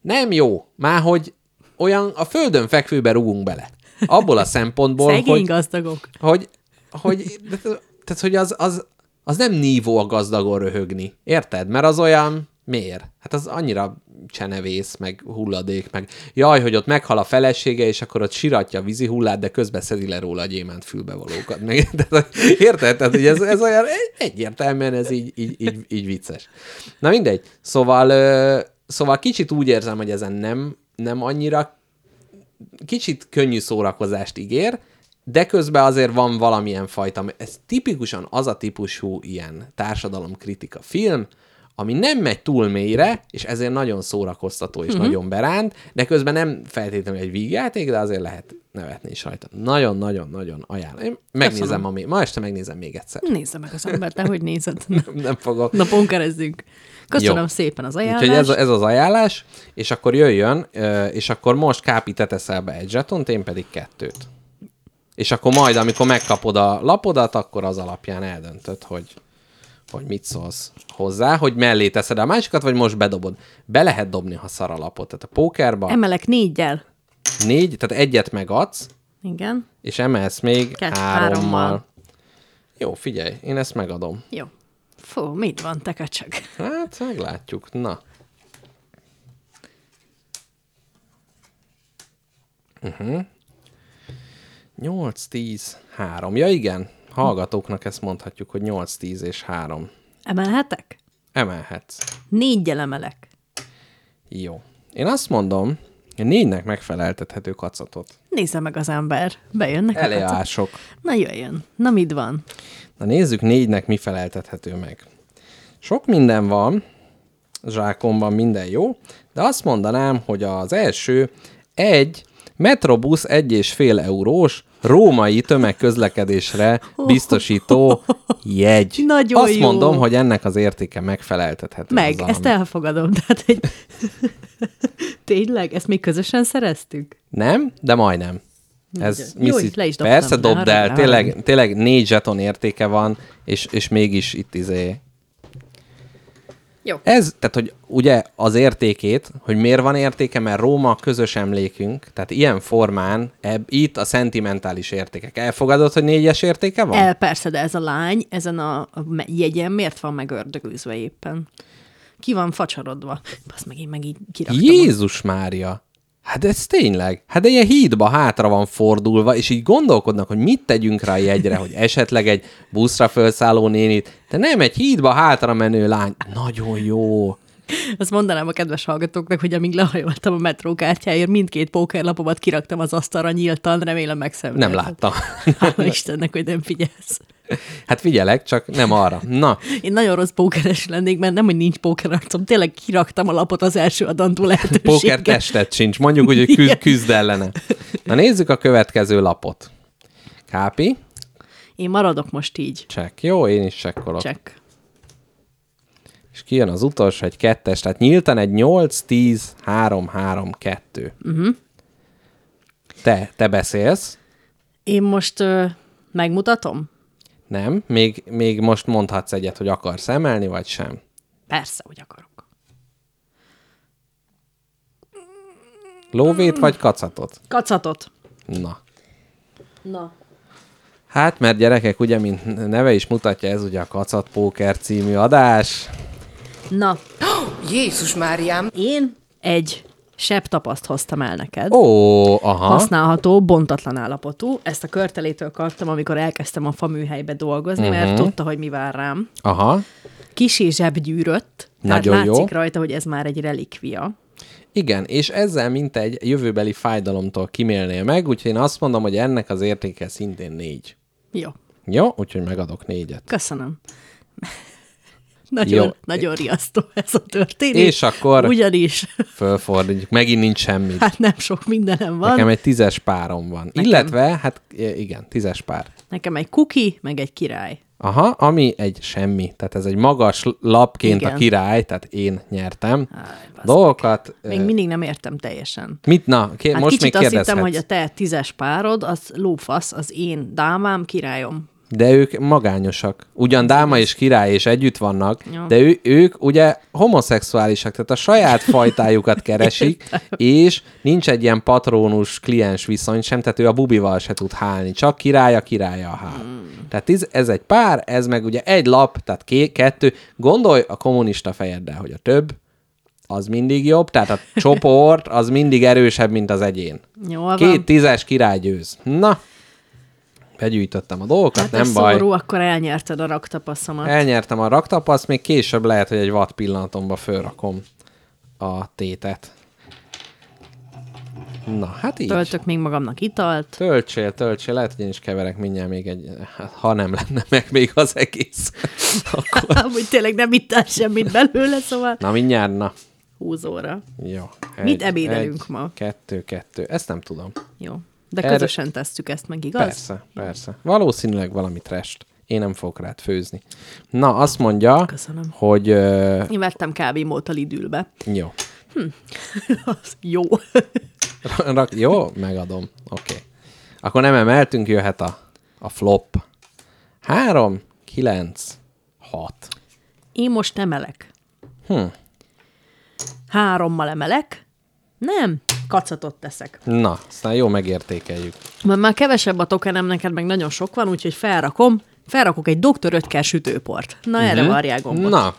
Speaker 3: nem jó, már hogy olyan a földön fekvőbe rúgunk bele. Abból a szempontból,
Speaker 2: Szegény
Speaker 3: hogy,
Speaker 2: gazdagok.
Speaker 3: hogy, hogy, tehát, hogy az, az, az nem nívó a gazdagon röhögni. Érted? Mert az olyan... Miért? Hát az annyira csenevész, meg hulladék, meg jaj, hogy ott meghal a felesége, és akkor ott siratja a vízi hullát, de közben szedi le róla a gyémánt fülbevalókat. Meg, tehát, érted? Tehát, hogy ez, ez olyan egyértelműen ez így, így, így, így vicces. Na mindegy. Szóval, ö, szóval kicsit úgy érzem, hogy ezen nem, nem annyira kicsit könnyű szórakozást ígér, de közben azért van valamilyen fajta, ez tipikusan az a típusú ilyen társadalomkritika film, ami nem megy túl mélyre, és ezért nagyon szórakoztató és uh-huh. nagyon beránt, de közben nem feltétlenül egy vígjáték, de azért lehet nevetni is rajta. Nagyon-nagyon-nagyon ajánlom. Én megnézem,
Speaker 2: Köszönöm.
Speaker 3: ami, ma este megnézem még egyszer.
Speaker 2: Nézze meg az embert, hogy nézed.
Speaker 3: Nem fogok.
Speaker 2: Napon keresztünk. Köszönöm
Speaker 3: Jó.
Speaker 2: szépen az
Speaker 3: Úgyhogy
Speaker 2: ajánlást.
Speaker 3: ez, a- ez az ajánlás, és akkor jöjjön, ö, és akkor most Kápi te teszel be egy zsetont, én pedig kettőt. És akkor majd, amikor megkapod a lapodat, akkor az alapján eldöntöd, hogy, hogy mit szólsz hozzá, hogy mellé teszed a másikat, vagy most bedobod. Be lehet dobni, ha szar a lapot. Tehát a pókerba
Speaker 2: Emelek négyel.
Speaker 3: négy, tehát egyet megadsz,
Speaker 2: Igen.
Speaker 3: és emelsz még
Speaker 2: Kett-
Speaker 3: hárommal.
Speaker 2: hárommal.
Speaker 3: Jó, figyelj, én ezt megadom.
Speaker 2: Jó. Fú, mit van, te köcsög?
Speaker 3: Hát, meglátjuk. Na. Mhm. Uh-huh. 8-10, 3. Ja igen, hallgatóknak ezt mondhatjuk, hogy 8-10 és 3.
Speaker 2: Emelhetek?
Speaker 3: Emelhetsz.
Speaker 2: Négyel emelek.
Speaker 3: Jó. Én azt mondom, hogy négynek megfeleltethető kacatot.
Speaker 2: Nézze meg az ember. Bejönnek a kacok.
Speaker 3: Eleások.
Speaker 2: Na jöjjön. Na mit van?
Speaker 3: Na nézzük négynek mi feleltethető meg. Sok minden van, zsákomban minden jó, de azt mondanám, hogy az első egy Metrobusz 1,5 eurós római tömegközlekedésre biztosító jegy.
Speaker 2: Nagyon
Speaker 3: Azt
Speaker 2: jó.
Speaker 3: mondom, hogy ennek az értéke megfeleltethető.
Speaker 2: Meg,
Speaker 3: azzal,
Speaker 2: ezt
Speaker 3: ami-
Speaker 2: elfogadom. Tehát egy... Tényleg? Ezt még közösen szereztük?
Speaker 3: Nem, de majdnem. Ez
Speaker 2: Jó,
Speaker 3: Missy-
Speaker 2: így le is dobtam,
Speaker 3: Persze,
Speaker 2: ne
Speaker 3: dobd el.
Speaker 2: haragudj, ne
Speaker 3: Tényleg, tényleg négy zseton értéke van, és, és mégis itt izé
Speaker 2: Jó.
Speaker 3: Ez, tehát hogy ugye az értékét, hogy miért van értéke, mert Róma közös emlékünk, tehát ilyen formán eb, itt a szentimentális értékek. Elfogadod, hogy négyes értéke van?
Speaker 2: El, persze, de ez a lány ezen a a me- jegyen miért van megördögűzve éppen? Ki van facsarodva? Basz meg, én meg így kiraktam.
Speaker 3: Jézus Mária! Hát ez tényleg. Hát de ilyen hídba hátra van fordulva, és így gondolkodnak, hogy mit tegyünk rá a jegyre, hogy esetleg egy buszra felszálló nénit, de nem egy hídba hátra menő lány. Nagyon jó.
Speaker 2: Azt mondanám a kedves hallgatóknak, hogy amíg lehajoltam a metró kártyáért, mindkét pókerlapomat kiraktam az asztalra nyíltan, remélem megszenvedett.
Speaker 3: Nem láttam.
Speaker 2: Hála Istennek, hogy nem figyelsz.
Speaker 3: Hát figyelek, csak nem arra. Na,
Speaker 2: Én nagyon rossz pókeres lennék, mert nem, hogy nincs pókerarcom, tényleg kiraktam a lapot az első adandó
Speaker 3: Póker
Speaker 2: lehetőséggel.
Speaker 3: testet sincs, mondjuk úgy, hogy küzd, küzd ellene. Na nézzük a következő lapot. Kápi,
Speaker 2: Én maradok most így.
Speaker 3: check. Jó, én is csekkolok. Check.
Speaker 2: Csak.
Speaker 3: És kijön az utolsó, egy kettes, tehát nyíltan egy 8, 10, 3, 3, 2. Uh-huh. Te, te beszélsz,
Speaker 2: Én most ö, megmutatom?
Speaker 3: nem? Még, még most mondhatsz egyet, hogy akarsz emelni, vagy sem.
Speaker 2: Persze, hogy akarok.
Speaker 3: Lóvét vagy kacatot?
Speaker 2: Kacatot.
Speaker 3: Na.
Speaker 2: Na.
Speaker 3: Hát, mert gyerekek, ugye, mint neve is mutatja, ez ugye a Kacat Póker című adás.
Speaker 2: Na,
Speaker 4: Jézus Máriám!
Speaker 2: én egy sebb tapaszt hoztam el neked.
Speaker 3: Ó, aha.
Speaker 2: használható, bontatlan állapotú. Ezt a körtelétől kaptam, amikor elkezdtem a faműhelybe dolgozni, uh-huh.
Speaker 3: Mhm.
Speaker 2: mert tudta, hogy mi vár rám.
Speaker 3: Aha.
Speaker 2: Kisé zsebgyűrött, tehát
Speaker 3: Nagyon jó.
Speaker 2: látszik rajta, hogy ez már egy relikvia.
Speaker 3: Igen, és ezzel mint egy jövőbeli fájdalomtól kimélnél meg, úgyhogy én azt mondom, hogy ennek az értéke szintén négy.
Speaker 2: Jó,
Speaker 3: Jó, úgyhogy megadok négyet.
Speaker 2: köszönöm. Nagyon,
Speaker 3: Jó.
Speaker 2: jó. nagyon riasztó ez a történet.
Speaker 3: És akkor-
Speaker 2: Ugyanis,
Speaker 3: Fölfordítjuk, megint nincs semmi.
Speaker 2: hát nem sok mindenem van.
Speaker 3: Nekem egy tízes párom van. Nekem. Illetve, hát i- igen, tízes pár.
Speaker 2: Nekem egy kuki, meg egy király.
Speaker 3: Aha, ami egy semmi. Tehát ez egy magas lapként igen. a
Speaker 2: Igen.
Speaker 3: király, tehát én nyertem
Speaker 2: baszd
Speaker 3: dolgokat.
Speaker 2: Még
Speaker 3: ö,
Speaker 2: mindig nem értem teljesen.
Speaker 3: Mit? Na, ké-
Speaker 2: Hát
Speaker 3: most még
Speaker 2: kicsit azt
Speaker 3: kérdezhetsz.
Speaker 2: hittem, hogy a te tízes párod, az lófasz, az én dámám, királyom.
Speaker 3: De ők magányosak. Ugyan Dáma és király és együtt vannak,
Speaker 2: Jó.
Speaker 3: de ő, ők ugye homoszexuálisak, tehát a saját fajtájukat keresik, és nincs egy ilyen patrónus kliens viszony sem, tehát ő a bubival se tud hálni, csak királya, királya a hál. Tehát ez, ez egy pár, ez meg ugye egy lap, tehát ké, kettő. Gondolj a kommunista fejeddel, hogy a több, az mindig jobb, tehát a csoport az mindig erősebb, mint az egyén.
Speaker 2: Jól van.
Speaker 3: Két tízes király győz. Na, begyűjtöttem a
Speaker 2: Hát
Speaker 3: dolgokat, hát nem
Speaker 2: nem
Speaker 3: baj.
Speaker 2: szomorú, akkor elnyerted a raktapaszomat.
Speaker 3: Elnyertem a raktapaszt, még később lehet, hogy egy vad pillanatomba fölrakom a tétet. Na, hát így.
Speaker 2: Töltök még magamnak italt.
Speaker 3: Töltsél, töltsél, lehet, hogy én is keverek mindjárt még egy, hát, ha nem lenne meg még az egész. Akkor...
Speaker 2: Amúgy tényleg nem ittál semmit belőle, szóval
Speaker 3: Na, mindjárt, na.
Speaker 2: húzóra.
Speaker 3: Jó.
Speaker 2: Mit ebédelünk ma?
Speaker 3: Kettő, kettő. Ezt nem tudom.
Speaker 2: Jó. De
Speaker 3: Erre-
Speaker 2: közösen tesszük ezt meg, igaz?
Speaker 3: Persze, persze. Valószínűleg valami trest. Én nem fogok rád főzni. Na, azt mondja,
Speaker 2: Köszönöm.
Speaker 3: hogy ö,
Speaker 2: Én vettem kávémót a Lidülbe.
Speaker 3: jó.
Speaker 2: Az jó.
Speaker 3: Rak, jó, megadom. Oké. Okay. Akkor nem emeltünk, jöhet a, a flop. Három, kilenc, hat.
Speaker 2: Én most emelek.
Speaker 3: Hm.
Speaker 2: Hárommal emelek. Nem, kacatot teszek.
Speaker 3: Na, aztán jó megértékeljük.
Speaker 2: Már, már kevesebb a tokenem, neked meg nagyon sok van, úgyhogy felrakom. Felrakok egy doktor ötker sütőport. Na, erre uh-huh. varják gombot.
Speaker 3: Mhm. Na,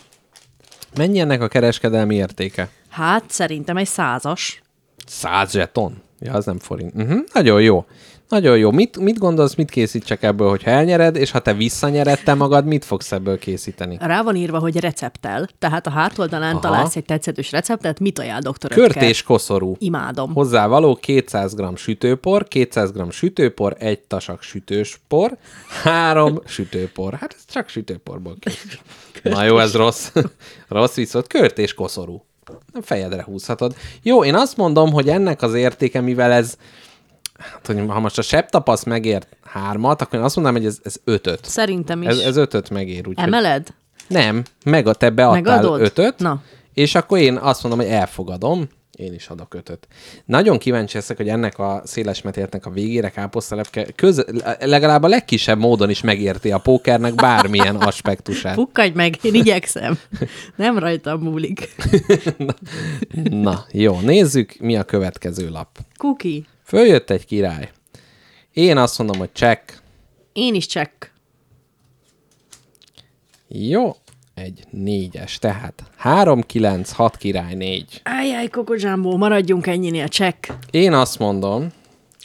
Speaker 3: mennyi ennek a kereskedelmi értéke?
Speaker 2: Hát, szerintem egy százas.
Speaker 3: 100 zseton. Ja, az nem forint. Uh-huh. Nagyon jó. Nagyon jó. Mit, mit gondolsz, mit készítsek ebből, hogyha elnyered, és ha te visszanyered te magad, mit fogsz ebből készíteni?
Speaker 2: Rá van írva, hogy recepttel. Tehát a hátoldalán
Speaker 3: Aha.
Speaker 2: Aha. találsz egy tetszős receptet, mit ajánl doktor
Speaker 3: Kört
Speaker 2: Ötker?
Speaker 3: és koszorú.
Speaker 2: Imádom.
Speaker 3: Hozzávaló 200 g sütőpor, 200 g sütőpor, egy tasak sütőspor, három sütőpor. Hát ez csak sütőporból készül. Na jó, ez rossz. rossz viszont kört és koszorú. Fejedre húzhatod. Jó, én azt mondom, hogy ennek az értéke, mivel ez hát, hogy ha most a sebb tapasz megért hármat, akkor én azt mondanám, hogy ez, ez ötöt.
Speaker 2: Szerintem is.
Speaker 3: Ez, ez ötöt megér. Úgyhogy...
Speaker 2: Emeled?
Speaker 3: Nem, meg a te beadtál
Speaker 2: Megadod?
Speaker 3: ötöt,
Speaker 2: Na.
Speaker 3: és akkor én azt mondom, hogy elfogadom, én is adok ötöt. Nagyon kíváncsi leszek, hogy ennek a széles metértnek a végére káposztelepke köz, legalább a legkisebb módon is megérti a pókernek bármilyen aspektusát.
Speaker 2: Pukkadj meg, én igyekszem. Nem rajtam múlik.
Speaker 3: Na, jó, nézzük, mi a következő lap.
Speaker 2: Kuki,
Speaker 3: Följött egy király. Én azt mondom, hogy check.
Speaker 2: én is csak.
Speaker 3: Jó, egy négyes, tehát 3, 9, 6 király, 4.
Speaker 2: Ájjáj, kokozsámbó, maradjunk ennyinél, csak.
Speaker 3: Én azt mondom,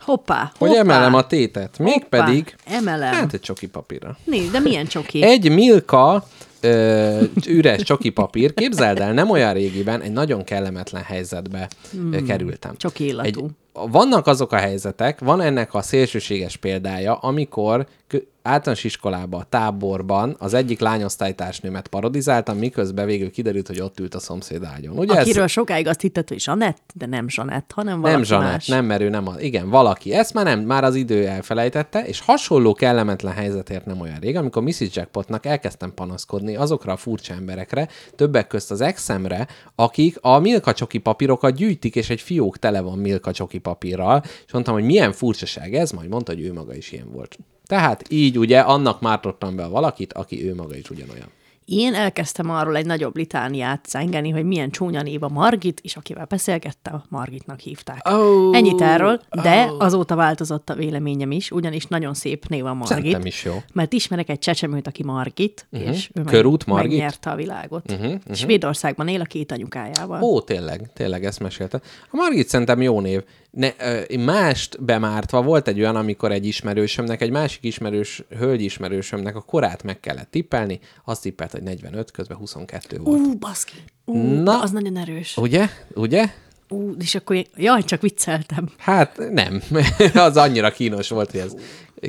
Speaker 2: Hoppá,
Speaker 3: hogy
Speaker 2: hoppá.
Speaker 3: emelem a tétet, mégpedig
Speaker 2: Emelem.
Speaker 3: Hát
Speaker 2: Hát...
Speaker 3: egy csoki papírra.
Speaker 2: Nézd, de milyen csoki.
Speaker 3: Egy Milka ö, üres csoki papír, képzeld el, nem olyan régiben egy nagyon kellemetlen helyzetbe mm. kerültem.
Speaker 2: Hmm, Csoki illatú.
Speaker 3: vannak azok a helyzetek, van ennek a szélsőséges példája, amikor kö- általános iskolába, a táborban az egyik lányosztálytársnőmet parodizáltam, miközben végül kiderült, hogy ott ült a szomszéd ágyon. Ugye ez-
Speaker 2: Akiről sokáig azt hittet, hogy Zsanett, de nem Zsanett, hanem valaki
Speaker 3: nem Zsanett,
Speaker 2: más.
Speaker 3: nem merő, nem az. Igen, valaki. Ezt már nem, már az idő elfelejtette, és hasonló kellemetlen helyzetért nem olyan rég, amikor Mrs. Jackpotnak elkezdtem panaszkodni azokra a furcsa emberekre, többek közt az exemre, akik a milkacsoki papírokat gyűjtik, és egy fiók tele van milkacsoki papírral, és mondtam, hogy milyen furcsaság ez, majd mondta, hogy ő maga is ilyen volt. Tehát így ugye annak mártottam be valakit, aki ő maga is ugyanolyan.
Speaker 2: Én elkezdtem arról egy nagyobb litániát zengeni, hogy milyen csúnya név a Margit, és akivel beszélgettem, Margitnak hívták.
Speaker 3: Oh.
Speaker 2: Ennyit erről, de azóta változott a véleményem is, ugyanis nagyon szép név a Margit.
Speaker 3: Szerintem is jó. Mhm.
Speaker 2: Mert ismerek egy csecsemőt, aki Margit, uh-huh. és ő meg-
Speaker 3: Körút Margit? Mhm,
Speaker 2: megnyerte a világot. Uh-huh, uh-huh. Svédországban él a két anyukájával.
Speaker 3: Ó, tényleg, tényleg ezt mesélte. A Margit szerintem jó név. Ne, ö, én mást bemártva volt egy olyan, amikor egy ismerősömnek, egy másik ismerős, hölgy ismerősömnek a korát meg kellett tippelni, azt tippelt, hogy 45, közben 22 volt.
Speaker 2: Ú, baszki! Ú,
Speaker 3: Na.
Speaker 2: Na. az nagyon erős.
Speaker 3: Ugye? Ugye?
Speaker 2: Ú, és akkor én, jaj, csak vicceltem.
Speaker 3: Hát nem, az annyira kínos volt, hogy ez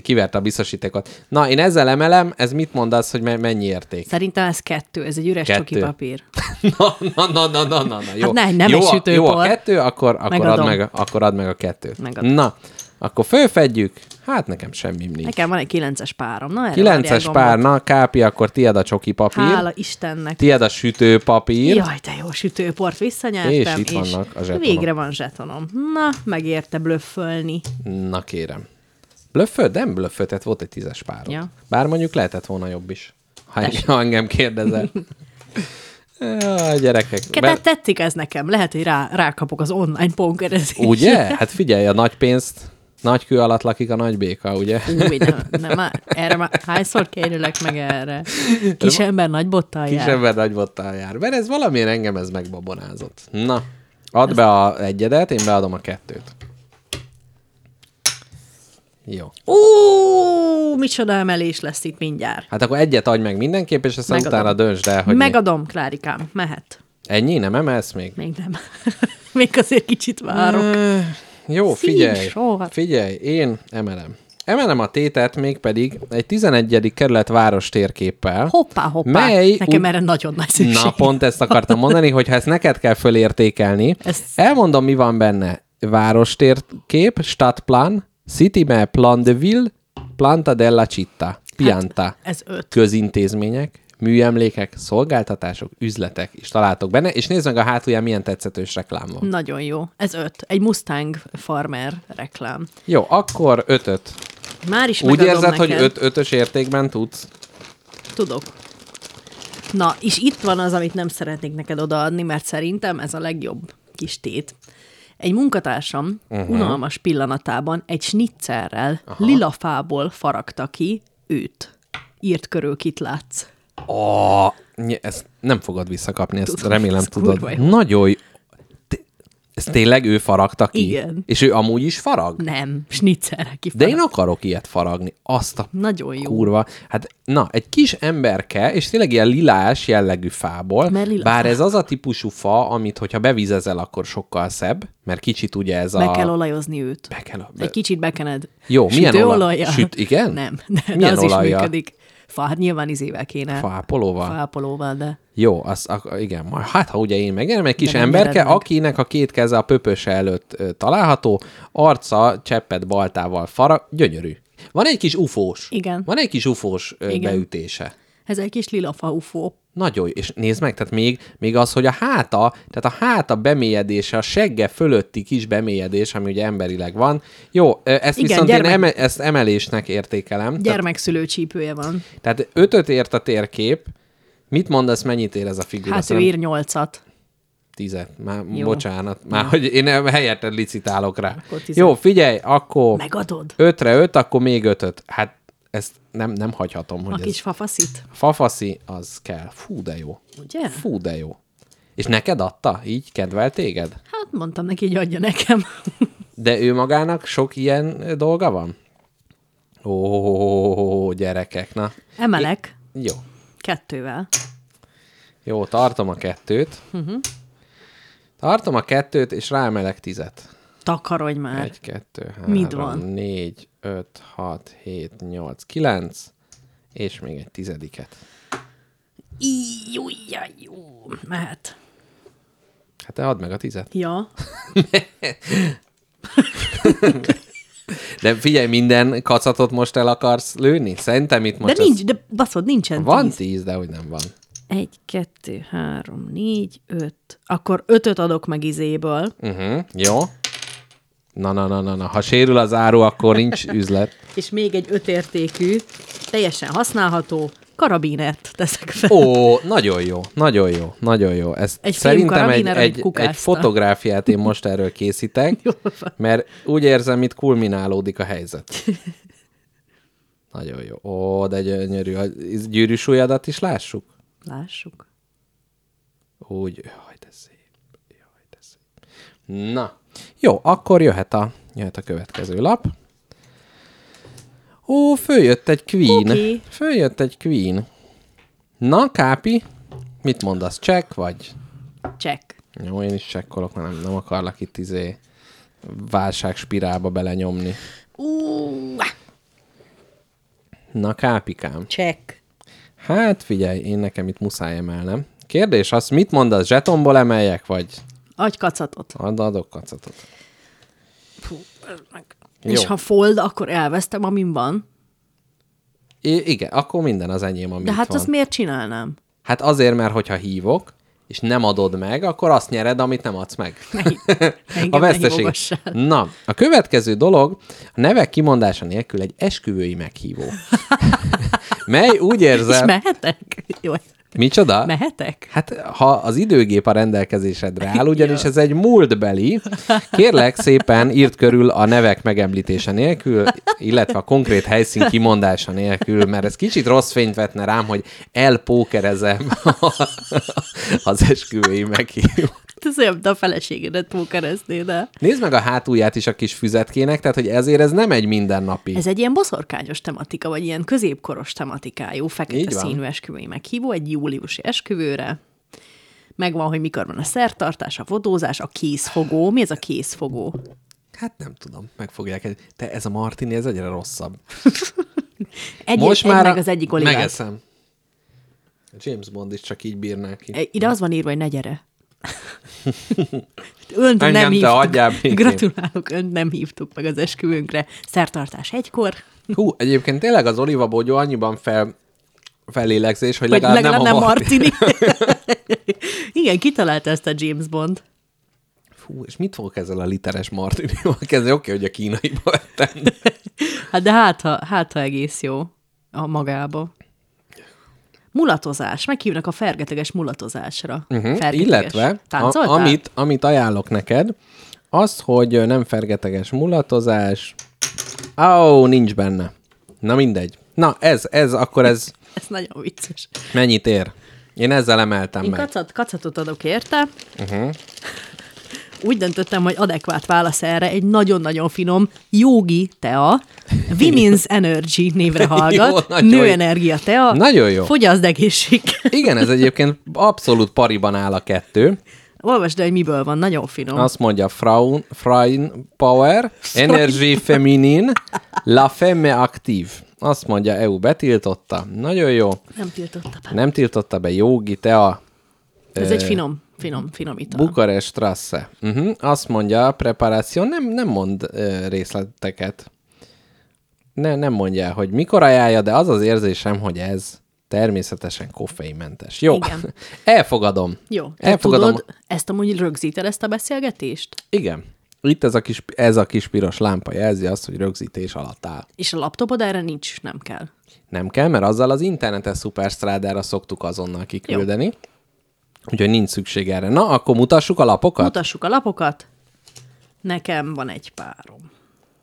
Speaker 3: kiverte a biztosítékot. Na, én ezzel emelem, ez mit mondasz, hogy me- mennyi érték?
Speaker 2: Szerintem ez kettő, ez egy üres
Speaker 3: Kettő.
Speaker 2: csoki papír.
Speaker 3: Na, na, na, na, na, na, na jó.
Speaker 2: Hát ne, nem
Speaker 3: jó,
Speaker 2: egy
Speaker 3: a-
Speaker 2: sütőpor.
Speaker 3: Jó a kettő, akkor, akkor, add
Speaker 2: Megadom.
Speaker 3: meg, akkor add meg a kettőt.
Speaker 2: Megadom.
Speaker 3: Na, akkor fölfedjük. Hát nekem semmi nincs.
Speaker 2: Nekem van egy kilences párom. Na, erre
Speaker 3: Kilences
Speaker 2: várják gombot.
Speaker 3: párna, Kápi, akkor tiéd a csoki papír,
Speaker 2: Hála Istennek.
Speaker 3: tiéd a sütőpapír.
Speaker 2: Jaj, de jó sütőport visszanyertem.
Speaker 3: És itt vannak a zsetonok.
Speaker 2: Végre van zsetonom. Na, megérte blöffölni.
Speaker 3: Na kérem. Blöfföd? Nem blöfföd, tehát volt egy tízes párod.
Speaker 2: Ja.
Speaker 3: Bár mondjuk lehetett volna jobb is, ha, en, ha engem kérdezel. Ja, gyerekek.
Speaker 2: Be... Tetszik ez nekem. Lehet, hogy rá, rákapok az online pókerezésre.
Speaker 3: Ugye? Hát figyelj, a nagy pénzt nagy kő alatt lakik a nagy béka, ugye?
Speaker 2: Új, nem, nem, már, erre már hányszor kérülök meg erre? Kis ember nagy bottal
Speaker 3: Kis
Speaker 2: jár.
Speaker 3: ember nagy bottal jár. Mert ez valamilyen engem ez megbabonázott. Na, add be a egyedet, én beadom a kettőt. Jó.
Speaker 2: Ó, micsoda emelés lesz itt mindjárt.
Speaker 3: Hát akkor egyet adj meg mindenképp, és aztán
Speaker 2: Megadom.
Speaker 3: utána döntsd el, hogy
Speaker 2: Hogy
Speaker 3: mi.
Speaker 2: Megadom, mi? Klárikám, mehet.
Speaker 3: Ennyi? Nem emelsz még?
Speaker 2: Még nem. Még azért kicsit várok.
Speaker 3: Ö, Jó,
Speaker 2: Szív
Speaker 3: figyelj,
Speaker 2: sor.
Speaker 3: figyelj, én emelem. Emelem a tétet mégpedig egy 11. kerület város térképpel.
Speaker 2: Hoppá, hoppá.
Speaker 3: Mely
Speaker 2: Nekem
Speaker 3: úgy-
Speaker 2: erre nagyon nagy szükség.
Speaker 3: Na, pont ezt akartam mondani, hogy ha ezt neked kell fölértékelni,
Speaker 2: Ezt-
Speaker 3: elmondom, mi van benne. Várostérkép, stadtplan, city map, plan de ville, planta della città, pianta.
Speaker 2: Hát, Ez öt.
Speaker 3: közintézmények, műemlékek, szolgáltatások, üzletek is találtok benne, és nézd meg a hátulján milyen tetszetős reklám van.
Speaker 2: Nagyon jó. Ez öt. Egy Mustang Farmer reklám.
Speaker 3: Jó, akkor ötöt.
Speaker 2: Már is
Speaker 3: Úgy
Speaker 2: megadom
Speaker 3: érzed,
Speaker 2: neked.
Speaker 3: hogy öt, ötös értékben tudsz?
Speaker 2: Tudok. Na, és itt van az, amit nem szeretnék neked odaadni, mert szerintem ez a legjobb kis tét. Egy munkatársam
Speaker 3: Mhm.
Speaker 2: uh-huh. unalmas pillanatában egy snitzerrel lila fából faragta ki őt. Írt körül, kit látsz.
Speaker 3: Ó, ny- ezt nem fogod visszakapni, ezt
Speaker 2: Tudom,
Speaker 3: remélem
Speaker 2: ez
Speaker 3: tudod.
Speaker 2: kurva jó.
Speaker 3: Nagyon jó. Té- Ez tényleg ő faragta ki?
Speaker 2: Igen.
Speaker 3: És ő amúgy is farag?
Speaker 2: Nem, snitzerrel
Speaker 3: De
Speaker 2: kifarag.
Speaker 3: én akarok ilyet faragni. Azt a
Speaker 2: Nagyon jó.
Speaker 3: kurva. Hát, na, egy kis emberke, és tényleg ilyen lilás jellegű fából,
Speaker 2: Mert lila
Speaker 3: bár
Speaker 2: fa.
Speaker 3: ez az a típusú fa, amit, hogyha bevizezel, akkor sokkal szebb, mert kicsit ugye ez
Speaker 2: Be
Speaker 3: a...
Speaker 2: kell olajozni őt.
Speaker 3: Be kell be...
Speaker 2: Egy kicsit bekened.
Speaker 3: Jó, milyen olaj-
Speaker 2: olajjal?
Speaker 3: Süt- igen?
Speaker 2: Nem, de, de
Speaker 3: Milyen
Speaker 2: az
Speaker 3: olajjal?
Speaker 2: is működik. Fa, hát nyilván izével kéne.
Speaker 3: Faápolóval?
Speaker 2: Faápolóval, de
Speaker 3: Jó, az, ak- igen, majd, hát ha ugye én megérem, egy kis
Speaker 2: nem
Speaker 3: emberke,
Speaker 2: nyered meg.
Speaker 3: akinek a két keze a pöpöse előtt ö, található, arca cseppet baltával fara, gyönyörű. Van egy kis ufós.
Speaker 2: Igen.
Speaker 3: Van egy kis ufós ö,
Speaker 2: Igen.
Speaker 3: beütése.
Speaker 2: ez egy kis lila fa ufó.
Speaker 3: Nagyon jó, és nézd meg, tehát még, még az, hogy a háta, tehát a háta bemélyedése, a segge fölötti kis bemélyedés, ami ugye emberileg van. Jó, ö,
Speaker 2: Igen,
Speaker 3: ezt Igen, viszont
Speaker 2: gyermek-
Speaker 3: én eme- ezt emelésnek értékelem.
Speaker 2: Gyermekszülő csípője van.
Speaker 3: Tehát, tehát ötöt ért a térkép. Mit mondasz, mennyit ér ez a figura?
Speaker 2: Hát ő
Speaker 3: Szerintem
Speaker 2: ír nyolcat.
Speaker 3: Tizet. Már
Speaker 2: Jó.
Speaker 3: jó. bocsánat, már hogy én helyetted licitálok rá.
Speaker 2: Akkor tizet.
Speaker 3: Jó, figyelj, akkor
Speaker 2: Megadod
Speaker 3: ötre öt, akkor még ötöt. Hát ezt nem, nem hagyhatom,
Speaker 2: a
Speaker 3: hogy
Speaker 2: kis
Speaker 3: ez...
Speaker 2: fafaszit,
Speaker 3: Fafaszi, az kell. Fú, de jó.
Speaker 2: ugye?
Speaker 3: Fú, de jó. És neked adta? Így kedvel téged?
Speaker 2: Hát mondtam neki, hogy adja nekem.
Speaker 3: De ő magának sok ilyen ö, dolga van? Ó, gyerekek, na.
Speaker 2: Emelek
Speaker 3: Jó.
Speaker 2: kettővel.
Speaker 3: Jó, tartom a kettőt.
Speaker 2: Mhm.
Speaker 3: Tartom a kettőt, és ráemelek tizet.
Speaker 2: Takarodj már.
Speaker 3: Egy, kettő, három,
Speaker 2: Mit van?
Speaker 3: négy, öt, hat, hét, nyolc, kilenc, és még egy tizediket.
Speaker 2: Ijjújjajjú. Mehet.
Speaker 3: Hát te add meg a tizet.
Speaker 2: Ja.
Speaker 3: De figyelj, minden kacatot most el akarsz lőni? Szerintem itt
Speaker 2: De
Speaker 3: most...
Speaker 2: nincs, de baszod, nincsen
Speaker 3: Ez... Van
Speaker 2: tíz.
Speaker 3: tíz, de hogy nem van.
Speaker 2: Egy, kettő, három, négy, öt. Akkor ötöt adok meg izéből,
Speaker 3: Uh-huh. Jó. Na, na, na, na, na. Ha sérül az áru, akkor nincs üzlet.
Speaker 2: és még egy ötértékű, teljesen használható karabinert teszek fel.
Speaker 3: Ó, nagyon jó, nagyon jó, nagyon jó. Ez
Speaker 2: Egy
Speaker 3: egy
Speaker 2: fiú
Speaker 3: szerintem egy,
Speaker 2: karabiner, amit
Speaker 3: egy,
Speaker 2: kukázta.
Speaker 3: egy fotográfiát én most erről készítek, mert úgy érzem, itt kulminálódik a helyzet. Nagyon jó. Ó, de gyönyörű. A gyűrűs ujjadat is lássuk?
Speaker 2: Lássuk.
Speaker 3: Úgy, jaj, de szép. Jaj, de szép. Na, jó, akkor jöhet a, jöhet a következő lap. Ó, följött egy Queen.
Speaker 2: Oké.
Speaker 3: Följött egy Queen. Na, Kápi, mit mondasz, csek vagy?
Speaker 2: Check.
Speaker 3: Jó, én is csekkolok, mert nem, nem akarlak itt izé válságspirálba belenyomni.
Speaker 2: Ú,
Speaker 3: Na, Kápikám.
Speaker 2: check.
Speaker 3: Hát figyelj, én nekem itt muszáj emelnem. Kérdés az, mit mondasz, zsetomból emeljek, vagy
Speaker 2: Adj kacatot.
Speaker 3: ad- adok kacatot? Jó.
Speaker 2: És ha fold, akkor elvesztem, amin van.
Speaker 3: I- igen, akkor minden az enyém, ami
Speaker 2: De
Speaker 3: itt
Speaker 2: hát
Speaker 3: van.
Speaker 2: azt miért csinálnám?
Speaker 3: Hát azért, mert hogyha hívok, és nem adod meg, akkor azt nyered, amit nem adsz meg.
Speaker 2: Engem
Speaker 3: a
Speaker 2: ne
Speaker 3: veszteség.
Speaker 2: hívogassál.
Speaker 3: Na, a következő dolog a nevek kimondása nélkül egy esküvői meghívó. Mely úgy
Speaker 2: És
Speaker 3: érzem...
Speaker 2: mehetek? Jó,
Speaker 3: Micsoda?
Speaker 2: mehetek?
Speaker 3: Hát, ha az időgép a rendelkezésedre áll, ugyanis ez egy múltbeli, kérlek szépen írt körül a nevek megemlítése nélkül, illetve a konkrét helyszín kimondása nélkül, mert ez kicsit rossz fényt vetne rám, hogy elpókerezem az esküvői meghívó.
Speaker 2: Hát ez olyan, mint a feleségedet pókereznéd el.
Speaker 3: Nézd meg a hátulját is a kis füzetkének, tehát hogy ezért ez nem egy mindennapi.
Speaker 2: Ez egy ilyen boszorkányos tematika, vagy ilyen középkoros tematikájú, fekete
Speaker 3: Így van.
Speaker 2: színű esküvői meghívó egy júliusi esküvőre. Megvan, hogy mikor van a szertartás, a fotózás, a készfogó. Mi ez a készfogó?
Speaker 3: Hát nem tudom, meg fogják. Te ez a martini, ez egyre rosszabb.
Speaker 2: Egy,
Speaker 3: Most
Speaker 2: egy
Speaker 3: már
Speaker 2: meg
Speaker 3: a-
Speaker 2: az egyik olivát.
Speaker 3: Megeszem. A James Bond is csak így bírná ki.
Speaker 2: E, Ide az van írva, hogy ne gyere. Önt
Speaker 3: Engem te
Speaker 2: nem hívtuk.
Speaker 3: hagyjál békén.
Speaker 2: Gratulálok, önt nem hívtuk meg az esküvőnkre. Szertartás egykor.
Speaker 3: Hú, egyébként tényleg az oliva bogyó annyiban fel, felélegzés, hogy
Speaker 2: Vagy
Speaker 3: legalább,
Speaker 2: legalább nem,
Speaker 3: nem a Martin.
Speaker 2: Martini. Igen, kitalálta ezt a James Bond.
Speaker 3: Fú, és mit fogok ezzel a literes Martinival kezdeni? Oké, hogy a kínaiba vettem. de-
Speaker 2: Hát de hát ha, hát, ha egész jó a magába. Mulatozás. Meghívnak a fergeteges mulatozásra.
Speaker 3: Mhm.
Speaker 2: Fergeteges.
Speaker 3: Illetve, a,
Speaker 2: Táncoltál?
Speaker 3: amit, amit ajánlok neked, az, hogy ö, nem fergeteges mulatozás. Ó, nincs benne. Na mindegy. Na, ez, ez, akkor ez
Speaker 2: Ez nagyon vicces.
Speaker 3: mennyit ér? Én ezzel emeltem
Speaker 2: Én
Speaker 3: meg.
Speaker 2: kacat, kacatot adok érte. Uh-huh.
Speaker 3: Mhm.
Speaker 2: Úgy döntöttem, hogy adekvát válasz erre egy nagyon-nagyon finom jogi tea, Women's Energy névre hallgat,
Speaker 3: nagyon jó.
Speaker 2: nőenergia tea,
Speaker 3: Nagyon jó.
Speaker 2: fogyaszd egészség.
Speaker 3: Igen, ez egyébként abszolút pariban áll a kettő.
Speaker 2: Olvasd el, hogy miből van, nagyon finom.
Speaker 3: Azt mondja Fraun, Fraun Power, Energy Feminin, La Femme Active. Azt mondja, EU betiltotta. Nagyon jó.
Speaker 2: Nem tiltotta be.
Speaker 3: Nem tiltotta be Jogi Tea
Speaker 2: Ez egy finom, finom, finom ital.
Speaker 3: Bukarest Strasse. Uh-huh. Azt mondja, preparáció nem, nem mond ö, részleteket. Ne, nem mondja, hogy mikor ajánlja, de az az érzésem, hogy ez természetesen koffeinmentes. Jó,
Speaker 2: Igen.
Speaker 3: elfogadom.
Speaker 2: Jó, te
Speaker 3: elfogadom.
Speaker 2: tudod, ezt amúgy rögzíted ezt a beszélgetést?
Speaker 3: Igen. Itt ez a, kis, ez a kis piros lámpa jelzi azt, hogy rögzítés alatt áll.
Speaker 2: És a laptopod erre nincs, nem kell.
Speaker 3: Nem kell, mert azzal az internetes szuperstrádára szoktuk azonnal kiküldeni. Jó. Úgyhogy nincs szükség erre. Na, akkor mutassuk a lapokat?
Speaker 2: Mutassuk a lapokat. Nekem van egy párom.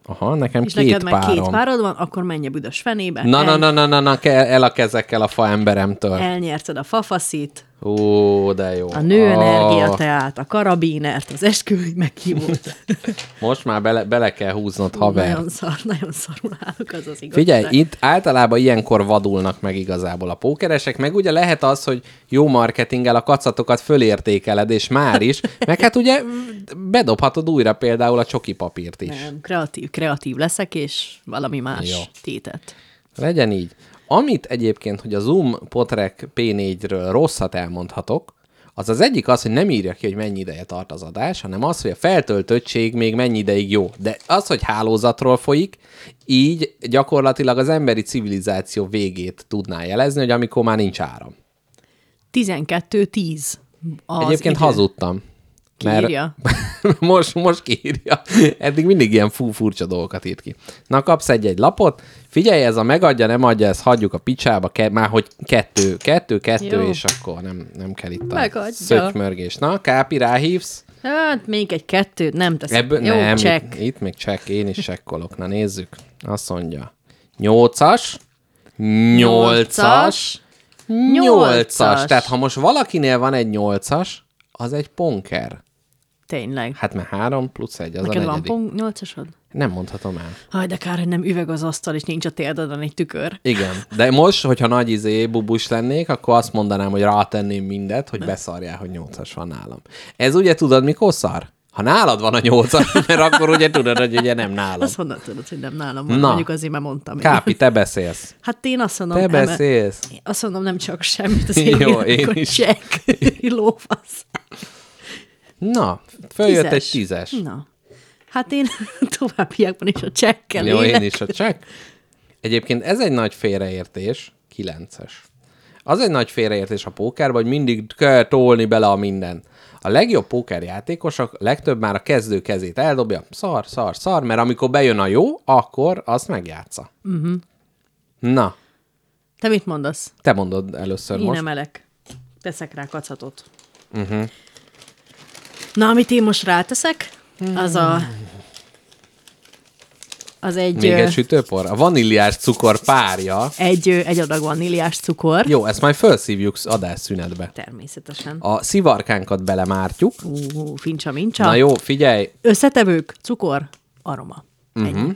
Speaker 3: Aha, nekem
Speaker 2: És
Speaker 3: két
Speaker 2: neked meg
Speaker 3: párom.
Speaker 2: két párod van, akkor menj a büdös fenébe.
Speaker 3: Na, na,
Speaker 2: el-
Speaker 3: na, na, na, na, kell el a kezekkel a fa emberemtől.
Speaker 2: Elnyerted a fafaszit,
Speaker 3: Ó, de jó.
Speaker 2: a nőenergia
Speaker 3: Ó,
Speaker 2: teát, a karabínert, az esküvői meghívót.
Speaker 3: Most már bele, bele kell húznod, haver.
Speaker 2: nagyon szar, nagyon szarul állok, az az igaz.
Speaker 3: Figyelj,
Speaker 2: De-
Speaker 3: itt általában ilyenkor vadulnak meg igazából a pókeresek, meg ugye lehet az, hogy jó marketinggel a kacatokat fölértékeled, és már is, meg hát ugye bedobhatod újra például a csoki papírt is.
Speaker 2: Nem, kreatív, kreatív leszek, és valami más
Speaker 3: Jó.
Speaker 2: tétet.
Speaker 3: Legyen így. Amit egyébként, hogy a Zoom Potrek P4-ről rosszat elmondhatok, az az egyik az, hogy nem írja ki, hogy mennyi ideje tart az adás, hanem az, hogy a feltöltöttség még mennyi ideig jó. De az, hogy hálózatról folyik, így gyakorlatilag az emberi civilizáció végét tudná jelezni, hogy amikor már nincs áram.
Speaker 2: 12-10 az
Speaker 3: Egyébként
Speaker 2: idő.
Speaker 3: hazudtam.
Speaker 2: Kiírja?
Speaker 3: most, most kiírja. Eddig mindig ilyen fú, furcsa dolgokat írt ki. Na, kapsz egy-egy lapot. Figyelj, ez a megadja, nem adja, ezt hagyjuk a picsába, ke- már hogy kettő, kettő, kettő,
Speaker 2: Jó.
Speaker 3: és akkor nem, nem kell itt a
Speaker 2: Megadja.
Speaker 3: szötymörgés. Na, Kápi, ráhívsz?
Speaker 2: Hát még egy kettőt nem teszek.
Speaker 3: Ebből,
Speaker 2: Jó,
Speaker 3: nem,
Speaker 2: check.
Speaker 3: Itt, itt még csekk, én is csekkolok. Na, nézzük. Azt mondja. Nyolcas, nyolcas, nyolcas.
Speaker 2: Nyolcas.
Speaker 3: Tehát, ha most valakinél van egy nyolcas, az egy ponker.
Speaker 2: Tényleg.
Speaker 3: Hát mert három plusz egy, az
Speaker 2: Neked
Speaker 3: a
Speaker 2: van
Speaker 3: negyedik.
Speaker 2: pont nyolcasod?
Speaker 3: Nem mondhatom el.
Speaker 2: Haj, de kár, hogy nem üveg az asztal, és nincs a térdeden egy tükör.
Speaker 3: Igen. De most, hogyha nagy izé bubus lennék, akkor azt mondanám, hogy rátenném mindet, hogy beszarjál, hogy nyolcas van nálam. Ez ugye tudod, mikor szar? Ha nálad van a nyolcas, mert akkor ugye tudod, hogy ugye nem nálam.
Speaker 2: Azt honnan tudod, hogy nem nálam van?
Speaker 3: Na.
Speaker 2: Na. Mondjuk azért már mondtam. én.
Speaker 3: Kápi, te beszélsz.
Speaker 2: Hát én azt mondom,
Speaker 3: Te
Speaker 2: eme-
Speaker 3: beszélsz.
Speaker 2: Én azt mondom, nem csak semmit, az
Speaker 3: Jó,
Speaker 2: én, Jó,
Speaker 3: én
Speaker 2: én
Speaker 3: is.
Speaker 2: is. Check. Lófasz.
Speaker 3: Na,
Speaker 2: Tízes.
Speaker 3: följött
Speaker 2: Hm.
Speaker 3: egy tízes.
Speaker 2: Na. Hát én továbbiakban is a csekkel
Speaker 3: Jó,
Speaker 2: élek.
Speaker 3: én is a csekk. Egyébként ez egy nagy félreértés, kilences. Az egy nagy félreértés a pókerben, hogy mindig kell tolni bele a mindent. A legjobb pókerjátékosok legtöbb már a kezdő kezét eldobja, szar, szar, szar, mert amikor bejön a jó, akkor azt megjátsza. Uh-huh. Na,
Speaker 2: Te mit mondasz?
Speaker 3: te mondod először
Speaker 2: Én
Speaker 3: most. Mhm.
Speaker 2: emelek. Teszek rá kacatot. Uh-huh. Na, amit én most ráteszek, az a... Az egy,
Speaker 3: Még
Speaker 2: ö,
Speaker 3: egy sütőpor? A vaníliás cukor párja.
Speaker 2: egy, ö, egy adag vaníliás cukor.
Speaker 3: Jó, ezt majd felszívjuk sz- adásszünetbe.
Speaker 2: Természetesen.
Speaker 3: A szivarkánkat belemártjuk.
Speaker 2: Ú, fincsa, mincsa.
Speaker 3: Na jó, figyelj.
Speaker 2: Összetevők, cukor, aroma.
Speaker 3: Mhm.
Speaker 2: Uh-huh.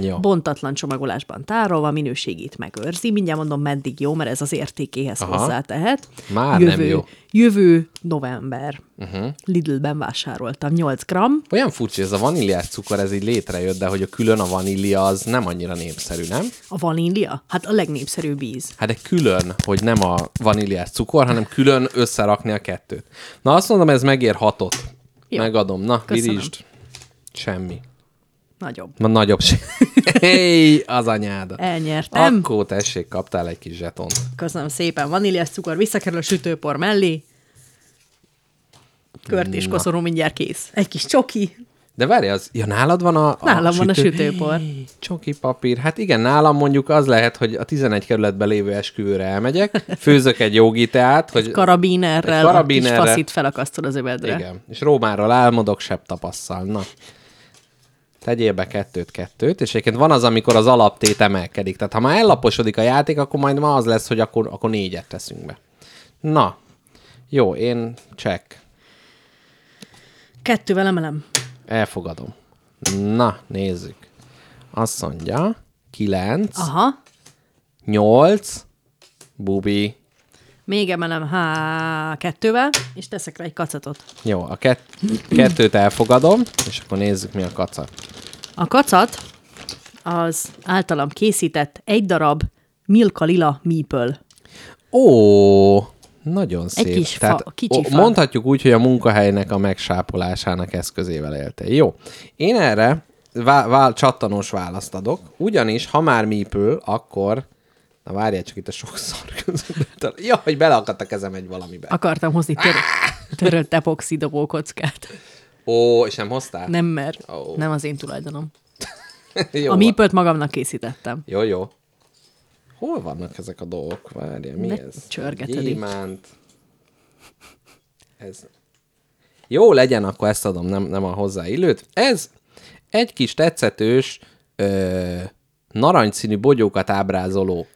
Speaker 3: Jó.
Speaker 2: Bontatlan csomagolásban tárolva, minőségét megőrzi. Mindjárt mondom, meddig jó, mert ez az értékéhez
Speaker 3: Aha.
Speaker 2: Aha. hozzátehet.
Speaker 3: Már nem jó. Mhm.
Speaker 2: Jövő november. Uh-huh. Lidlben vásároltam 8 gram.
Speaker 3: Olyan furcsa, ez a vaníliás cukor, ez így létrejött, de hogy a külön a vanília az nem annyira népszerű, nem?
Speaker 2: A vanília? Hát a legnépszerűbb íz.
Speaker 3: Hát de külön, hogy nem a vaníliás cukor, hanem külön összerakni a kettőt. Na azt mondom, ez megér hatot.
Speaker 2: Jó.
Speaker 3: Megadom. Na,
Speaker 2: Köszönöm.
Speaker 3: virítsd. Semmi.
Speaker 2: Nagyobb.
Speaker 3: Ma nagyobb se. Hey, az anyádat.
Speaker 2: Elnyertem. Akkor...
Speaker 3: Akkor tessék, kaptál egy kis zsetont.
Speaker 2: Köszönöm szépen. Vaníliás cukor visszakerül a sütőpor mellé. Kört és koszorú mindjárt kész. Egy kis csoki.
Speaker 3: De várj, az, ja, nálad van a, a
Speaker 2: Nálam van a sütőpor.
Speaker 3: Csoki papír. Hát igen, nálam mondjuk az lehet, hogy a 11 kerületben lévő esküvőre elmegyek, főzök egy jogi teát, hogy
Speaker 2: Karabinerrel,
Speaker 3: Egy karabinerrel.
Speaker 2: a kis faszit felakasztod az övedre.
Speaker 3: igen, és Rómáról álmodok, sebb tapasszal. Na, tegyél be kettőt-kettőt, és egyébként van az, amikor az alaptét emelkedik. Tehát ha már ellaposodik a játék, akkor majd ma az lesz, hogy akkor, akkor négyet teszünk be. Na, jó, én check.
Speaker 2: Kettővel emelem.
Speaker 3: Elfogadom. Na, nézzük. Azt mondja, 9,
Speaker 2: Aha.
Speaker 3: 8, bubi.
Speaker 2: Még emelem há, kettővel, és teszek rá egy kacatot.
Speaker 3: Jó, a kett- kettőt elfogadom, és akkor nézzük mi a kacat.
Speaker 2: A kacat az általam készített egy darab Milka Lila Meeple.
Speaker 3: Ó, nagyon szép.
Speaker 2: kis fa- kicsi fa.
Speaker 3: Mondhatjuk úgy, hogy a munkahelynek a megsápolásának eszközével éltél. Jó. Én erre vá- vá- csattanós választ adok, ugyanis ha már mípül, akkor... Na várjál csak itt a sok szar között. Ja, hogy beleakadt a kezem egy valamibe.
Speaker 2: Akartam hozni tör- törölt epoxidobó kockát.
Speaker 3: Ó, és nem hoztál?
Speaker 2: Nem, mert
Speaker 3: Ó.
Speaker 2: oh. nem az én tulajdonom.
Speaker 3: Jó,
Speaker 2: Jó. A
Speaker 3: van.
Speaker 2: meeple magamnak készítettem.
Speaker 3: Jó, jó. Hol vannak ezek a dolgok? Várja, mi
Speaker 2: Ne
Speaker 3: ez?
Speaker 2: csörgeted itt.
Speaker 3: Gyémánt. Ez. Jó legyen, akkor ezt adom, nem, nem a hozzáillőt. Ez egy kis tetszetős, ö, narancsszínű bogyókat ábrázoló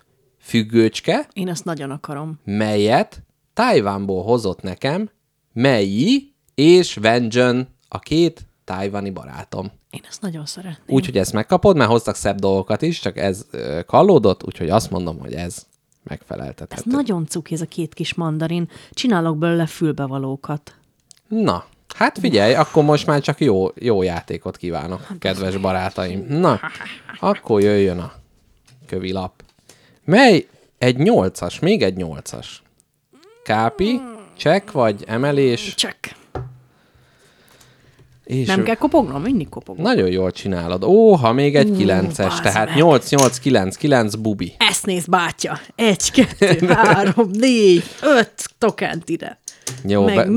Speaker 3: függőcske,
Speaker 2: Én azt nagyon akarom.
Speaker 3: melyet Tájvánból hozott nekem Mei és Vengeon, a két tájvani barátom.
Speaker 2: Én azt nagyon szeretném.
Speaker 3: Úgyhogy ezt megkapod, mert hoztak szebb dolgokat is, csak ez ö, kallódott, úgyhogy azt mondom, hogy ez
Speaker 2: Ez
Speaker 3: megfeleltethető.
Speaker 2: nagyon cuki ez a két kis mandarin. Csinálok belőle fülbevalókat.
Speaker 3: Na, hát figyelj, akkor most már csak jó, jó játékot
Speaker 2: Hát,
Speaker 3: kívánok, kedves barátaim. Na, akkor jöjjön a kövilap. Mely egy nyolcas, még egy nyolcas. Kápi, csek vagy emelés,
Speaker 2: Csak.
Speaker 3: és
Speaker 2: Nem kell kopognom? Mindig kopogom.
Speaker 3: nagyon jól csinálod. Ó, ha még egy kilences,
Speaker 2: bazd
Speaker 3: tehát
Speaker 2: meg.
Speaker 3: 8-8-9-9 bubi.
Speaker 2: Ezt néz, bátya! Egy, kettő, három, négy, öt tokent ide.
Speaker 3: Jó,
Speaker 2: Meg
Speaker 3: be-
Speaker 2: még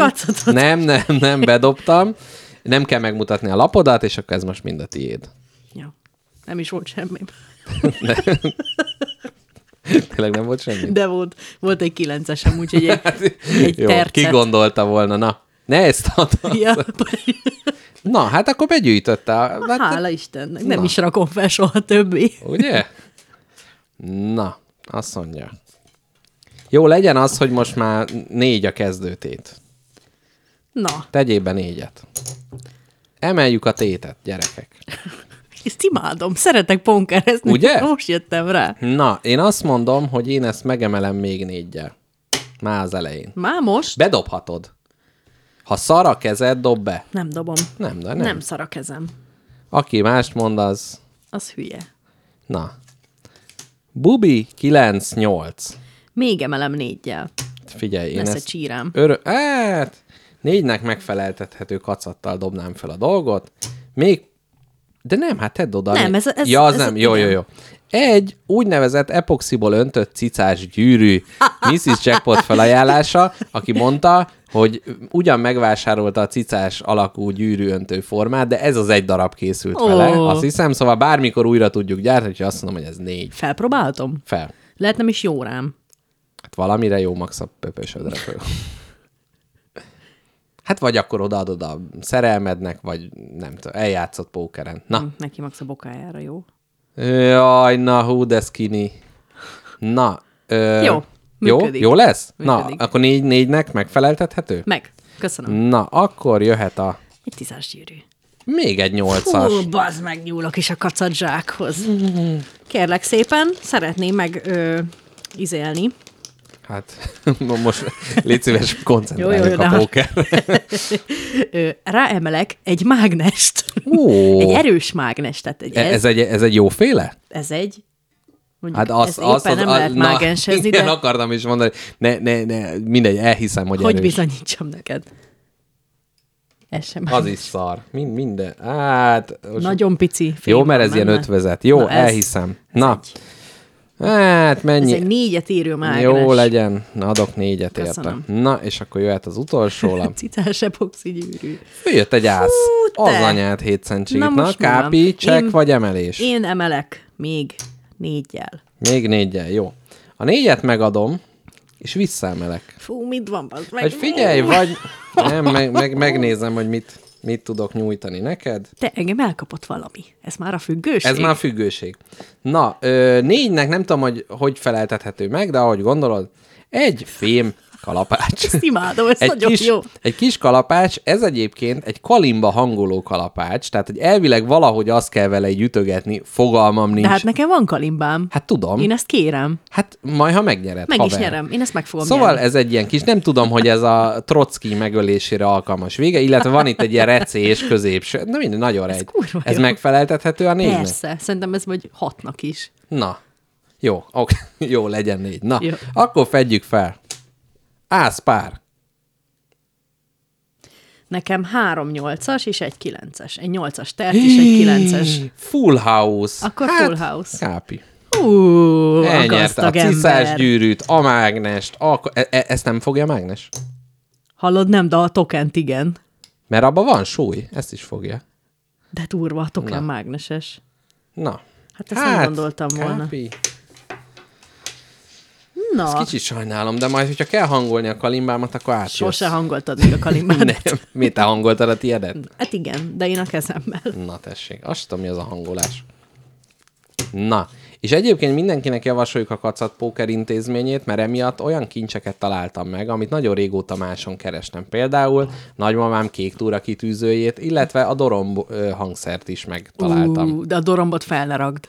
Speaker 2: egy kacatot.
Speaker 3: Nem, nem, nem, bedobtam. Nem kell megmutatni a lapodat, és akkor ez most mind a tiéd.
Speaker 2: Ja. Nem is volt semmi.
Speaker 3: Tényleg nem volt semmi?
Speaker 2: De volt, volt egy kilencesem, úgyhogy egy, egy
Speaker 3: Hát, Jó,
Speaker 2: tercet.
Speaker 3: ki gondolta volna, na. Ne ezt adod.
Speaker 2: Ja,
Speaker 3: Na, hát akkor begyűjtötte. A, hát,
Speaker 2: hála Istennek, nem is rakom fel soha többé.
Speaker 3: Ugye? Na, azt mondja. Jó, legyen az, hogy most már négy a kezdőtét.
Speaker 2: Na,
Speaker 3: Tegyél be négyet. Emeljük a tétet, gyerekek.
Speaker 2: ezt imádom, szeretek ponkerezni.
Speaker 3: Ugye?
Speaker 2: Most jöttem rá.
Speaker 3: Na, én azt mondom, hogy én ezt megemelem még négyel. Már az elején.
Speaker 2: Már most?
Speaker 3: Bedobhatod. Ha szar a kezed, dob be.
Speaker 2: Nem dobom.
Speaker 3: Nem, de nem.
Speaker 2: Nem,
Speaker 3: nem.
Speaker 2: nem szar a kezem.
Speaker 3: Aki mást mond, az...
Speaker 2: Az hülye.
Speaker 3: Na. Bubi 9-8.
Speaker 2: Még emelem négyel.
Speaker 3: Figyelj, én
Speaker 2: Lesz egy
Speaker 3: ezt...
Speaker 2: csírám.
Speaker 3: Örö... Hát, négynek megfeleltethető kacattal dobnám fel a dolgot. Még De nem, hát tedd oda. ami-
Speaker 2: Nem, ez- ez-
Speaker 3: ja, az
Speaker 2: ez-
Speaker 3: nem. Jó, jó,
Speaker 2: igen.
Speaker 3: jó. Egy úgynevezett epoxiból öntött cicás gyűrű Mrs. Jackpot felajánlása, aki mondta, hogy ugyan megvásárolta a cicás alakú gyűrűöntő formát, de ez az egy darab készült
Speaker 2: Ó.
Speaker 3: vele, azt hiszem, szóval bármikor újra tudjuk gyártani, hogy azt mondom, hogy ez négy
Speaker 2: Felpróbálhatom?
Speaker 3: fel.
Speaker 2: Lehet nem is jó rám.
Speaker 3: Hát valamire jó max a pöpösödre föl. Hát vagy akkor odaadod a szerelmednek, vagy nem tudom, eljátszott pókeren. Na,
Speaker 2: Neki max a bokájára jó.
Speaker 3: Jaj, na hú, de skinny. Na. Ö,
Speaker 2: Jó,
Speaker 3: Jó,
Speaker 2: működik.
Speaker 3: jó lesz?
Speaker 2: Működik.
Speaker 3: Na, akkor négy, négynek megfeleltethető?
Speaker 2: Meg. Köszönöm.
Speaker 3: Na, akkor jöhet a
Speaker 2: Egy tízás gyűrű.
Speaker 3: még egy nyolcas.
Speaker 2: Hú, bazd meg, nyúlok is a kacat zsákhoz.
Speaker 3: Mm-hmm.
Speaker 2: Kérlek szépen, szeretném meg ö, izélni.
Speaker 3: Hát, no, most légy szíves, koncentráljunk
Speaker 2: Jó, jó, jó,
Speaker 3: a
Speaker 2: de-
Speaker 3: pókerre.
Speaker 2: Ö, ráemelek egy mágnest.
Speaker 3: Ó. E-
Speaker 2: Egy erős mágnes, tehát egy, ez,
Speaker 3: Ez, egy, ez egy jóféle?
Speaker 2: ez egy, mondjuk
Speaker 3: Hát
Speaker 2: hát az, ezt
Speaker 3: azt,
Speaker 2: éppen
Speaker 3: azt,
Speaker 2: az, nem
Speaker 3: az,
Speaker 2: lehet
Speaker 3: na,
Speaker 2: mágensezni,
Speaker 3: igen,
Speaker 2: de
Speaker 3: akartam is mondani. Ne, ne, ne, mindegy, elhiszem, hogy,
Speaker 2: hogy
Speaker 3: erős.
Speaker 2: bizonyítsam neked? Ez sem
Speaker 3: Az is szar. Mind, minden. Hát, most
Speaker 2: Nagyon pici. fény
Speaker 3: jó, mert
Speaker 2: van
Speaker 3: ez ilyen
Speaker 2: benne.
Speaker 3: ötvezet. Jó,
Speaker 2: Na, ez-
Speaker 3: elhiszem. Na, hát
Speaker 2: Ez
Speaker 3: mennyi?
Speaker 2: egy négyet írő mágnes.
Speaker 3: Jó legyen, Na, adok négyet érte.
Speaker 2: Köszönöm.
Speaker 3: Na, és akkor jöhet az utolsó lap.
Speaker 2: Citás epoxi gyűrű.
Speaker 3: Jött egy ász.
Speaker 2: Fú,
Speaker 3: Az
Speaker 2: te.
Speaker 3: anyát 7
Speaker 2: Na
Speaker 3: centség.
Speaker 2: most
Speaker 3: Na,
Speaker 2: mi
Speaker 3: kápi,
Speaker 2: van?
Speaker 3: csek
Speaker 2: Én-
Speaker 3: vagy emelés?
Speaker 2: Én emelek még négyel.
Speaker 3: Még négyen, jó. A négyet megadom, és visszaemelek.
Speaker 2: Fú, mit van, az meg?
Speaker 3: Hogy figyelj, vagy... Nem, meg, meg, megnézem, hogy mit, mit tudok nyújtani neked.
Speaker 2: Te engem elkapott valami. Ez már a függőség.
Speaker 3: Ez már függőség. Na, ö, négynek nem tudom, hogy hogy feleltethető meg, de ahogy gondolod, egy fém kalapács.
Speaker 2: Ezt imádom, ez
Speaker 3: egy
Speaker 2: nagyon
Speaker 3: kis,
Speaker 2: jó.
Speaker 3: Egy kis kalapács, ez egyébként egy kalimba hangoló kalapács, tehát hogy elvileg valahogy azt kell vele így ütögetni, fogalmam nincs.
Speaker 2: De hát nekem van kalimbám.
Speaker 3: hát tudom,
Speaker 2: Én ezt kérem.
Speaker 3: hát majd ha megnyered,
Speaker 2: Meg
Speaker 3: haver.
Speaker 2: is nyerem. Én ezt meg fogom
Speaker 3: Szóval
Speaker 2: nyerni.
Speaker 3: ez egy ilyen kis, nem tudom, hogy ez a Trocki megölésére alkalmas vége, illetve van itt egy ilyen recés középső, na minden, nagyon rejt.
Speaker 2: kurva
Speaker 3: ez
Speaker 2: jó.
Speaker 3: megfeleltethető a négynek?
Speaker 2: Persze. Szerintem ez vagy hatnak is.
Speaker 3: Na, jó, ok, jó, legyen négy. Na,
Speaker 2: Jó.
Speaker 3: akkor fedjük fel. Ászpár.
Speaker 2: Nekem három nyolcas és egy kilences. Egy nyolcas tert és egy kilences.
Speaker 3: Full house. Hát,
Speaker 2: Akkor full house.
Speaker 3: Kápi.
Speaker 2: Ú, a
Speaker 3: Elnyerte a
Speaker 2: gazdag
Speaker 3: ciszás
Speaker 2: ember.
Speaker 3: gyűrűt, a mágnest, a... E- e- ezt nem fogja a mágnes?
Speaker 2: Hallod, nem, de a tokent igen.
Speaker 3: Mert abban van súly, ezt is fogja.
Speaker 2: De durva a token mágneses.
Speaker 3: Na.
Speaker 2: Hát ezt nem gondoltam volna.
Speaker 3: Kápi.
Speaker 2: Na,
Speaker 3: Kicsit sajnálom, de majd, hogyha kell hangolni a kalimbámat, akkor átjössz.
Speaker 2: sose hangoltad még a kalimbát.
Speaker 3: Nem. Mi, te hangoltad a tiédet?
Speaker 2: Hát igen, de én a kezemmel.
Speaker 3: Na tessék, azt tudom, mi az a hangolás. Na, és egyébként mindenkinek javasoljuk a Kacat Póker intézményét, mert emiatt olyan kincseket találtam meg, amit nagyon régóta máson kerestem. Például nagymamám kék túra kitűzőjét, illetve a doromb ö, hangszert is megtaláltam.
Speaker 2: Ú, de a dorombot fel ne ragd.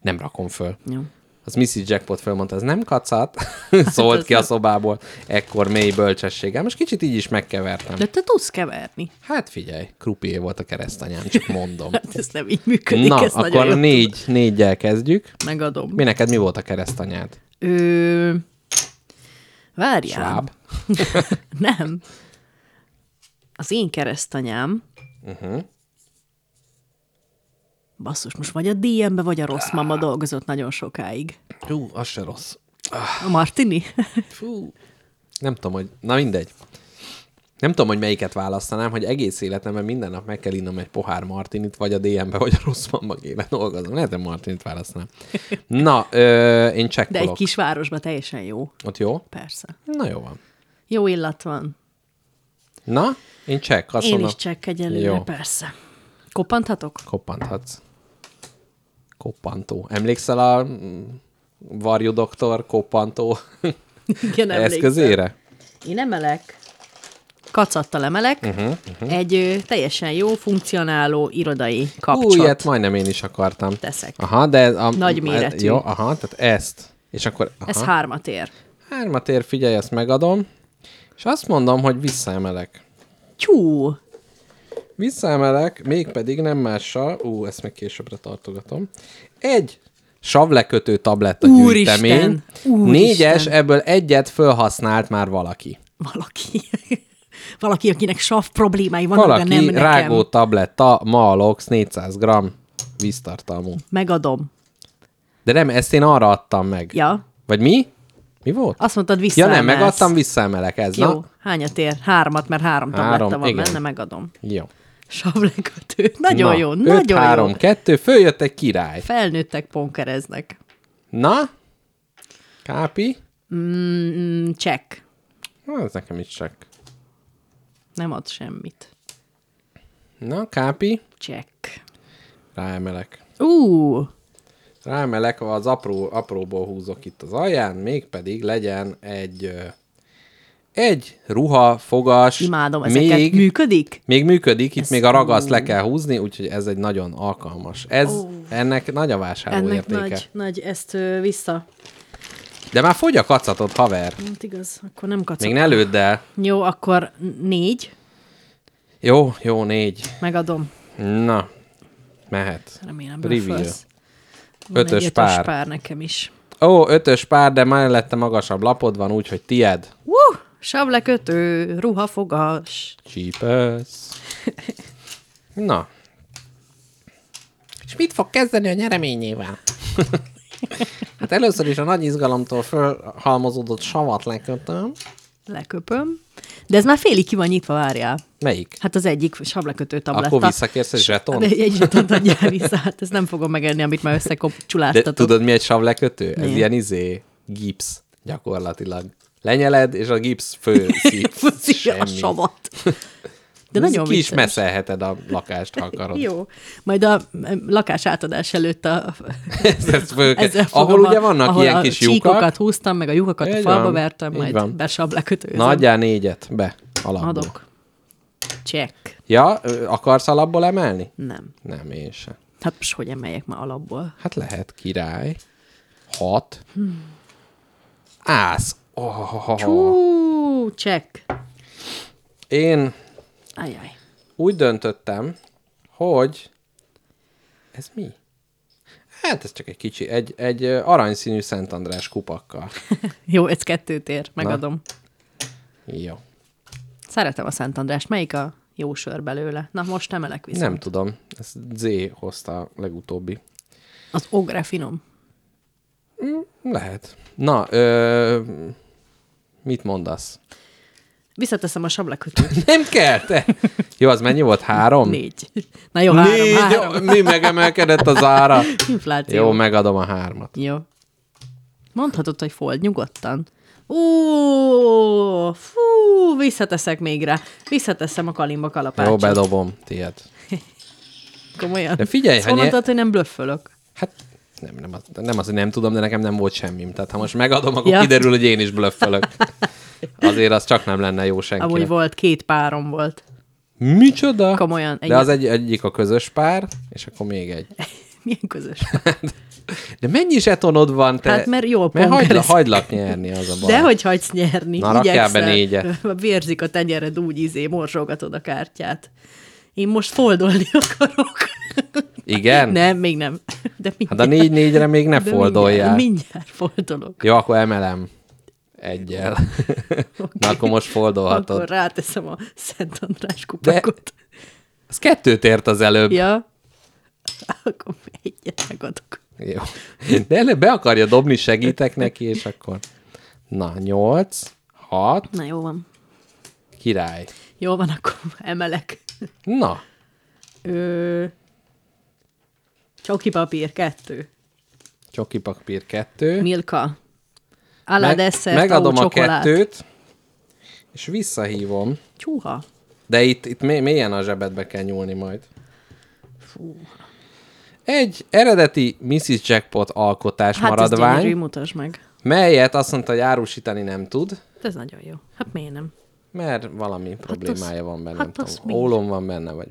Speaker 3: Nem rakom föl.
Speaker 2: Jó.
Speaker 3: Az Mrs. Jackpot fölmondta, ez nem kacat, szólt
Speaker 2: Hát ez
Speaker 3: ki a
Speaker 2: nem.
Speaker 3: szobából, ekkor mély bölcsességem, és kicsit így is megkevertem.
Speaker 2: De te tudsz keverni.
Speaker 3: Hát figyelj, krupié volt a keresztanyám, csak mondom.
Speaker 2: Hát ez nem így működik,
Speaker 3: Na,
Speaker 2: ezt nagyon
Speaker 3: akkor
Speaker 2: jól
Speaker 3: négy, négyel kezdjük.
Speaker 2: megadom.
Speaker 3: Mi neked mi volt a keresztanyád?
Speaker 2: Ö... Várjál.
Speaker 3: Schwab.
Speaker 2: Nem. Az én keresztanyám. Uh-huh. Basszus, most vagy a DM-be, vagy a rossz mama dolgozott nagyon sokáig.
Speaker 3: Hú, az se rossz.
Speaker 2: A Martini?
Speaker 3: Fú. Nem tudom, hogy... Na mindegy. Nem tudom, hogy melyiket választanám, hogy egész életemben minden nap meg kell innom egy pohár Martinit, vagy a DM-be, vagy a rossz mamma gébe dolgozom. Lehet, hogy Martinit választanám. Na, ö,
Speaker 2: De
Speaker 3: én
Speaker 2: egy
Speaker 3: csekkolok. Kis...
Speaker 2: kisvárosban teljesen jó.
Speaker 3: Ott jó?
Speaker 2: Persze.
Speaker 3: Na, jó van.
Speaker 2: Jó illat van.
Speaker 3: Na, én csekk. Azt
Speaker 2: Én
Speaker 3: mondom,
Speaker 2: is csekk egyelőre,
Speaker 3: Jó.
Speaker 2: persze. Koppanthatok?
Speaker 3: Koppanthatsz. Koppantó. Emlékszel a mm, Varjú doktor koppantó
Speaker 2: Igen, emlékszem.
Speaker 3: eszközére?
Speaker 2: Én emelek. Kacattal emelek. Uh-huh, uh-huh. Egy ö, teljesen jó, funkcionáló irodai kapcsot.
Speaker 3: Ú, ilyet hát majdnem én is akartam.
Speaker 2: Teszek.
Speaker 3: Aha, de ez a,
Speaker 2: Nagy
Speaker 3: a-
Speaker 2: méretű.
Speaker 3: Jó, aha, tehát ezt. És akkor aha,
Speaker 2: Ez
Speaker 3: ez
Speaker 2: hármat ér.
Speaker 3: hármat ér, figyelj, ezt megadom. És azt mondom, hogy visszaemelek.
Speaker 2: Tyú!
Speaker 3: Visszaemelek, mégpedig nem mással, ú, ezt még későbbre tartogatom, egy savlekötő tabletta
Speaker 2: Úristen!
Speaker 3: gyűjtemény,
Speaker 2: Úristen!
Speaker 3: négyes, ebből egyet fölhasznált már valaki.
Speaker 2: Valaki. Valaki, akinek sav problémái vannak, de
Speaker 3: Valaki
Speaker 2: nem nekem.
Speaker 3: rágó tabletta, Malox 400 g, víztartalmú.
Speaker 2: Megadom.
Speaker 3: De nem, ezt én arra adtam meg.
Speaker 2: Ja.
Speaker 3: Vagy mi? Mi volt?
Speaker 2: Azt mondtad,
Speaker 3: ja
Speaker 2: visszaemelsz.
Speaker 3: nem, megadtam, visszaemelek. Ez,
Speaker 2: Jó,
Speaker 3: na?
Speaker 2: hányat ér? Hármat, mert három,
Speaker 3: Három,
Speaker 2: tabletta van
Speaker 3: igen.
Speaker 2: benne, megadom.
Speaker 3: Jó.
Speaker 2: Sablekatő. Nagyon
Speaker 3: Na,
Speaker 2: jó,
Speaker 3: öt,
Speaker 2: nagyon
Speaker 3: három,
Speaker 2: jó.
Speaker 3: kettő, följött egy király.
Speaker 2: Felnőttek ponkereznek.
Speaker 3: Na? Kápi?
Speaker 2: Mm, Csek.
Speaker 3: Na, ez nekem is csak.
Speaker 2: Nem ad semmit.
Speaker 3: Na, kápi?
Speaker 2: Csek.
Speaker 3: Ráemelek.
Speaker 2: Ú,
Speaker 3: Ráemelek, az apró, apróból húzok itt az alján, mégpedig legyen egy ö, egy ruha, fogas,
Speaker 2: imádom ezeket.
Speaker 3: még,
Speaker 2: Működik?
Speaker 3: még működik, itt még a ragaszt le kell húzni, úgyhogy ez egy nagyon alkalmas. Ez, ennek nagy a vásárló
Speaker 2: Ennek
Speaker 3: értéke.
Speaker 2: nagy, nagy, ezt ö, vissza.
Speaker 3: De már fogy a kacatot, haver.
Speaker 2: Hát igaz, akkor nem kacok.
Speaker 3: Még ne lődd el.
Speaker 2: Jó, akkor n- négy.
Speaker 3: Jó, jó, négy.
Speaker 2: Megadom.
Speaker 3: Na, mehet.
Speaker 2: Remélem,
Speaker 3: Reveal.
Speaker 2: bőfölsz.
Speaker 3: Ötös pár.
Speaker 2: pár nekem is.
Speaker 3: Ó, ötös pár, de mellette magasabb lapod van, úgyhogy tied.
Speaker 2: Woo! Sablekötő, ruhafogas.
Speaker 3: Csípesz. Na. És mit fog kezdeni a nyereményével? hát először is a nagy izgalomtól fölhalmozódott savat lekötöm.
Speaker 2: Leköpöm. De ez már félig ki van nyitva, várjál.
Speaker 3: Melyik?
Speaker 2: Hát az egyik sablekötő tabletta.
Speaker 3: Akkor visszakérsz egy zsetont?
Speaker 2: De egy zsetont adjál vissza, hát ezt nem fogom megenni, amit már
Speaker 3: De
Speaker 2: összekopcsuláztatok.
Speaker 3: tudod, mi egy savlekötő? Ez
Speaker 2: Mi?
Speaker 3: ilyen izé, gipsz, gyakorlatilag. Lenyeled, és a gipsz fő szív.
Speaker 2: Fúzi a
Speaker 3: Semmi.
Speaker 2: savat. De
Speaker 3: Ez
Speaker 2: nagyon
Speaker 3: Ki is
Speaker 2: vicces.
Speaker 3: meszelheted a lakást, ha akarod.
Speaker 2: Jó. Majd a ö, lakás átadás előtt a...
Speaker 3: Ez, ez föl kell-
Speaker 2: ezzel fogom
Speaker 3: ahol
Speaker 2: a-
Speaker 3: ugye vannak
Speaker 2: ahol
Speaker 3: ilyen
Speaker 2: a
Speaker 3: kis
Speaker 2: csíkokat
Speaker 3: lyukat,
Speaker 2: húztam, meg a lyukakat a
Speaker 3: Így
Speaker 2: falba
Speaker 3: van,
Speaker 2: vertem,
Speaker 3: így
Speaker 2: majd
Speaker 3: van.
Speaker 2: besablekötőzöm.
Speaker 3: nagyjá négyet, be, alapból.
Speaker 2: Adok. Check.
Speaker 3: Ja, ö, akarsz alapból emelni?
Speaker 2: Nem.
Speaker 3: Nem, én sem.
Speaker 2: Hát most hogy emeljek már alapból?
Speaker 3: Hát lehet király. Hat. Ász. Oh,
Speaker 2: Hú, check.
Speaker 3: én
Speaker 2: Ajaj.
Speaker 3: úgy döntöttem, hogy ez mi? Hát ez csak egy kicsi, egy, egy ö, aranyszínű Szent András kupakkal.
Speaker 2: Jó, ez kettőt ér, megadom.
Speaker 3: Jó.
Speaker 2: Szeretem a Szent Andrást. Melyik a jó sör belőle? Na, most emelek vissza.
Speaker 3: Nem tudom, ez Z hozta a legutóbbi.
Speaker 2: Az ogre finom.
Speaker 3: Lehet. Na, ö, mit mondasz?
Speaker 2: Visszateszem a sablekötőt.
Speaker 3: Nem kell, te! Jó, az mennyi volt? Három?
Speaker 2: Négy. Na jó, három,
Speaker 3: Négy,
Speaker 2: három.
Speaker 3: jó, Mi megemelkedett az ára?
Speaker 2: Infláció.
Speaker 3: Jó, megadom a hármat.
Speaker 2: Jó. Mondhatod, hogy fold, nyugodtan. Ó, fú, visszateszek még rá. Visszateszem a kalimba
Speaker 3: Jó,
Speaker 2: kalapácsot.
Speaker 3: bedobom, tiéd.
Speaker 2: Komolyan.
Speaker 3: De figyelj,
Speaker 2: Ezt
Speaker 3: ha nye-
Speaker 2: mondtad, hogy nem blöffölök.
Speaker 3: Hát nem, nem, az, nem az, hogy nem tudom, de nekem nem volt semmim. Tehát ha most megadom, akkor
Speaker 2: Ja.
Speaker 3: ja. kiderül, hogy én is blöffölök. Azért az csak nem lenne jó senkinek.
Speaker 2: Amúgy volt, két párom volt.
Speaker 3: Micsoda?
Speaker 2: Komolyan, egy-
Speaker 3: De az egy, egyik a közös pár, és akkor még egy.
Speaker 2: Milyen közös.
Speaker 3: De mennyi zsetonod van te?
Speaker 2: Hát, mert jól
Speaker 3: Mert hagylak,
Speaker 2: pongerez.
Speaker 3: hagylak nyerni, az a baj.
Speaker 2: De hogy hagysz nyerni?
Speaker 3: Na, rakjál
Speaker 2: Igyekszel.
Speaker 3: be négyet.
Speaker 2: Vérzik a tenyered, úgy izé, morzsolgatod a kártyát. Én most foldolni akarok.
Speaker 3: Igen?
Speaker 2: Nem, még nem. De mindjárt,
Speaker 3: Hát a négy-négyre még ne
Speaker 2: de
Speaker 3: fordoljál.
Speaker 2: Mindjárt, mindjárt foldolok.
Speaker 3: Jó, akkor emelem. Egyel. Na, akkor most foldolhatod.
Speaker 2: Akkor ráteszem a Szent András kupakot. De...
Speaker 3: Az kettőt ért az előbb.
Speaker 2: Ja. Akkor egyet megadok.
Speaker 3: Jó. De előbb be akarja dobni, segítek neki, és akkor... Na, nyolc, hat,
Speaker 2: Na jó van.
Speaker 3: király.
Speaker 2: Jó van, akkor emelek.
Speaker 3: Na,
Speaker 2: Ö... Csoki papír, kettő.
Speaker 3: csoki papír kettő.
Speaker 2: Milka. Alá desszert,
Speaker 3: megadom
Speaker 2: ahol
Speaker 3: a
Speaker 2: csokolát.
Speaker 3: kettőt, és visszahívom.
Speaker 2: Csúha.
Speaker 3: De itt, itt mé- mélyen a zsebedbe kell nyúlni majd. Egy eredeti Mrs. Jackpot alkotás
Speaker 2: Hát ez gyönyörű,
Speaker 3: maradvány,
Speaker 2: mutasd meg.
Speaker 3: melyet azt mondta, hogy árusítani nem tud,
Speaker 2: Ez nagyon jó. Hát miért nem?
Speaker 3: mert valami problémája van benne,
Speaker 2: hát
Speaker 3: nem
Speaker 2: az
Speaker 3: tudom,
Speaker 2: mi?
Speaker 3: ólom van benne, vagy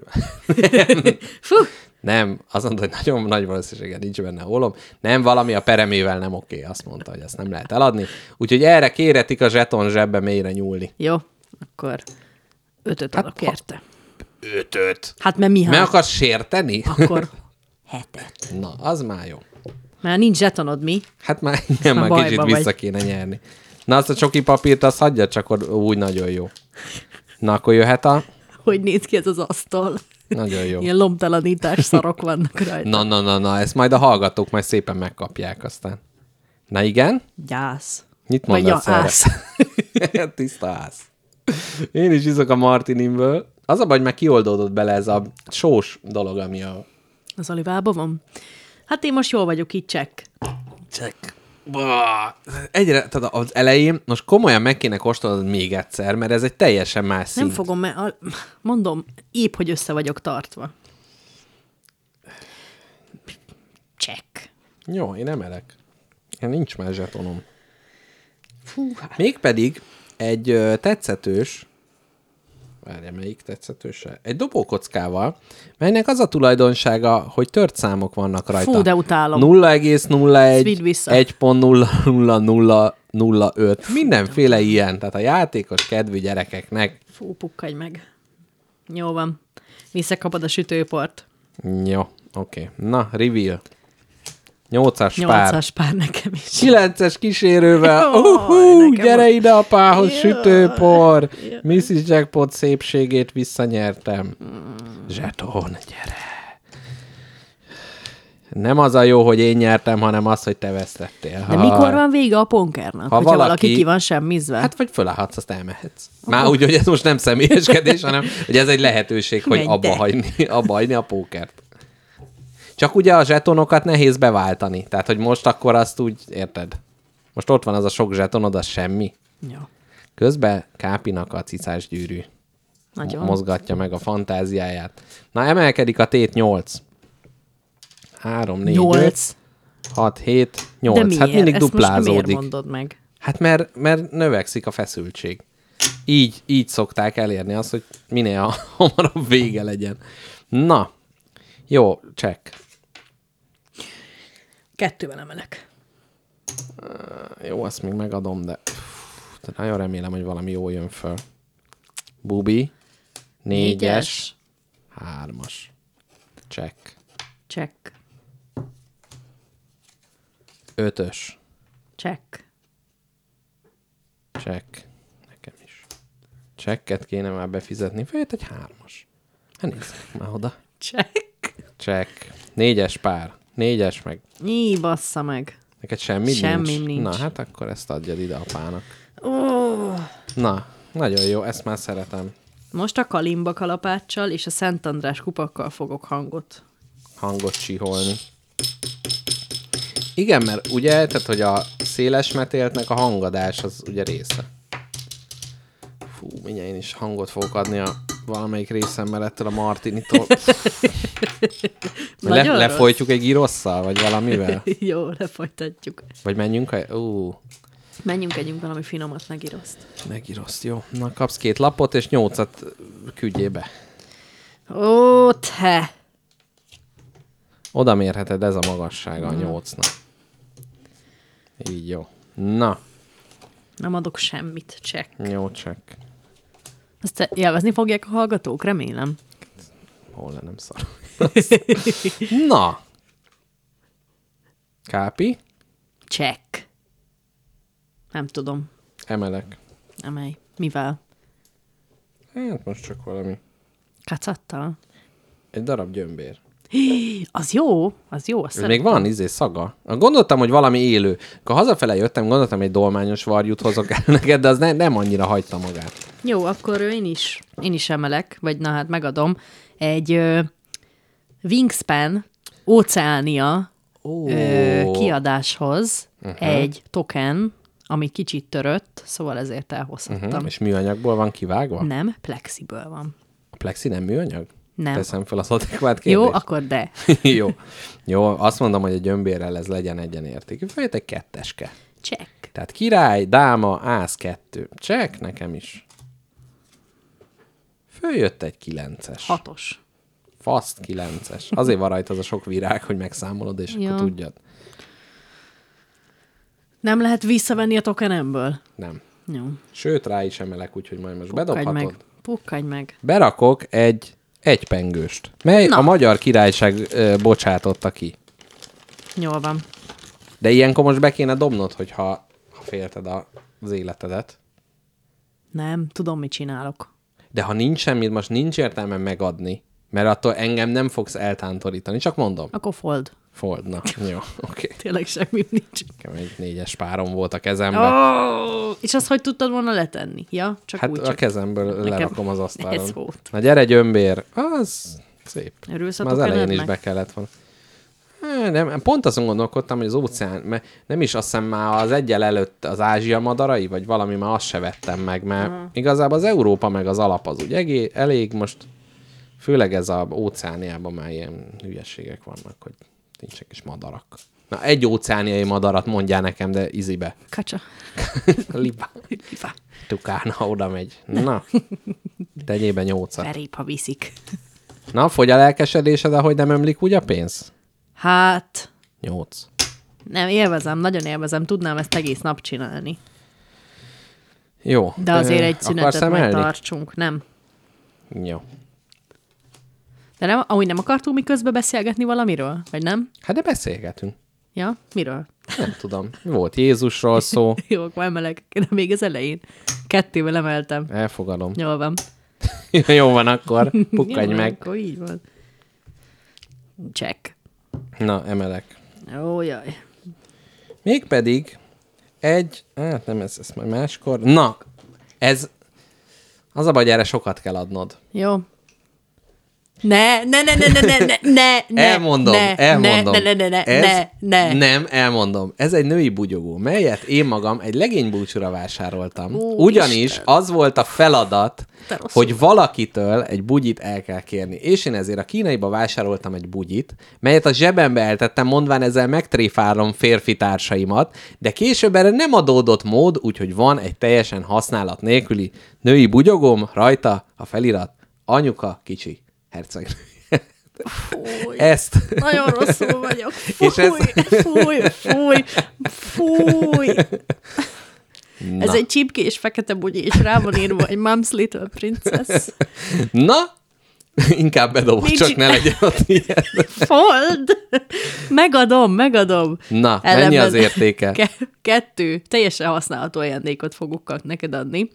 Speaker 2: Fú,
Speaker 3: nem, azt mondta, hogy nagyon nagy valószínűséggel nincs benne ólom, nem, valami a peremével nem oké, azt mondta, hogy ezt nem lehet eladni, úgyhogy erre kéretik a zseton zsebbe mélyre nyúlni.
Speaker 2: jó. Akkor ötöt
Speaker 3: Hát
Speaker 2: adok érte.
Speaker 3: Ötöt.
Speaker 2: Hát mert mi
Speaker 3: Meg
Speaker 2: hát?
Speaker 3: akarsz sérteni?
Speaker 2: Akkor hetet.
Speaker 3: Na, az már jó.
Speaker 2: Már nincs zsetonod mi.
Speaker 3: Hát már igen,
Speaker 2: Már
Speaker 3: már
Speaker 2: bajba
Speaker 3: kicsit
Speaker 2: vagy.
Speaker 3: vissza kéne nyerni. Na, azt a csoki papírt, azt hagyja, csak ott úgy nagyon jó. Na, akkor jöhet a...
Speaker 2: Hogy néz ki ez az asztal?
Speaker 3: Nagyon jó.
Speaker 2: Ilyen lomtalanítás szarok vannak rajta.
Speaker 3: Na, na, na, na, ezt majd a hallgatók majd szépen megkapják aztán. Na igen,
Speaker 2: Gyász.
Speaker 3: mit
Speaker 2: Vagy ja,
Speaker 3: mondasz erre?
Speaker 2: ász.
Speaker 3: Tiszta ász. Én is iszok a Martinimből. Az a baj, hogy már kioldódott bele ez a sós dolog, ami a...
Speaker 2: Az olivában van? Hát én most jól vagyok, így csekk.
Speaker 3: Check. Egyre, tehát az elején most komolyan meg kéne kóstolnod még egyszer, mert ez egy teljesen más szint.
Speaker 2: Nem fogom, mert al- mondom, épp, hogy össze vagyok tartva. Csekk.
Speaker 3: Jó, én emelek. Én nincs már zsetonom.
Speaker 2: Fú, hát.
Speaker 3: Mégpedig egy ö, tetszetős, várjál, melyik tetszetős? Egy dobókockával, melynek az a tulajdonsága, hogy tört számok vannak rajta.
Speaker 2: Fú, de utálom.
Speaker 3: 0,01,
Speaker 2: Vidd vissza.
Speaker 3: 1.00005, mindenféle ilyen. Tehát a játékos kedvű gyerekeknek.
Speaker 2: Fú, pukkadj meg. Jó van. Visszakapod a sütőport.
Speaker 3: Jó, oké. Na, reveal. 8-as pár.
Speaker 2: Nyolcas pár nekem is.
Speaker 3: 9-es kísérővel.
Speaker 2: Jaj,
Speaker 3: Uhú,
Speaker 2: nekem
Speaker 3: gyere
Speaker 2: a-
Speaker 3: ide apához,
Speaker 2: Jaj.
Speaker 3: sütőpor. Mrs. Jackpot szépségét visszanyertem. Zseton, gyere. Nem az a jó, hogy én nyertem, hanem az, hogy te vesztettél.
Speaker 2: De mikor van vége a ponkernak?
Speaker 3: Ha
Speaker 2: Ha hogyha valaki,
Speaker 3: valaki-
Speaker 2: ki van semmizve? Hát,
Speaker 3: Hát vagy fölállhatsz, azt elmehetsz. Már úgy, hogy ez most nem személyeskedés, hanem hogy ez egy lehetőség, hogy
Speaker 2: Menj
Speaker 3: abba
Speaker 2: te.
Speaker 3: hagyni, abba hagyni a pókert. Csak ugye a zsetonokat nehéz beváltani. Tehát, hogy most akkor azt úgy, érted? Most ott van az a sok zsetonod, az semmi.
Speaker 2: Jó.
Speaker 3: Közben Kápinak a cicás gyűrű
Speaker 2: Nagyon.
Speaker 3: mozgatja meg a fantáziáját. Na, emelkedik a tét 8. 3, 4, 8.
Speaker 2: Nyolc.
Speaker 3: 6, 7,
Speaker 2: De
Speaker 3: 8.
Speaker 2: miért?
Speaker 3: Hát mindig
Speaker 2: Ezt Most miért
Speaker 3: duplázódik.
Speaker 2: mondod meg?
Speaker 3: Hát mert, mert növekszik a feszültség. Így, így szokták elérni azt, hogy minél hamarabb vége legyen. Na, jó, check.
Speaker 2: Kettővel emelek.
Speaker 3: Jó, azt még megadom, de pff, de nagyon remélem, hogy valami jó jön föl. Bubi, négyes, hármas. Check.
Speaker 2: Check.
Speaker 3: Ötös.
Speaker 2: Check.
Speaker 3: Check. Nekem is. Checket kéne már befizetni. Főjött egy hármas. Hát nézzük már oda.
Speaker 2: Check.
Speaker 3: Check. Négyes pár. Négyes meg.
Speaker 2: Í, bassza meg.
Speaker 3: Neked semmi,
Speaker 2: Semmim
Speaker 3: nincs?
Speaker 2: nincs.
Speaker 3: Na, hát akkor ezt adjad ide apának.
Speaker 2: Ó,
Speaker 3: Na, nagyon jó, ezt már szeretem.
Speaker 2: most a kalimba kalapáccsal és a Szent András kupakkal fogok hangot.
Speaker 3: Hangot csiholni. Igen, mert ugye, tehát, hogy a széles metéltnek a hangadás az ugye része. Fú, mindjárt én is hangot fogok adni a valamelyik részemmel ettől a Martinitól. Le,
Speaker 2: Nagyon rossz.
Speaker 3: lefolytjuk egy girosszal, vagy valamivel?
Speaker 2: Jó, lefolytatjuk.
Speaker 3: Vagy menjünk a... Ú,
Speaker 2: Menjünk, együnk valami finomat, megíroszt.
Speaker 3: megirossz, jó. Na, kapsz két lapot, és nyolcat küldjébe.
Speaker 2: Ó, te!
Speaker 3: Oda mérheted, ez a magassága a nyolcnak. Így jó. Na,
Speaker 2: Nem adok semmit, check.
Speaker 3: jó check.
Speaker 2: Ezt élvezni fogják a hallgatók, remélem.
Speaker 3: Hol le nem szar. Na. Kápi,
Speaker 2: Check. Nem tudom.
Speaker 3: emelek.
Speaker 2: Emelj. Mivel?
Speaker 3: Hát most csak valami.
Speaker 2: Kacattal?
Speaker 3: Egy darab gyömbér.
Speaker 2: Az jó, az jó. Azt
Speaker 3: Ez
Speaker 2: még...
Speaker 3: még van izé szaga. Gondoltam, hogy valami élő. Akkor hazafele jöttem, gondoltam, hogy egy dolmányos varjút hozok el neked, de az ne, nem annyira hagyta magát.
Speaker 2: Jó, akkor én is, én is emelek, vagy na hát megadom, egy ö, Wingspan Oceania ö, kiadáshoz uh-huh. egy token, ami kicsit törött, szóval ezért elhozhattam.
Speaker 3: Hm,
Speaker 2: Uh-huh.
Speaker 3: És műanyagból van kivágva?
Speaker 2: Nem, plexiből van.
Speaker 3: A plexi nem műanyag?
Speaker 2: Nem.
Speaker 3: Teszem fel az adekvát kérdést.
Speaker 2: Jó, akkor de.
Speaker 3: Jó. Jó, azt mondom, hogy a gyömbérrel ez legyen egyenértékű. Följött egy ketteske.
Speaker 2: Check.
Speaker 3: Tehát király, dáma, ász, kettő. Csek, nekem is. Följött egy kilences.
Speaker 2: Hatos.
Speaker 3: Faszt kilences. Azért van rajta az a sok virág, hogy megszámolod, és
Speaker 2: Ja.
Speaker 3: akkor tudjad.
Speaker 2: Nem lehet visszavenni a tokenemből.
Speaker 3: Nem.
Speaker 2: Jó.
Speaker 3: Sőt, rá is emelek, úgyhogy majd most bedobhatod.
Speaker 2: meg. Pukkadj meg.
Speaker 3: Berakok egy egy pengőst, mely
Speaker 2: Na.
Speaker 3: a magyar királyság ö, bocsátotta ki.
Speaker 2: Jól van.
Speaker 3: De ilyenkor most be kéne dobnod, hogyha ha félted a, az életedet.
Speaker 2: Nem, tudom, mit csinálok.
Speaker 3: De ha nincs semmit, most nincs értelme megadni. Mert attól engem nem fogsz eltántorítani, csak mondom.
Speaker 2: Akkor fold.
Speaker 3: Fold, na, jó, oké.
Speaker 2: Tényleg semmi nincs.
Speaker 3: Nekem egy négyes párom volt a kezemben.
Speaker 2: Oh! És azt hogy tudtad volna letenni? Ja, csak
Speaker 3: hát
Speaker 2: úgy.
Speaker 3: a
Speaker 2: Csak.
Speaker 3: kezemből lerakom az asztalon.
Speaker 2: ez volt.
Speaker 3: Na gyere, gyömbér! Az szép.
Speaker 2: Örülsz a
Speaker 3: Már az elején is
Speaker 2: tokenednek?
Speaker 3: be kellett volna. Hát, Nem, pont azon gondolkodtam, hogy az óceán, mert nem is azt hiszem már az egyel előtt az Ázsia madarai, vagy valami, már azt se vettem meg, mert uh-huh. igazából az Európa meg az alap az úgy egé- elég most, főleg ez a óceániában már ilyen hülyeségek vannak, hogy nincsenek is madarak. Na, egy óceániai madarat mondjál nekem, de izibe.
Speaker 2: Kacsa.
Speaker 3: Libá.
Speaker 2: Fá.
Speaker 3: Tukána oda megy. Na, tegyébe nyolcat.
Speaker 2: Ferébb, ha viszik.
Speaker 3: Na, fogy a lelkesedésed, ahogy nem ömlik úgy a pénz?
Speaker 2: Hát,
Speaker 3: Nyolc.
Speaker 2: nem, élvezem, nagyon élvezem. Tudnám ezt egész nap csinálni.
Speaker 3: Jó.
Speaker 2: De azért
Speaker 3: Ö,
Speaker 2: egy
Speaker 3: akarsz
Speaker 2: szünetet
Speaker 3: emelni?
Speaker 2: megtartsunk, nem?
Speaker 3: Jó.
Speaker 2: De nem, ahogy nem akartunk mi közben beszélgetni valamiről, vagy nem?
Speaker 3: Hát de beszélgetünk.
Speaker 2: Ja, miről?
Speaker 3: Nem tudom. Volt Jézusról szó,
Speaker 2: Jó, akkor emelek, de még az elején. Kettével emeltem.
Speaker 3: elfogadom.
Speaker 2: Jól van.
Speaker 3: Jó van akkor,
Speaker 2: Jó
Speaker 3: pukkanj
Speaker 2: van,
Speaker 3: meg.
Speaker 2: Akkor így van. Check.
Speaker 3: Na, emelek.
Speaker 2: Ó, jaj.
Speaker 3: Mégpedig egy, hát nem ez, ez majd máskor. Na, ez, az a baj, hogy erre sokat kell adnod.
Speaker 2: Jó. Ne, ne, ne, ne, ne, ne, ne, ne, ne,
Speaker 3: elmondom,
Speaker 2: ne,
Speaker 3: elmondom.
Speaker 2: Ne, ne, ne, ne,
Speaker 3: ez,
Speaker 2: ne, ne.
Speaker 3: Nem, elmondom. Ez egy női bugyogó, melyet én magam egy legénybúcsúra vásároltam.
Speaker 2: Ó,
Speaker 3: Ugyanis
Speaker 2: Isten.
Speaker 3: az volt a feladat,
Speaker 2: Te rosszul
Speaker 3: hogy valakitől egy bugyit el kell kérni. És én ezért a kínaiba vásároltam egy bugyit, melyet a zsebembe eltettem, mondván ezzel megtréfálom férfi társaimat, de később erre nem adódott mód, úgyhogy van egy teljesen használat nélküli női bugyogóm, rajta a felirat, anyuka kicsi hercegnő.
Speaker 2: Fúj.
Speaker 3: Ezt
Speaker 2: Nagyon rosszul vagyok. Fúj,
Speaker 3: És ez-
Speaker 2: fúj, fúj, fúj. Na. Ez egy csipkés fekete bugyi, és rá van írva egy Mom's Little Princess.
Speaker 3: Na, inkább bedobod,
Speaker 2: Nincs-
Speaker 3: csak ne legyen ott ilyen.
Speaker 2: Fold! Megadom, megadom.
Speaker 3: Na, mennyi az értéke?
Speaker 2: Ke- kettő. Teljesen használható ajándékot fogok kap- neked adni.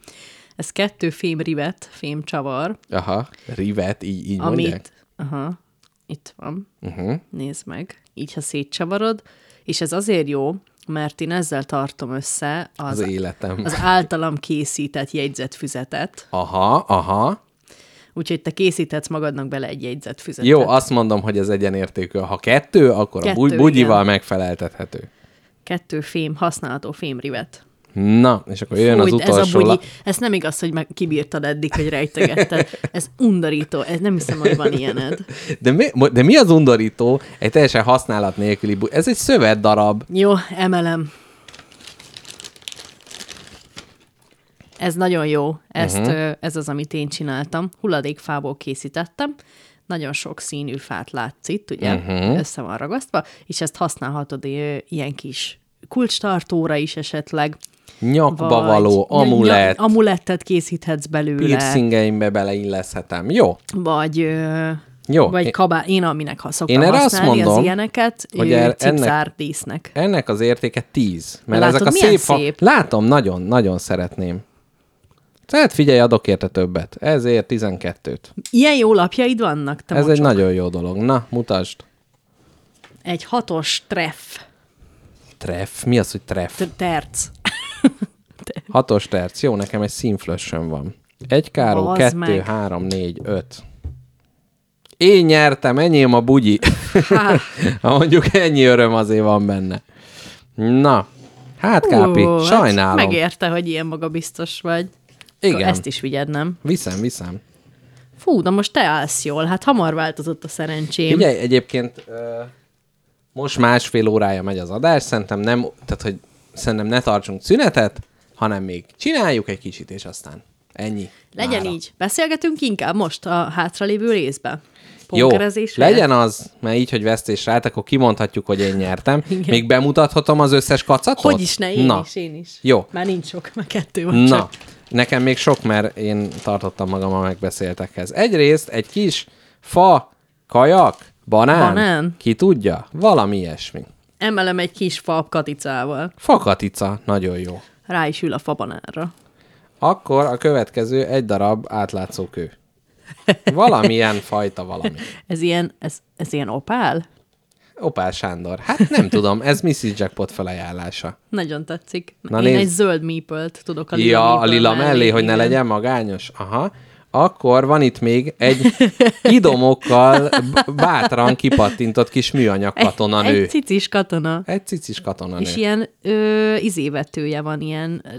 Speaker 2: Ez kettő fémrivet, fémcsavar,
Speaker 3: Aha, rivet, így, így
Speaker 2: amit...
Speaker 3: mondják.
Speaker 2: Aha, itt van. Uh-huh. Nézd meg. Így, ha szétcsavarod. És ez azért jó, mert én ezzel tartom össze az,
Speaker 3: Az életem.
Speaker 2: az általam készített jegyzetfüzetet.
Speaker 3: Aha, aha.
Speaker 2: Úgyhogy te készíthetsz magadnak bele egy jegyzetfüzetet.
Speaker 3: Jó, azt mondom, hogy ez egyenértékű. Ha kettő, akkor kettő, a
Speaker 2: Kettő,
Speaker 3: bugy- bugyival
Speaker 2: igen.
Speaker 3: megfeleltethető.
Speaker 2: Kettő fém, használható fémrivet.
Speaker 3: Na, és akkor jön az
Speaker 2: Fújt,
Speaker 3: utolsó.
Speaker 2: Ez, a
Speaker 3: la-
Speaker 2: bugyi, ez nem igaz, hogy meg kibírtad eddig, hogy rejtegetted. Ez undorító. Ez nem hiszem, hogy van ilyened.
Speaker 3: de, mi, de mi az undorító? Egy teljesen használat nélküli bugy. Ez egy szövet darab.
Speaker 2: Jó, emelem. Ez nagyon jó. Ezt,
Speaker 3: Mhm.
Speaker 2: uh-huh. Ez az, amit én csináltam. Hulladékfából készítettem. Nagyon sok színű fát látsz itt, ugye?
Speaker 3: Mhm.
Speaker 2: Uh-huh. Össze van ragasztva, és ezt használhatod ö, ilyen kis kulcstartóra is esetleg.
Speaker 3: Nyakba való,
Speaker 2: ny- ny-
Speaker 3: amulett,
Speaker 2: Amulettet készíthetsz belőle.
Speaker 3: piercingeimbe beleilleszhetem. Jó,
Speaker 2: vagy ö,
Speaker 3: Jó,
Speaker 2: vagy
Speaker 3: én-
Speaker 2: én, kabá, én aminek ha szoktam
Speaker 3: Én
Speaker 2: én
Speaker 3: erre azt
Speaker 2: használni azt mondom,
Speaker 3: mondom,
Speaker 2: az ilyeneket,
Speaker 3: hogy
Speaker 2: hogy
Speaker 3: el- ennek-
Speaker 2: el, cipzár dísznek.
Speaker 3: ennek az értéke 10. Mert
Speaker 2: Látod,
Speaker 3: ezek a
Speaker 2: milyen
Speaker 3: szép, fa-
Speaker 2: szép?
Speaker 3: Látom, nagyon, nagyon szeretném. Tehát figyelj, adok érte többet. Ezért 12-t.
Speaker 2: Ilyen jó lapjaid vannak, te
Speaker 3: Ez
Speaker 2: mocsok.
Speaker 3: egy nagyon jó dolog. Na, mutasd.
Speaker 2: egy hatos treff,
Speaker 3: Treff. Mi az, hogy treff?
Speaker 2: t- terc.
Speaker 3: Hatos terc. Jó, nekem egy színflössön van. Egy káró,
Speaker 2: Az
Speaker 3: kettő,
Speaker 2: meg.
Speaker 3: három, négy, öt. Én nyertem, enyém a bugyi. Ha mondjuk ennyi öröm azért van benne. Na, hát Kápi,
Speaker 2: Ú, hát
Speaker 3: sajnálom.
Speaker 2: Megérte, hogy ilyen magabiztos vagy.
Speaker 3: Igen.
Speaker 2: Akkor Ezt is vigyed, nem?
Speaker 3: Viszem, viszem.
Speaker 2: Fú, de most te állsz jól, hát hamar változott a szerencsém.
Speaker 3: Figyelj, egyébként ö, most másfél órája megy az adás, szerintem nem, tehát hogy szerintem ne tartsunk szünetet, hanem még csináljuk egy kicsit, és aztán ennyi.
Speaker 2: Legyen
Speaker 3: Mára.
Speaker 2: így. Beszélgetünk inkább most a hátralévő részbe.
Speaker 3: Jó,
Speaker 2: Pókerezés helyett?
Speaker 3: legyen az, mert így, hogy vesztés rá, akkor kimondhatjuk, hogy én nyertem. Még bemutathatom az összes kacatot?
Speaker 2: Hogy is ne, én
Speaker 3: Na.
Speaker 2: is, én is.
Speaker 3: Jó.
Speaker 2: Már nincs sok, már kettő van
Speaker 3: Na,
Speaker 2: csak.
Speaker 3: nekem még sok, mert én tartottam magam a megbeszéltekhez. Egyrészt egy kis fa, kajak, banán,
Speaker 2: Banán.
Speaker 3: ki tudja, valami ilyesmi.
Speaker 2: Emelem egy kis fa katicával.
Speaker 3: Fakatica, nagyon jó.
Speaker 2: Rá is ül a fabanánra.
Speaker 3: Akkor a következő egy darab átlátszó kő. Valamilyen fajta valami.
Speaker 2: Ez ilyen, ez, ez ilyen opál?
Speaker 3: Opál Sándor. Hát nem tudom, ez Mrs. Jackpot felajánlása.
Speaker 2: Nagyon tetszik.
Speaker 3: Na
Speaker 2: Na, Én
Speaker 3: nézd.
Speaker 2: egy zöld meeple-t tudok a
Speaker 3: A
Speaker 2: lila
Speaker 3: ja, a
Speaker 2: meeple
Speaker 3: lila mellé, mellé hogy ne
Speaker 2: igen.
Speaker 3: legyen magányos. Aha. Akkor van itt még egy idomokkal b- bátran kipattintott kis műanyag
Speaker 2: Egy,
Speaker 3: katonanő.
Speaker 2: egy cicis katona.
Speaker 3: Egy cicis katonanő.
Speaker 2: És ilyen ö, izévetője van, ilyen ö,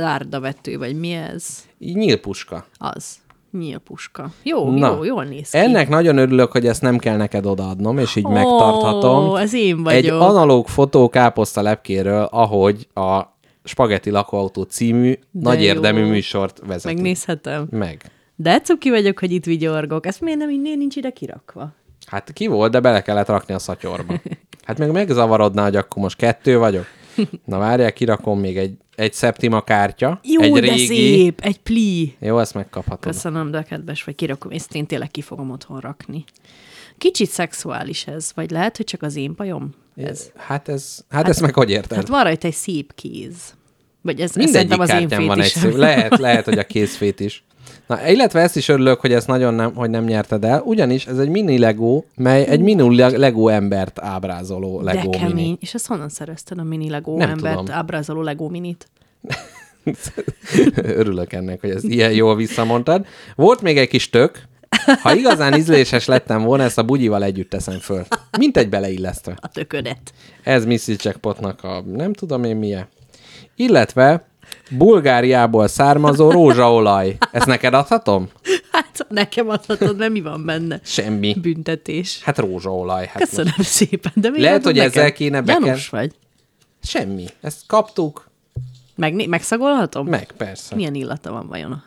Speaker 2: dárdavető, vagy mi ez?
Speaker 3: Így nyílpuska.
Speaker 2: Az. Nyílpuska. Jó,
Speaker 3: Na.
Speaker 2: Na. jó, jól néz ki.
Speaker 3: Ennek nagyon örülök, hogy ezt nem kell neked odaadnom, és így
Speaker 2: Ó,
Speaker 3: megtarthatom.
Speaker 2: ez én
Speaker 3: Egy
Speaker 2: vagyok.
Speaker 3: analóg fotó káposzta lepkéről, ahogy a Spagetti lakóautó című nagy
Speaker 2: jó.
Speaker 3: érdemű műsort vezeti.
Speaker 2: Megnézhetem.
Speaker 3: Meg.
Speaker 2: De hát cuki vagyok, hogy itt vigyorgok. Ezt miért nem innél nincs ide kirakva?
Speaker 3: Hát ki volt, de bele kellett rakni a szatyorba. Hát meg megzavarodná, hogy akkor most kettő vagyok. Na várjál, kirakom még egy, egy Septima kártya.
Speaker 2: Jó,
Speaker 3: egy
Speaker 2: egy de szép! Egy pli!
Speaker 3: Jó, ezt megkaphatod.
Speaker 2: Köszönöm, de kedves vagy, kirakom, és én tényleg ki fogom otthon rakni. Kicsit szexuális ez, vagy lehet, hogy csak az én pajom? Ez.
Speaker 3: Hát ez, hát, hát ezt meg hogy érted?
Speaker 2: Hát van rajta egy szép kéz. Vagy ez, ez
Speaker 3: Mindegyik
Speaker 2: szerintem az én
Speaker 3: kártyán van egy
Speaker 2: fétisem.
Speaker 3: szép. Lehet, lehet, hogy a kézfét is. Na, illetve ezt is örülök, hogy ezt nagyon nem, hogy nem nyerted el, ugyanis ez egy mini Lego, mely egy mini Le- Lego embert ábrázoló Lego
Speaker 2: De
Speaker 3: mini.
Speaker 2: kemény. És ezt honnan szerezted a mini Lego
Speaker 3: Nem
Speaker 2: embert,
Speaker 3: tudom.
Speaker 2: ábrázoló Lego minit?
Speaker 3: Örülök ennek, hogy ezt ilyen jól visszamondtad. Volt még egy kis tök. Ha igazán ízléses lettem volna, ezt a bugyival együtt teszem föl. Mint egy beleillesztve.
Speaker 2: A töködet.
Speaker 3: Ez Mrs. Jackpotnak a nem tudom én milyen. Illetve Bulgáriából származó rózsaolaj. Ezt neked adhatom?
Speaker 2: Hát nekem adhatod, mert mi van benne?
Speaker 3: Semmi.
Speaker 2: Büntetés.
Speaker 3: Hát rózsaolaj. Hát
Speaker 2: Köszönöm szépen, de miért
Speaker 3: Lehet,
Speaker 2: adod
Speaker 3: hogy ezzel
Speaker 2: nekem?
Speaker 3: kéne beken-
Speaker 2: Gyanús vagy.
Speaker 3: Semmi. Ezt kaptuk,
Speaker 2: Meg, megszagolhatom?
Speaker 3: meg persze.
Speaker 2: Milyen illata van vajon?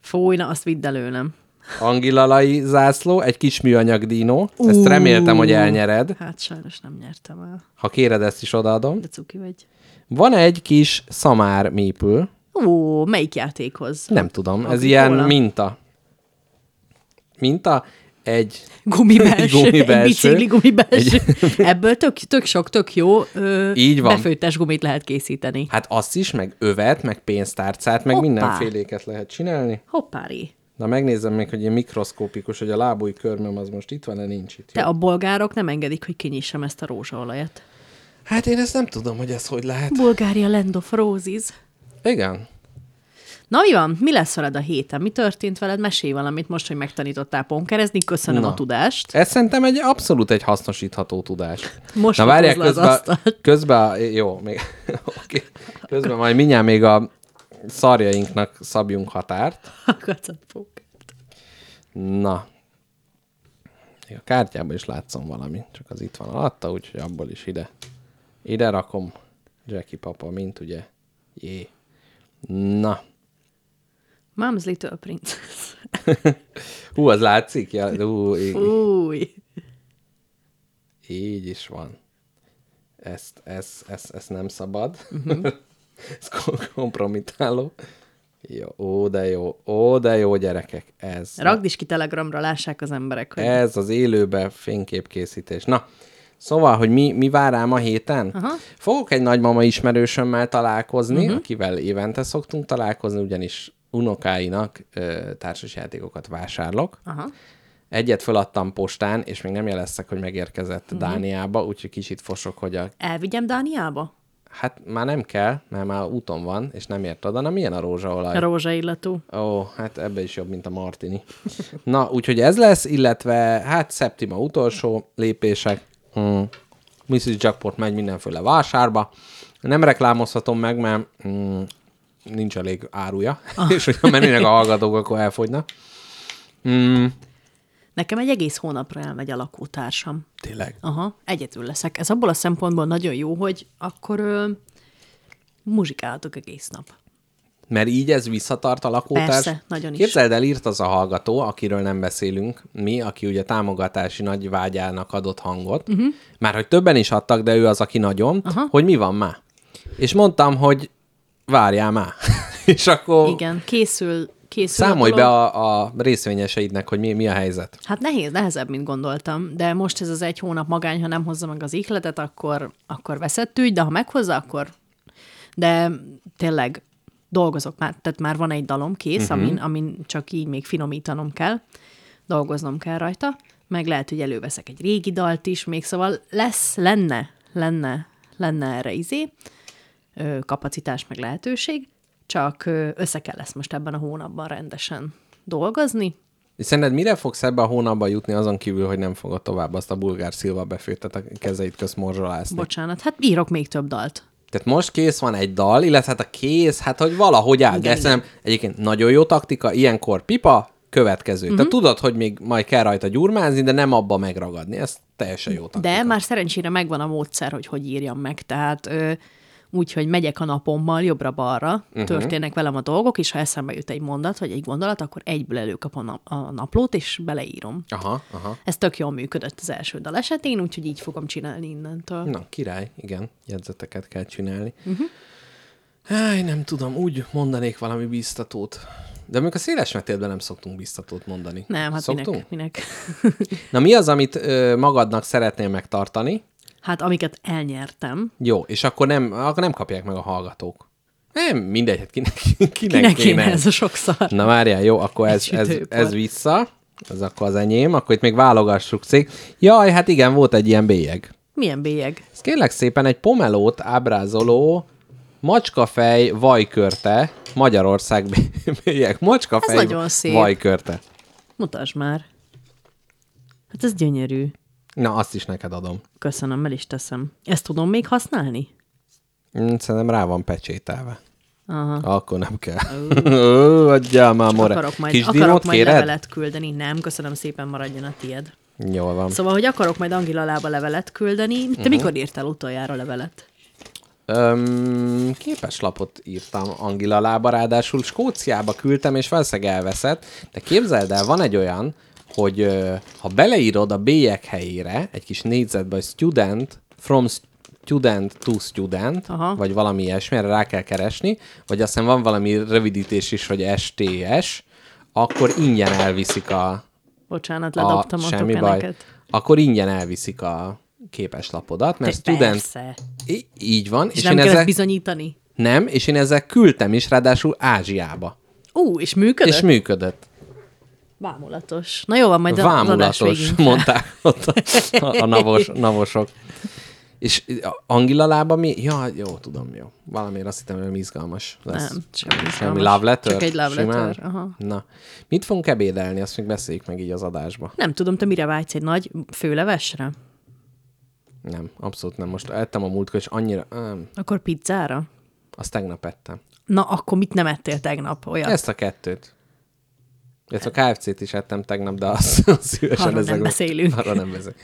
Speaker 2: Fúj, na, azt vidd előlem.
Speaker 3: Angilalai zászló, egy kis műanyag dínó. Ezt reméltem, hogy elnyered.
Speaker 2: Hát sajnos nem nyertem el,
Speaker 3: Ha kéred, ezt is odaadom.
Speaker 2: de cuki vagy.
Speaker 3: Van egy kis szamár mépül.
Speaker 2: Ó, melyik játékhoz?
Speaker 3: Nem tudom, ez
Speaker 2: Agricola.
Speaker 3: ilyen minta. Minta? Egy...
Speaker 2: Gumibelső,
Speaker 3: Gumi
Speaker 2: egy
Speaker 3: belső.
Speaker 2: bicikli gumibelső. Ebből tök, tök sok, tök jó ö,
Speaker 3: Így van.
Speaker 2: befőttes gumit lehet készíteni.
Speaker 3: Hát azt is, meg övet, meg pénztárcát, meg
Speaker 2: Hoppá.
Speaker 3: mindenféléket lehet csinálni.
Speaker 2: Hoppári.
Speaker 3: Na megnézem még, hogy ilyen mikroszkópikus, hogy a lábúj körmöm az most itt van-e, nincs itt.
Speaker 2: De a bolgárok nem engedik, hogy kinyissam ezt a rózsaolajat.
Speaker 3: Hát én ezt nem tudom, hogy ez hogy lehet.
Speaker 2: Bulgária land of roses.
Speaker 3: Igen.
Speaker 2: Na mi van? Mi lesz veled a héten? Mi történt veled? Mesélj valamit most, hogy megtanítottál ponkerezni. Köszönöm
Speaker 3: Na.
Speaker 2: a tudást.
Speaker 3: Ez szerintem egy abszolút egy hasznosítható tudás.
Speaker 2: Most
Speaker 3: Na várják,
Speaker 2: fotózd le
Speaker 3: közben,
Speaker 2: az asztalt.
Speaker 3: közben, a- jó, még, okay. közben majd mindjárt még a szarjainknak szabjunk határt.
Speaker 2: A kacatpók.
Speaker 3: Na. Még A kártyában is látszom valami, csak az itt van alatta, úgyhogy abból is ide. Ide rakom. Jackie papa, mint ugye. Jé. Na.
Speaker 2: Mom's Little Princess.
Speaker 3: Hú, az látszik? Ja, hú, í-
Speaker 2: Új.
Speaker 3: így is van. Ezt, ezt, ezt, ezt nem szabad. Ez kom- kompromitáló. Jó, ó, de jó, ó, de jó, gyerekek. Ez,
Speaker 2: Ragd is ki telegramra, lássák az emberek, hogy
Speaker 3: ez az élőbe fényképkészítés. Na, szóval, hogy mi, mi vár rám a héten? Aha. Fogok egy nagymama ismerősömmel találkozni, uh-huh. akivel évente szoktunk találkozni, ugyanis unokáinak ö, társasjátékokat vásárlok.
Speaker 2: Aha.
Speaker 3: Egyet feladtam postán, és még nem jeleztek, hogy megérkezett uh-huh. Dániába, úgyhogy kicsit fosok, hogy a...
Speaker 2: elvigyem Dániába?
Speaker 3: Hát már nem kell, mert már úton van, és nem ért oda. Na, milyen a rózsaolaj?
Speaker 2: Rózsaillatú.
Speaker 3: Ó, hát ebbe is jobb, mint a Martini. Na, úgyhogy ez lesz, illetve hát szeptima utolsó lépések. Hmm. Mrs. Jackpot megy mindenféle vásárba. Nem reklámozhatom meg, mert hmm, nincs elég áruja, és hogyha mennének a hallgatók, akkor elfogyna.
Speaker 2: Nekem egy egész hónapra elmegy a lakótársam.
Speaker 3: Tényleg.
Speaker 2: Aha, egyedül leszek. Ez abból a szempontból nagyon jó, hogy akkor ö, muzsikáltok egész nap.
Speaker 3: Mert így ez visszatart a lakótárs.
Speaker 2: Persze, nagyon is.
Speaker 3: Képzeld el, írt az a hallgató, akiről nem beszélünk, mi, aki ugye támogatási nagy vágyának adott hangot,
Speaker 2: Mhm.
Speaker 3: uh-huh. már hogy többen is adtak, de ő az, aki nagyon, Aha. hogy mi van már. És mondtam, hogy várjál már. És akkor Igen.
Speaker 2: Igen, készül, készül
Speaker 3: számolj
Speaker 2: a dolog.
Speaker 3: be a, a részvényeseidnek, hogy mi, mi a helyzet.
Speaker 2: Hát nehéz, nehezebb, mint gondoltam, de most ez az egy hónap magány, ha nem hozza meg az ihletet, akkor, akkor veszett ügy, de ha meghozza, akkor... De tényleg dolgozok már, tehát már van egy dalom kész, uh-huh. amin, amin csak így még finomítanom kell, dolgoznom kell rajta, meg lehet, hogy előveszek egy régi dalt is még, szóval lesz, lenne, lenne, lenne erre izé, ö, kapacitás meg lehetőség, csak ö, össze kell lesz most ebben a hónapban rendesen dolgozni,
Speaker 3: És szerinted mire fogsz ebbe a hónapba jutni azon kívül, hogy nem fogod tovább azt a bulgár szilva befőttet a kezeid közt morzsolászni?
Speaker 2: bocsánat, hát írok még több dalt.
Speaker 3: Tehát most kész van egy dal, illetve hát a kész, hát hogy valahogy áll. De
Speaker 2: Igen,
Speaker 3: szerintem egyébként nagyon jó taktika, ilyenkor pipa, következő.
Speaker 2: Mhm.
Speaker 3: Uh-huh. Tehát tudod, hogy még majd kell rajta gyurmázni, de nem abba megragadni. Ez teljesen jó taktika.
Speaker 2: De már szerencsére megvan a módszer, hogy hogy írjam meg. Tehát ö, úgy, hogy megyek a napommal jobbra-balra, uh-huh. történnek velem a dolgok, és ha eszembe jut egy mondat, vagy egy gondolat, akkor egyből előkapom a, a naplót, és beleírom.
Speaker 3: Aha, aha.
Speaker 2: Ez tök jól működött az első dal esetén, úgyhogy így fogom csinálni innentől.
Speaker 3: Na, király, igen, jegyzeteket kell csinálni.
Speaker 2: Mhm.
Speaker 3: Uh-huh. Háj, nem tudom, úgy mondanék valami biztatót. De mondjuk a széles metélben nem szoktunk biztatót mondani.
Speaker 2: Nem, hát
Speaker 3: szoktunk?
Speaker 2: minek, minek.
Speaker 3: Na mi az, amit ö, magadnak szeretnél megtartani?
Speaker 2: hát amiket elnyertem.
Speaker 3: Jó, és akkor nem, akkor nem kapják meg a hallgatók. Nem, mindegy, hát kinek, kinek,
Speaker 2: Kinek
Speaker 3: kinek
Speaker 2: kéne ez a sokszor?
Speaker 3: Na várjál, jó, akkor ez,
Speaker 2: Egy
Speaker 3: ez,
Speaker 2: sütőipar.
Speaker 3: ez vissza, ez akkor az enyém, akkor itt még válogassuk cég. Jaj, hát igen, volt egy ilyen bélyeg.
Speaker 2: Milyen bélyeg?
Speaker 3: Ez kérlek szépen egy pomelót ábrázoló macskafej vajkörte, Magyarország bé- bélyeg, macskafej
Speaker 2: Ez nagyon szép.
Speaker 3: vajkörte.
Speaker 2: Mutasd már. Hát ez gyönyörű.
Speaker 3: Na, azt is neked adom.
Speaker 2: Köszönöm, el is teszem. Ezt tudom még használni?
Speaker 3: Mm, Szerintem rá van pecsételve.
Speaker 2: Aha.
Speaker 3: Akkor nem kell. Ó, Adjál már, more.
Speaker 2: Akarok majd,
Speaker 3: Kis
Speaker 2: akarok
Speaker 3: dinót
Speaker 2: majd
Speaker 3: kéred?
Speaker 2: levelet küldeni. Nem, köszönöm szépen, maradjon a tied.
Speaker 3: Jól van.
Speaker 2: Szóval, hogy akarok majd Angila lába levelet küldeni.
Speaker 3: Mhm.
Speaker 2: Te uh-huh. mikor írtál utoljára levelet?
Speaker 3: Öm, képeslapot írtam Angila lába, ráadásul Skóciába küldtem, és valószínűleg elveszett, de képzeld el, van egy olyan, hogy ö, ha beleírod a bélyek helyére egy kis négyzetbe, hogy student, from student to student,
Speaker 2: Aha.
Speaker 3: vagy valami ilyesmi, erre rá kell keresni, vagy azt hiszem van valami rövidítés is, hogy STS, akkor ingyen elviszik a,
Speaker 2: Bocsánat, ledobtam a, a eneket.
Speaker 3: Akkor ingyen elviszik a képeslapodat, mert student...
Speaker 2: Persze.
Speaker 3: I- így van.
Speaker 2: És, nem
Speaker 3: én
Speaker 2: kell
Speaker 3: ezzel-
Speaker 2: ezt bizonyítani?
Speaker 3: nem, és én ezzel küldtem is, ráadásul Ázsiába.
Speaker 2: Ú, és működött?
Speaker 3: És működött.
Speaker 2: Vámulatos. Na jó van, majd a- az adás
Speaker 3: Vámulatos,
Speaker 2: végén.
Speaker 3: mondták ott a, a navos, navosok. És a Angila lába mi? Ja, jó, tudom, jó. Valamiért azt hittem, hogy valami izgalmas lesz.
Speaker 2: Nem, semmi
Speaker 3: Semmi
Speaker 2: izgalmas.
Speaker 3: love letter?
Speaker 2: Csak egy love
Speaker 3: Simán?
Speaker 2: letter, aha.
Speaker 3: Na. Mit fogunk ebédelni? Azt még beszéljük meg így az adásba.
Speaker 2: Nem tudom, te mire vágysz egy nagy főlevesre?
Speaker 3: Nem, abszolút nem. Most ettem a múltkor, és annyira... Nem,
Speaker 2: Akkor pizzára?
Speaker 3: azt tegnap ettem.
Speaker 2: Na, akkor mit nem ettél tegnap? Olyan.
Speaker 3: Ezt a kettőt. Ezt a KFC-t is ettem tegnap, de azt, azt szívesen
Speaker 2: Hát. Arról nem
Speaker 3: ezekben-
Speaker 2: beszélünk.
Speaker 3: Arról nem beszélünk.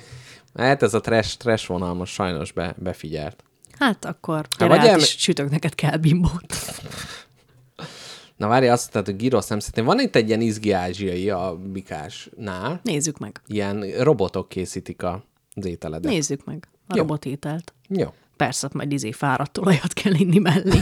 Speaker 3: Hát ez a trash, trash vonal most sajnos be, befigyelt.
Speaker 2: Hát akkor
Speaker 3: vagy
Speaker 2: gyere hát,
Speaker 3: elme-
Speaker 2: és sütök neked kell bimbót.
Speaker 3: Na várj, azt mondtad, hogy gyrosz nem szeretném. Van itt egy ilyen izgi ázsiai a bikásnál.
Speaker 2: Nézzük meg.
Speaker 3: Ilyen robotok készítik a az ételedet.
Speaker 2: Nézzük meg a
Speaker 3: Jó.
Speaker 2: robotételt.
Speaker 3: Jó.
Speaker 2: Persze, majd izé fáradt olajat kell inni mellé.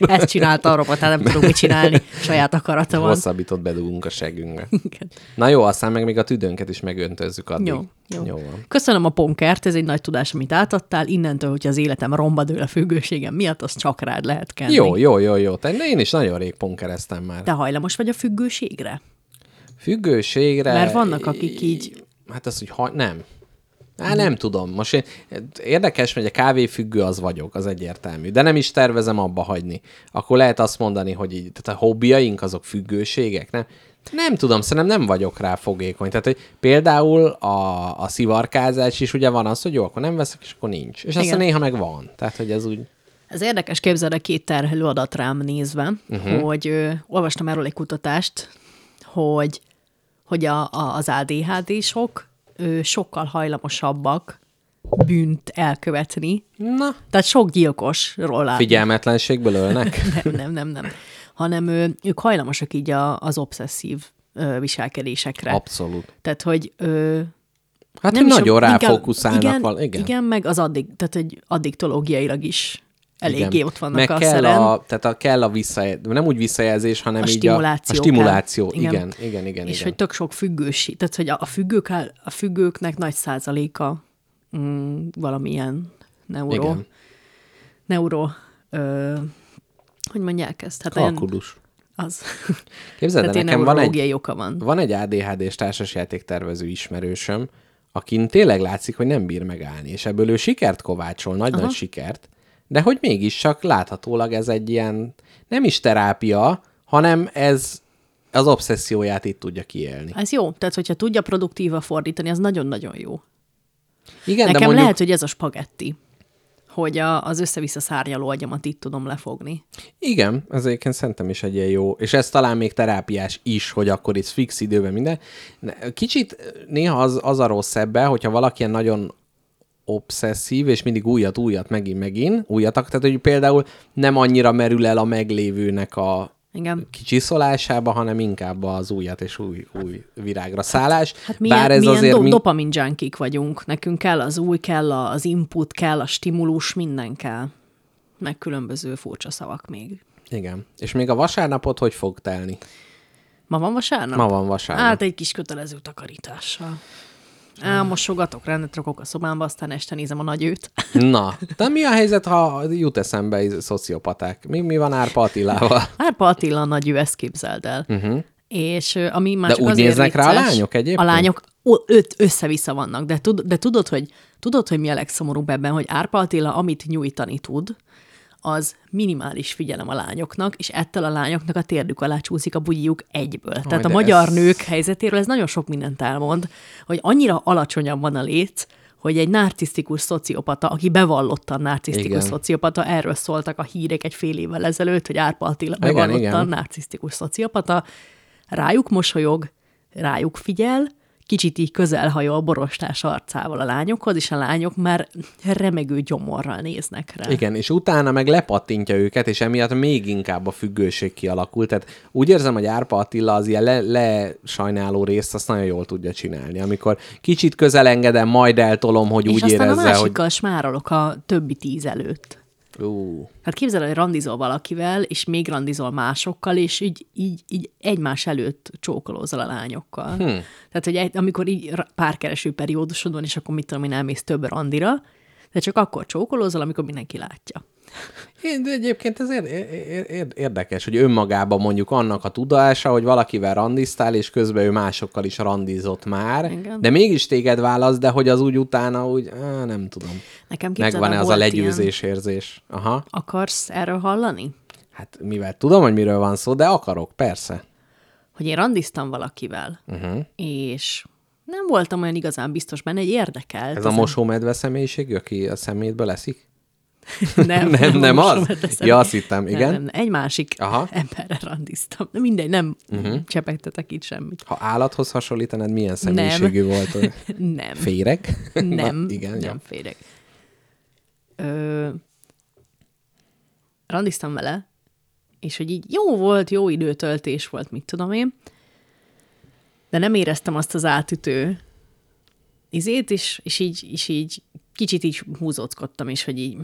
Speaker 2: Ezt csinálta a robot, hát nem tudunk mit csinálni. Saját akarata van.
Speaker 3: Hosszabbított bedugunk a segünkbe.
Speaker 2: Igen.
Speaker 3: Na jó, aztán meg még a tüdőnket is megöntözzük addig.
Speaker 2: Jó, jó.
Speaker 3: jó van.
Speaker 2: Köszönöm a ponkert, ez egy nagy tudás, amit átadtál. Innentől, hogy az életem romba dől a függőségem miatt, az csak rád lehet kenni.
Speaker 3: Jó, jó, jó, jó. Te, én is nagyon rég ponkereztem már.
Speaker 2: Te hajlamos vagy a függőségre?
Speaker 3: Függőségre...
Speaker 2: Mert vannak, akik így-
Speaker 3: Hát az, hogy ha... nem. Á, nem tudom. Most én, érdekes, hogy a kávéfüggő az vagyok, az egyértelmű. De nem is tervezem abba hagyni. Akkor lehet azt mondani, hogy így, tehát a hobbiaink azok függőségek, nem? Nem tudom, szerintem nem vagyok rá fogékony. Tehát, hogy például a, a szivarkázás is ugye van az, hogy jó, akkor nem veszek, és akkor nincs. És aztán
Speaker 2: Igen.
Speaker 3: néha meg van. Tehát, hogy ez úgy...
Speaker 2: Ez érdekes, képzeld a két terhelő adat rám nézve,
Speaker 3: Mhm.
Speaker 2: uh-huh. hogy ö, olvastam erről egy kutatást, hogy, hogy a, a, az ADHD-sok ö, sokkal hajlamosabbak bűnt elkövetni.
Speaker 3: Na,
Speaker 2: Tehát sok gyilkosról áll.
Speaker 3: figyelmetlenségből ölnek.
Speaker 2: Nem, nem, nem, nem. Hanem ö, ők hajlamosak így a, az obszesszív ö, viselkedésekre.
Speaker 3: Abszolút.
Speaker 2: Tehát, hogy ö,
Speaker 3: Hát,
Speaker 2: nem
Speaker 3: nem
Speaker 2: is a-
Speaker 3: nagyon
Speaker 2: inkább-
Speaker 3: ráfókuszálnak.
Speaker 2: igen,
Speaker 3: val-
Speaker 2: igen. igen, meg az addig, tehát hogy addiktológiailag is eléggé
Speaker 3: Igen.
Speaker 2: ott vannak
Speaker 3: Meg
Speaker 2: a
Speaker 3: kell
Speaker 2: szeren.
Speaker 3: a, tehát a, kell a visszajelzés, nem úgy visszajelzés, hanem
Speaker 2: A
Speaker 3: így
Speaker 2: stimuláció
Speaker 3: a, a stimuláció.
Speaker 2: kell.
Speaker 3: Igen, igen, igen. igen,
Speaker 2: És
Speaker 3: igen.
Speaker 2: hogy tök sok függőség, tehát hogy a, a, függők, áll- a függőknek nagy százaléka mm, valamilyen neuro,
Speaker 3: Igen.
Speaker 2: neuro ö, hogy mondják ezt? Hát olyan-
Speaker 5: Kalkulus.
Speaker 2: Az.
Speaker 3: Képzeld el,
Speaker 2: Tehát
Speaker 3: nekem van egy,
Speaker 2: oka van.
Speaker 3: van egy ADHD-s társasjátéktervező ismerősöm, akin tényleg látszik, hogy nem bír megállni, és ebből ő sikert kovácsol, nagy-nagy sikert, de hogy mégis csak láthatólag ez egy ilyen, nem is terápia, hanem ez az obszesszióját itt tudja kiélni.
Speaker 2: Ez jó. Tehát, hogyha tudja produktíva fordítani, az nagyon-nagyon jó.
Speaker 3: Igen,
Speaker 2: Nekem
Speaker 3: de mondjuk...
Speaker 2: lehet, hogy ez a spagetti, hogy a, az össze-vissza szárnyaló agyamat itt tudom lefogni.
Speaker 3: Igen, ez egyébként szerintem is egy ilyen jó, és ez talán még terápiás is, hogy akkor itt fix időben minden. Ne- Kicsit eh, néha az, az a rossz ebbe, hogyha valaki ilyen nagyon obszesszív, és mindig újat, újat, megint, megint, újatak, tehát hogy például nem annyira merül el a meglévőnek a
Speaker 2: Igen.
Speaker 3: kicsiszolásába, hanem inkább az újat és új, új virágra szállás.
Speaker 2: Hát milyen, Bár ez milyen azért do- dopamin junkik vagyunk. Nekünk kell az új, kell a- az input, kell a stimulus, minden kell. Meg különböző furcsa szavak még.
Speaker 3: Igen. És még a vasárnapot hogy fog telni?
Speaker 2: Ma van vasárnap?
Speaker 3: Ma van vasárnap.
Speaker 2: Hát egy kis kötelező takarítással. Elmosogatok, rendet rakok a szobámba, aztán este nézem a nagyőt.
Speaker 3: Na, de mi a helyzet, ha jut eszembe iz- szociopaták? Mi, mi van Árpa Attilával?
Speaker 2: Árpa Attila a nagy ő, ezt képzeld el. Uh-huh. És ö, ami már
Speaker 3: Mhm. De
Speaker 2: csak
Speaker 3: úgy
Speaker 2: azért
Speaker 3: néznek rá a
Speaker 2: vicces,
Speaker 3: lányok egyébként?
Speaker 2: A lányok o- öt össze-vissza vannak, de, tud, de tudod, hogy, tudod, hogy mi a legszomorúbb ebben, hogy Árpa Attila, amit nyújtani tud, az minimális figyelem a lányoknak, és ettől a lányoknak a térdük alá csúszik a bugyiuk egyből. Tehát
Speaker 3: de
Speaker 2: a magyar
Speaker 3: ez-
Speaker 2: ez... nők helyzetéről ez nagyon sok mindent elmond, hogy annyira alacsonyan van a léc, hogy egy narcisztikus szociopata, aki bevallottan narcisztikus
Speaker 3: Igen.
Speaker 2: szociopata, erről szóltak a hírek egy fél évvel ezelőtt, hogy Árpa Attila
Speaker 3: Igen, igen.
Speaker 2: bevallottan narcisztikus szociopata, rájuk mosolyog, rájuk figyel, kicsit így közelhajol borostás arcával a lányokhoz, és a lányok már remegő gyomorral néznek rá.
Speaker 3: Igen, és utána meg lepattintja őket, és emiatt még inkább a függőség kialakult. Tehát úgy érzem, hogy Árpa Attila az ilyen le, lesajnáló részt azt nagyon jól tudja csinálni. Amikor kicsit közel engedem, majd eltolom, hogy
Speaker 2: és
Speaker 3: úgy
Speaker 2: aztán
Speaker 3: érezze,
Speaker 2: a másikkal
Speaker 3: hogy...
Speaker 2: hogy... smárolok a többi tíz előtt.
Speaker 3: Ú,
Speaker 2: Hát képzel, el, hogy randizol valakivel, és még randizol másokkal, és így, így, így egymás előtt csókolózol a lányokkal.
Speaker 3: Hm.
Speaker 2: Hmm. Tehát, hogy egy, amikor így ra- párkereső periódusod van, és akkor mit tudom én, elmész több randira, de csak akkor csókolózol, amikor mindenki látja.
Speaker 3: Én, de egyébként ez ér- ér- ér- érdekes, hogy önmagában mondjuk annak a tudása, hogy valakivel randiztál, és közben ő másokkal is randizott már,
Speaker 2: Igen.
Speaker 3: de mégis téged válasz, de hogy az úgy utána úgy, á, nem tudom.
Speaker 2: Nekem képzeld,
Speaker 3: Megvan-e
Speaker 2: el,
Speaker 3: az a
Speaker 2: volt Ilyen.
Speaker 3: legyőzés érzés? Aha.
Speaker 2: Akarsz erről hallani?
Speaker 3: Hát mivel tudom, hogy miről van szó, de akarok, persze.
Speaker 2: Hogy én randiztam valakivel,
Speaker 3: Mhm.
Speaker 2: uh-huh. és nem voltam olyan igazán biztos benne, egy érdekelt.
Speaker 3: Ez a mosómedve személyiség, aki a szemétből leszik?
Speaker 2: nem,
Speaker 3: Nem, nem
Speaker 2: most
Speaker 3: az?
Speaker 2: soha teszem.
Speaker 3: Ja, azt hittem, igen.
Speaker 2: Nem, nem, nem. Egy másik
Speaker 3: Aha. Mhm.
Speaker 2: Aha. emberre randiztam. De mindegy, nem uh-huh. csepegtetek itt semmit.
Speaker 3: Ha állathoz hasonlítanád, milyen személyiségű nem. volt? ő?
Speaker 2: Nem,
Speaker 3: Féreg?
Speaker 2: nem,
Speaker 3: Na, igen,
Speaker 2: nem
Speaker 3: Ja.
Speaker 2: férek. Ö, randiztam vele, és hogy így jó volt, jó időtöltés volt, mit tudom én, de nem éreztem azt az átütő izét, és, és, így, és így kicsit így húzódkodtam, és hogy így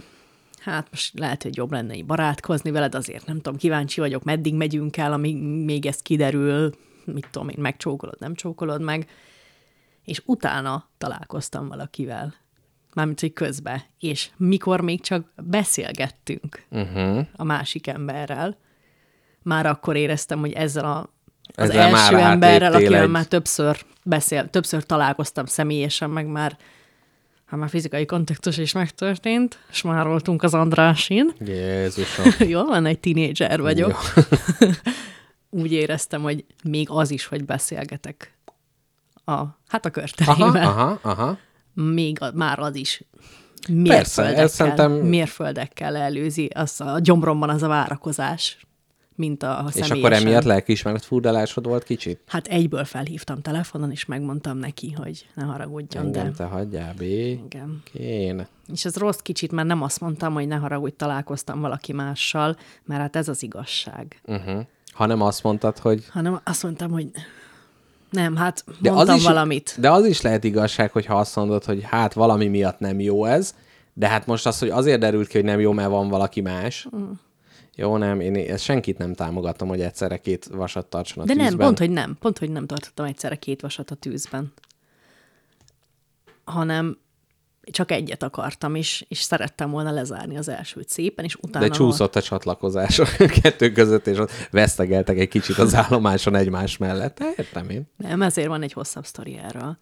Speaker 2: hát most lehet, hogy jobb lenne így barátkozni veled, azért nem tudom, kíváncsi vagyok, meddig megyünk el, amíg még ez kiderül, mit tudom én, megcsókolod, nem csókolod meg, és utána találkoztam valakivel. Mármint, hogy közbe. És mikor még csak beszélgettünk uh-huh. a másik emberrel, már akkor éreztem, hogy ezzel a, az
Speaker 3: Ezzel
Speaker 2: ezzel
Speaker 3: már
Speaker 2: első
Speaker 3: átléptél
Speaker 2: emberrel, akivel
Speaker 3: egy-
Speaker 2: egy... már többször beszél, többször találkoztam személyesen, meg már ha már fizikai kontaktus is megtörtént, és már voltunk az Andrásin.
Speaker 3: Jézusom.
Speaker 2: Jól van, egy tinédzser vagyok. Úgy éreztem, hogy még az is, hogy beszélgetek a, hát a
Speaker 3: Aha,
Speaker 2: körterével
Speaker 3: aha, aha.
Speaker 2: még a, már az is
Speaker 3: Persze,
Speaker 2: mérföldekkel,
Speaker 3: ez szerintem-
Speaker 2: mérföldekkel előzi, az a gyomromban az a várakozás, mint a
Speaker 3: És
Speaker 2: személyesen.
Speaker 3: akkor emiatt lelkiismeret furdalásod volt kicsit?
Speaker 2: Hát egyből felhívtam telefonon, és megmondtam neki, hogy ne haragudjon,
Speaker 3: Engem
Speaker 2: de...
Speaker 3: te hagyjál, bé.
Speaker 2: Igen.
Speaker 3: Én.
Speaker 2: És ez rossz kicsit, mert nem azt mondtam, hogy ne haragudj, találkoztam valaki mással, mert hát ez az igazság.
Speaker 3: Uh-huh. Ha nem azt mondtad, hogy...
Speaker 2: Hanem azt mondtam, hogy nem, hát
Speaker 3: De
Speaker 2: mondtam
Speaker 3: az is,
Speaker 2: valamit.
Speaker 3: De az is lehet igazság, hogy ha azt mondod, hogy hát valami miatt nem jó ez, de hát most az, hogy azért derült ki, hogy nem jó, mert van valaki más. Mm. Jó, nem, én ezt senkit nem támogatom, hogy egyszerre két vasat tartson a
Speaker 2: De
Speaker 3: tűzben.
Speaker 2: nem, pont, hogy nem. Pont, hogy nem tartottam egyszerre két vasat a tűzben. Hanem csak egyet akartam, és, és szerettem volna lezárni az elsőt szépen, és utána...
Speaker 3: De csúszott a csatlakozás a kettő között, és ott vesztegeltek egy kicsit az állomáson egymás mellett. Hát, Értem én.
Speaker 2: Nem, ezért van egy hosszabb sztori erről,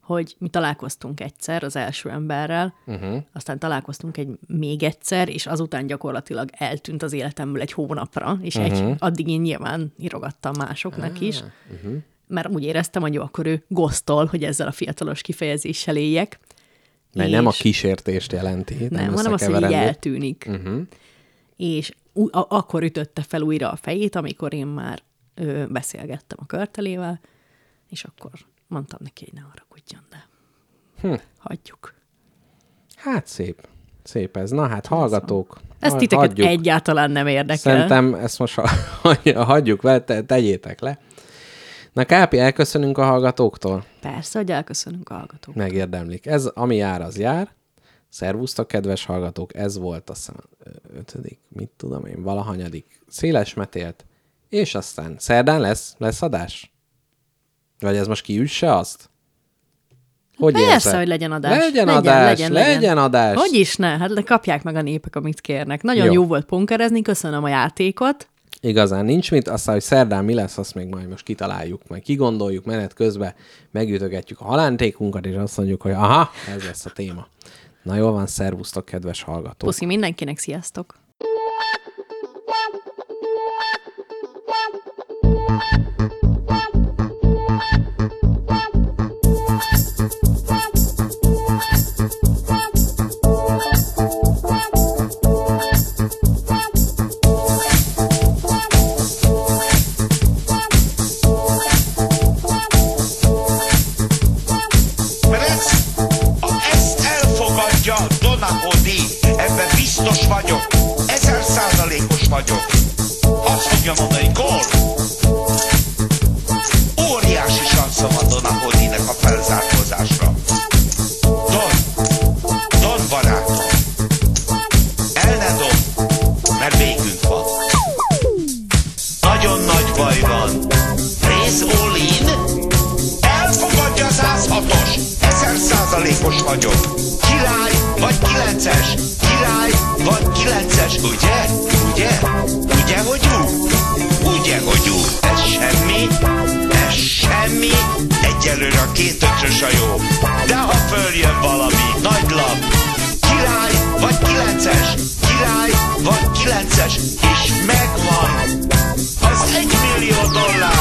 Speaker 2: hogy mi találkoztunk egyszer az első emberrel,
Speaker 3: Mhm.
Speaker 2: uh-huh. aztán találkoztunk egy még egyszer, és azután gyakorlatilag eltűnt az életemből egy hónapra, és uh-huh.
Speaker 3: Mhm.
Speaker 2: egy, addig én nyilván írogattam másoknak
Speaker 3: Ah,
Speaker 2: uh-huh. is,
Speaker 3: mhm.
Speaker 2: uh-huh. mert úgy éreztem, hogy jó, akkor ő gosztol, hogy ezzel a fiatalos kifejezéssel éljek.
Speaker 3: Mert nem a kísértést jelenti.
Speaker 2: Nem, nem hanem azt, hogy így
Speaker 3: összekeverendő.
Speaker 2: eltűnik.
Speaker 3: Mhm.
Speaker 2: Uh-huh. És ú- a- akkor ütötte fel újra a fejét, amikor én már ö, beszélgettem a körtelével, és akkor mondtam neki, hogy ne haragudjon, de
Speaker 3: Hm.
Speaker 2: hagyjuk.
Speaker 3: Hát szép. Szép ez. Na hát, hallgatók.
Speaker 2: Ez
Speaker 3: ha-
Speaker 2: titeket
Speaker 3: hagyjuk.
Speaker 2: egyáltalán nem érdekel.
Speaker 3: Szerintem ezt most ha- hagy- hagyjuk, vele, te- tegyétek le. Na Kápi, elköszönünk a hallgatóktól.
Speaker 2: Persze, hogy elköszönünk a hallgatók.
Speaker 3: Megérdemlik. Ez, ami jár, az jár. Szervusztok, kedves hallgatók, ez volt aztán ötödik, mit tudom én, valahanyadik széles metélt, és aztán szerdán lesz, lesz adás? Vagy ez most kiüsse azt? Hogy
Speaker 2: Persze,
Speaker 3: érzed?
Speaker 2: hogy legyen adás.
Speaker 3: Legyen,
Speaker 2: Legyen,
Speaker 3: adás,
Speaker 2: legyen,
Speaker 3: legyen,
Speaker 2: legyen.
Speaker 3: adás.
Speaker 2: Hogy is ne? Hát le- kapják meg a népek, amit kérnek. Nagyon jó,
Speaker 3: Jó.
Speaker 2: jó volt punkerezni, köszönöm a játékot.
Speaker 3: Igazán nincs mit, aztán, hogy szerdán mi lesz, azt még majd most kitaláljuk, majd kigondoljuk menet közben, megütögetjük a halántékunkat, és azt mondjuk, hogy aha, ez lesz a téma. Na jól van, szervusztok, kedves hallgatók.
Speaker 2: Puszi mindenkinek, sziasztok!
Speaker 5: Perec, ha ezt elfogadja Donaco D, ebben biztos vagyok, ezer százalékos vagyok. Azt fogja mondani, gól! Óriási sanszom a Donaco D-nek a felzárkózásra. Don, Don barátom, el ne dob, mert végünk van. Nagyon nagy baj van. Rész Olin, Elfogadja az 106-os, 1000 százalékos vagyok. Király vagy 9-es, király vagy 9-es, ugye? Ugye? Ugye, hogy úgy? Ugye, hogy úgy? Ez semmi, ez semmi, egyelőre a két ötös a jó. De ha följön valami nagy lap, király vagy 9-es, király vagy 9-es, és megvan az egy millió dollár.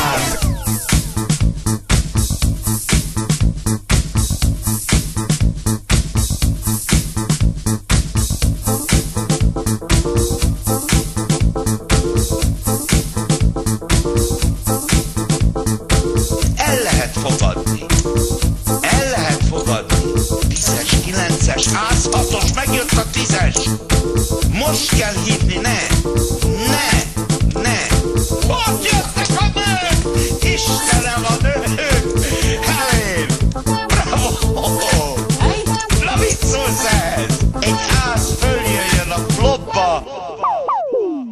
Speaker 5: el lehet fogadni. El lehet fogadni. 10-es, 9-es, 106-os, megjött a 10-es. Most kell hívni, ne! Ne! Ne! Ott jöttek a nők! Istenem a nők! Helén! Bravo! Na mit szólsz ehhez? Egy ház följöjjön a flopba!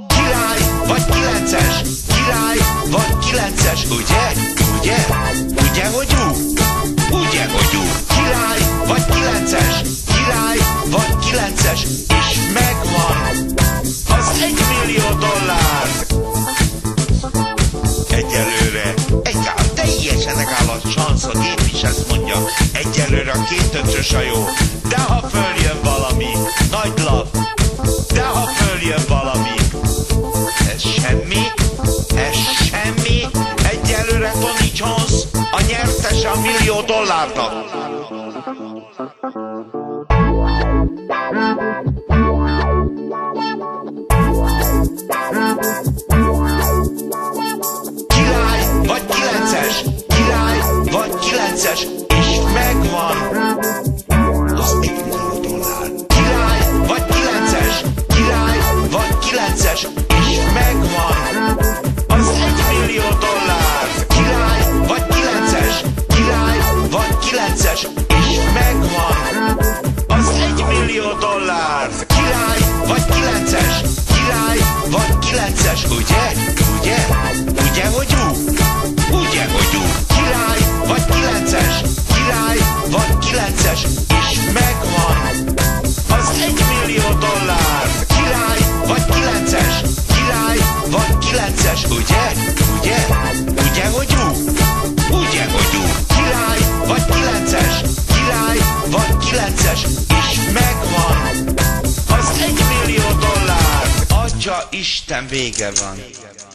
Speaker 5: Király vagy kilences, király vagy kilences, ugye? Ugye? Ugye, hogy úgy? Ugye, hogy úgy? Király vagy kilences, király vagy kilences, és megvan az egy millió dollár. Egyelőre egyáltalán teljesen egáll a szansz, a gép is ezt mondja. Egyelőre a két ötös a jó, de ha följön valami nagy lap, de ha följön valami ez semmi, ez semmi. Egyelőre Tony Jones a nyertes a millió dollárnak. Király vagy kilences, király vagy kilences, és megvan az egy millió dollár. Király vagy kilences, király vagy kilences, és megvan az egy millió dollár. Király vagy kilences, király vagy kilences, és megvan az egy millió dollár. Király vagy kilences, király vagy kilences, ugye? Ugye? Ugye, hogy úgy? Ugye, hogy úgy? Király vagy kilences, király vagy kilences, és megvan vicces, ugye? Ugye? Ugye, hogy jó? Ugye, hogy jó? Király vagy kilences? Király vagy kilences? És megvan! Az egy millió dollár! Atya Isten vége van!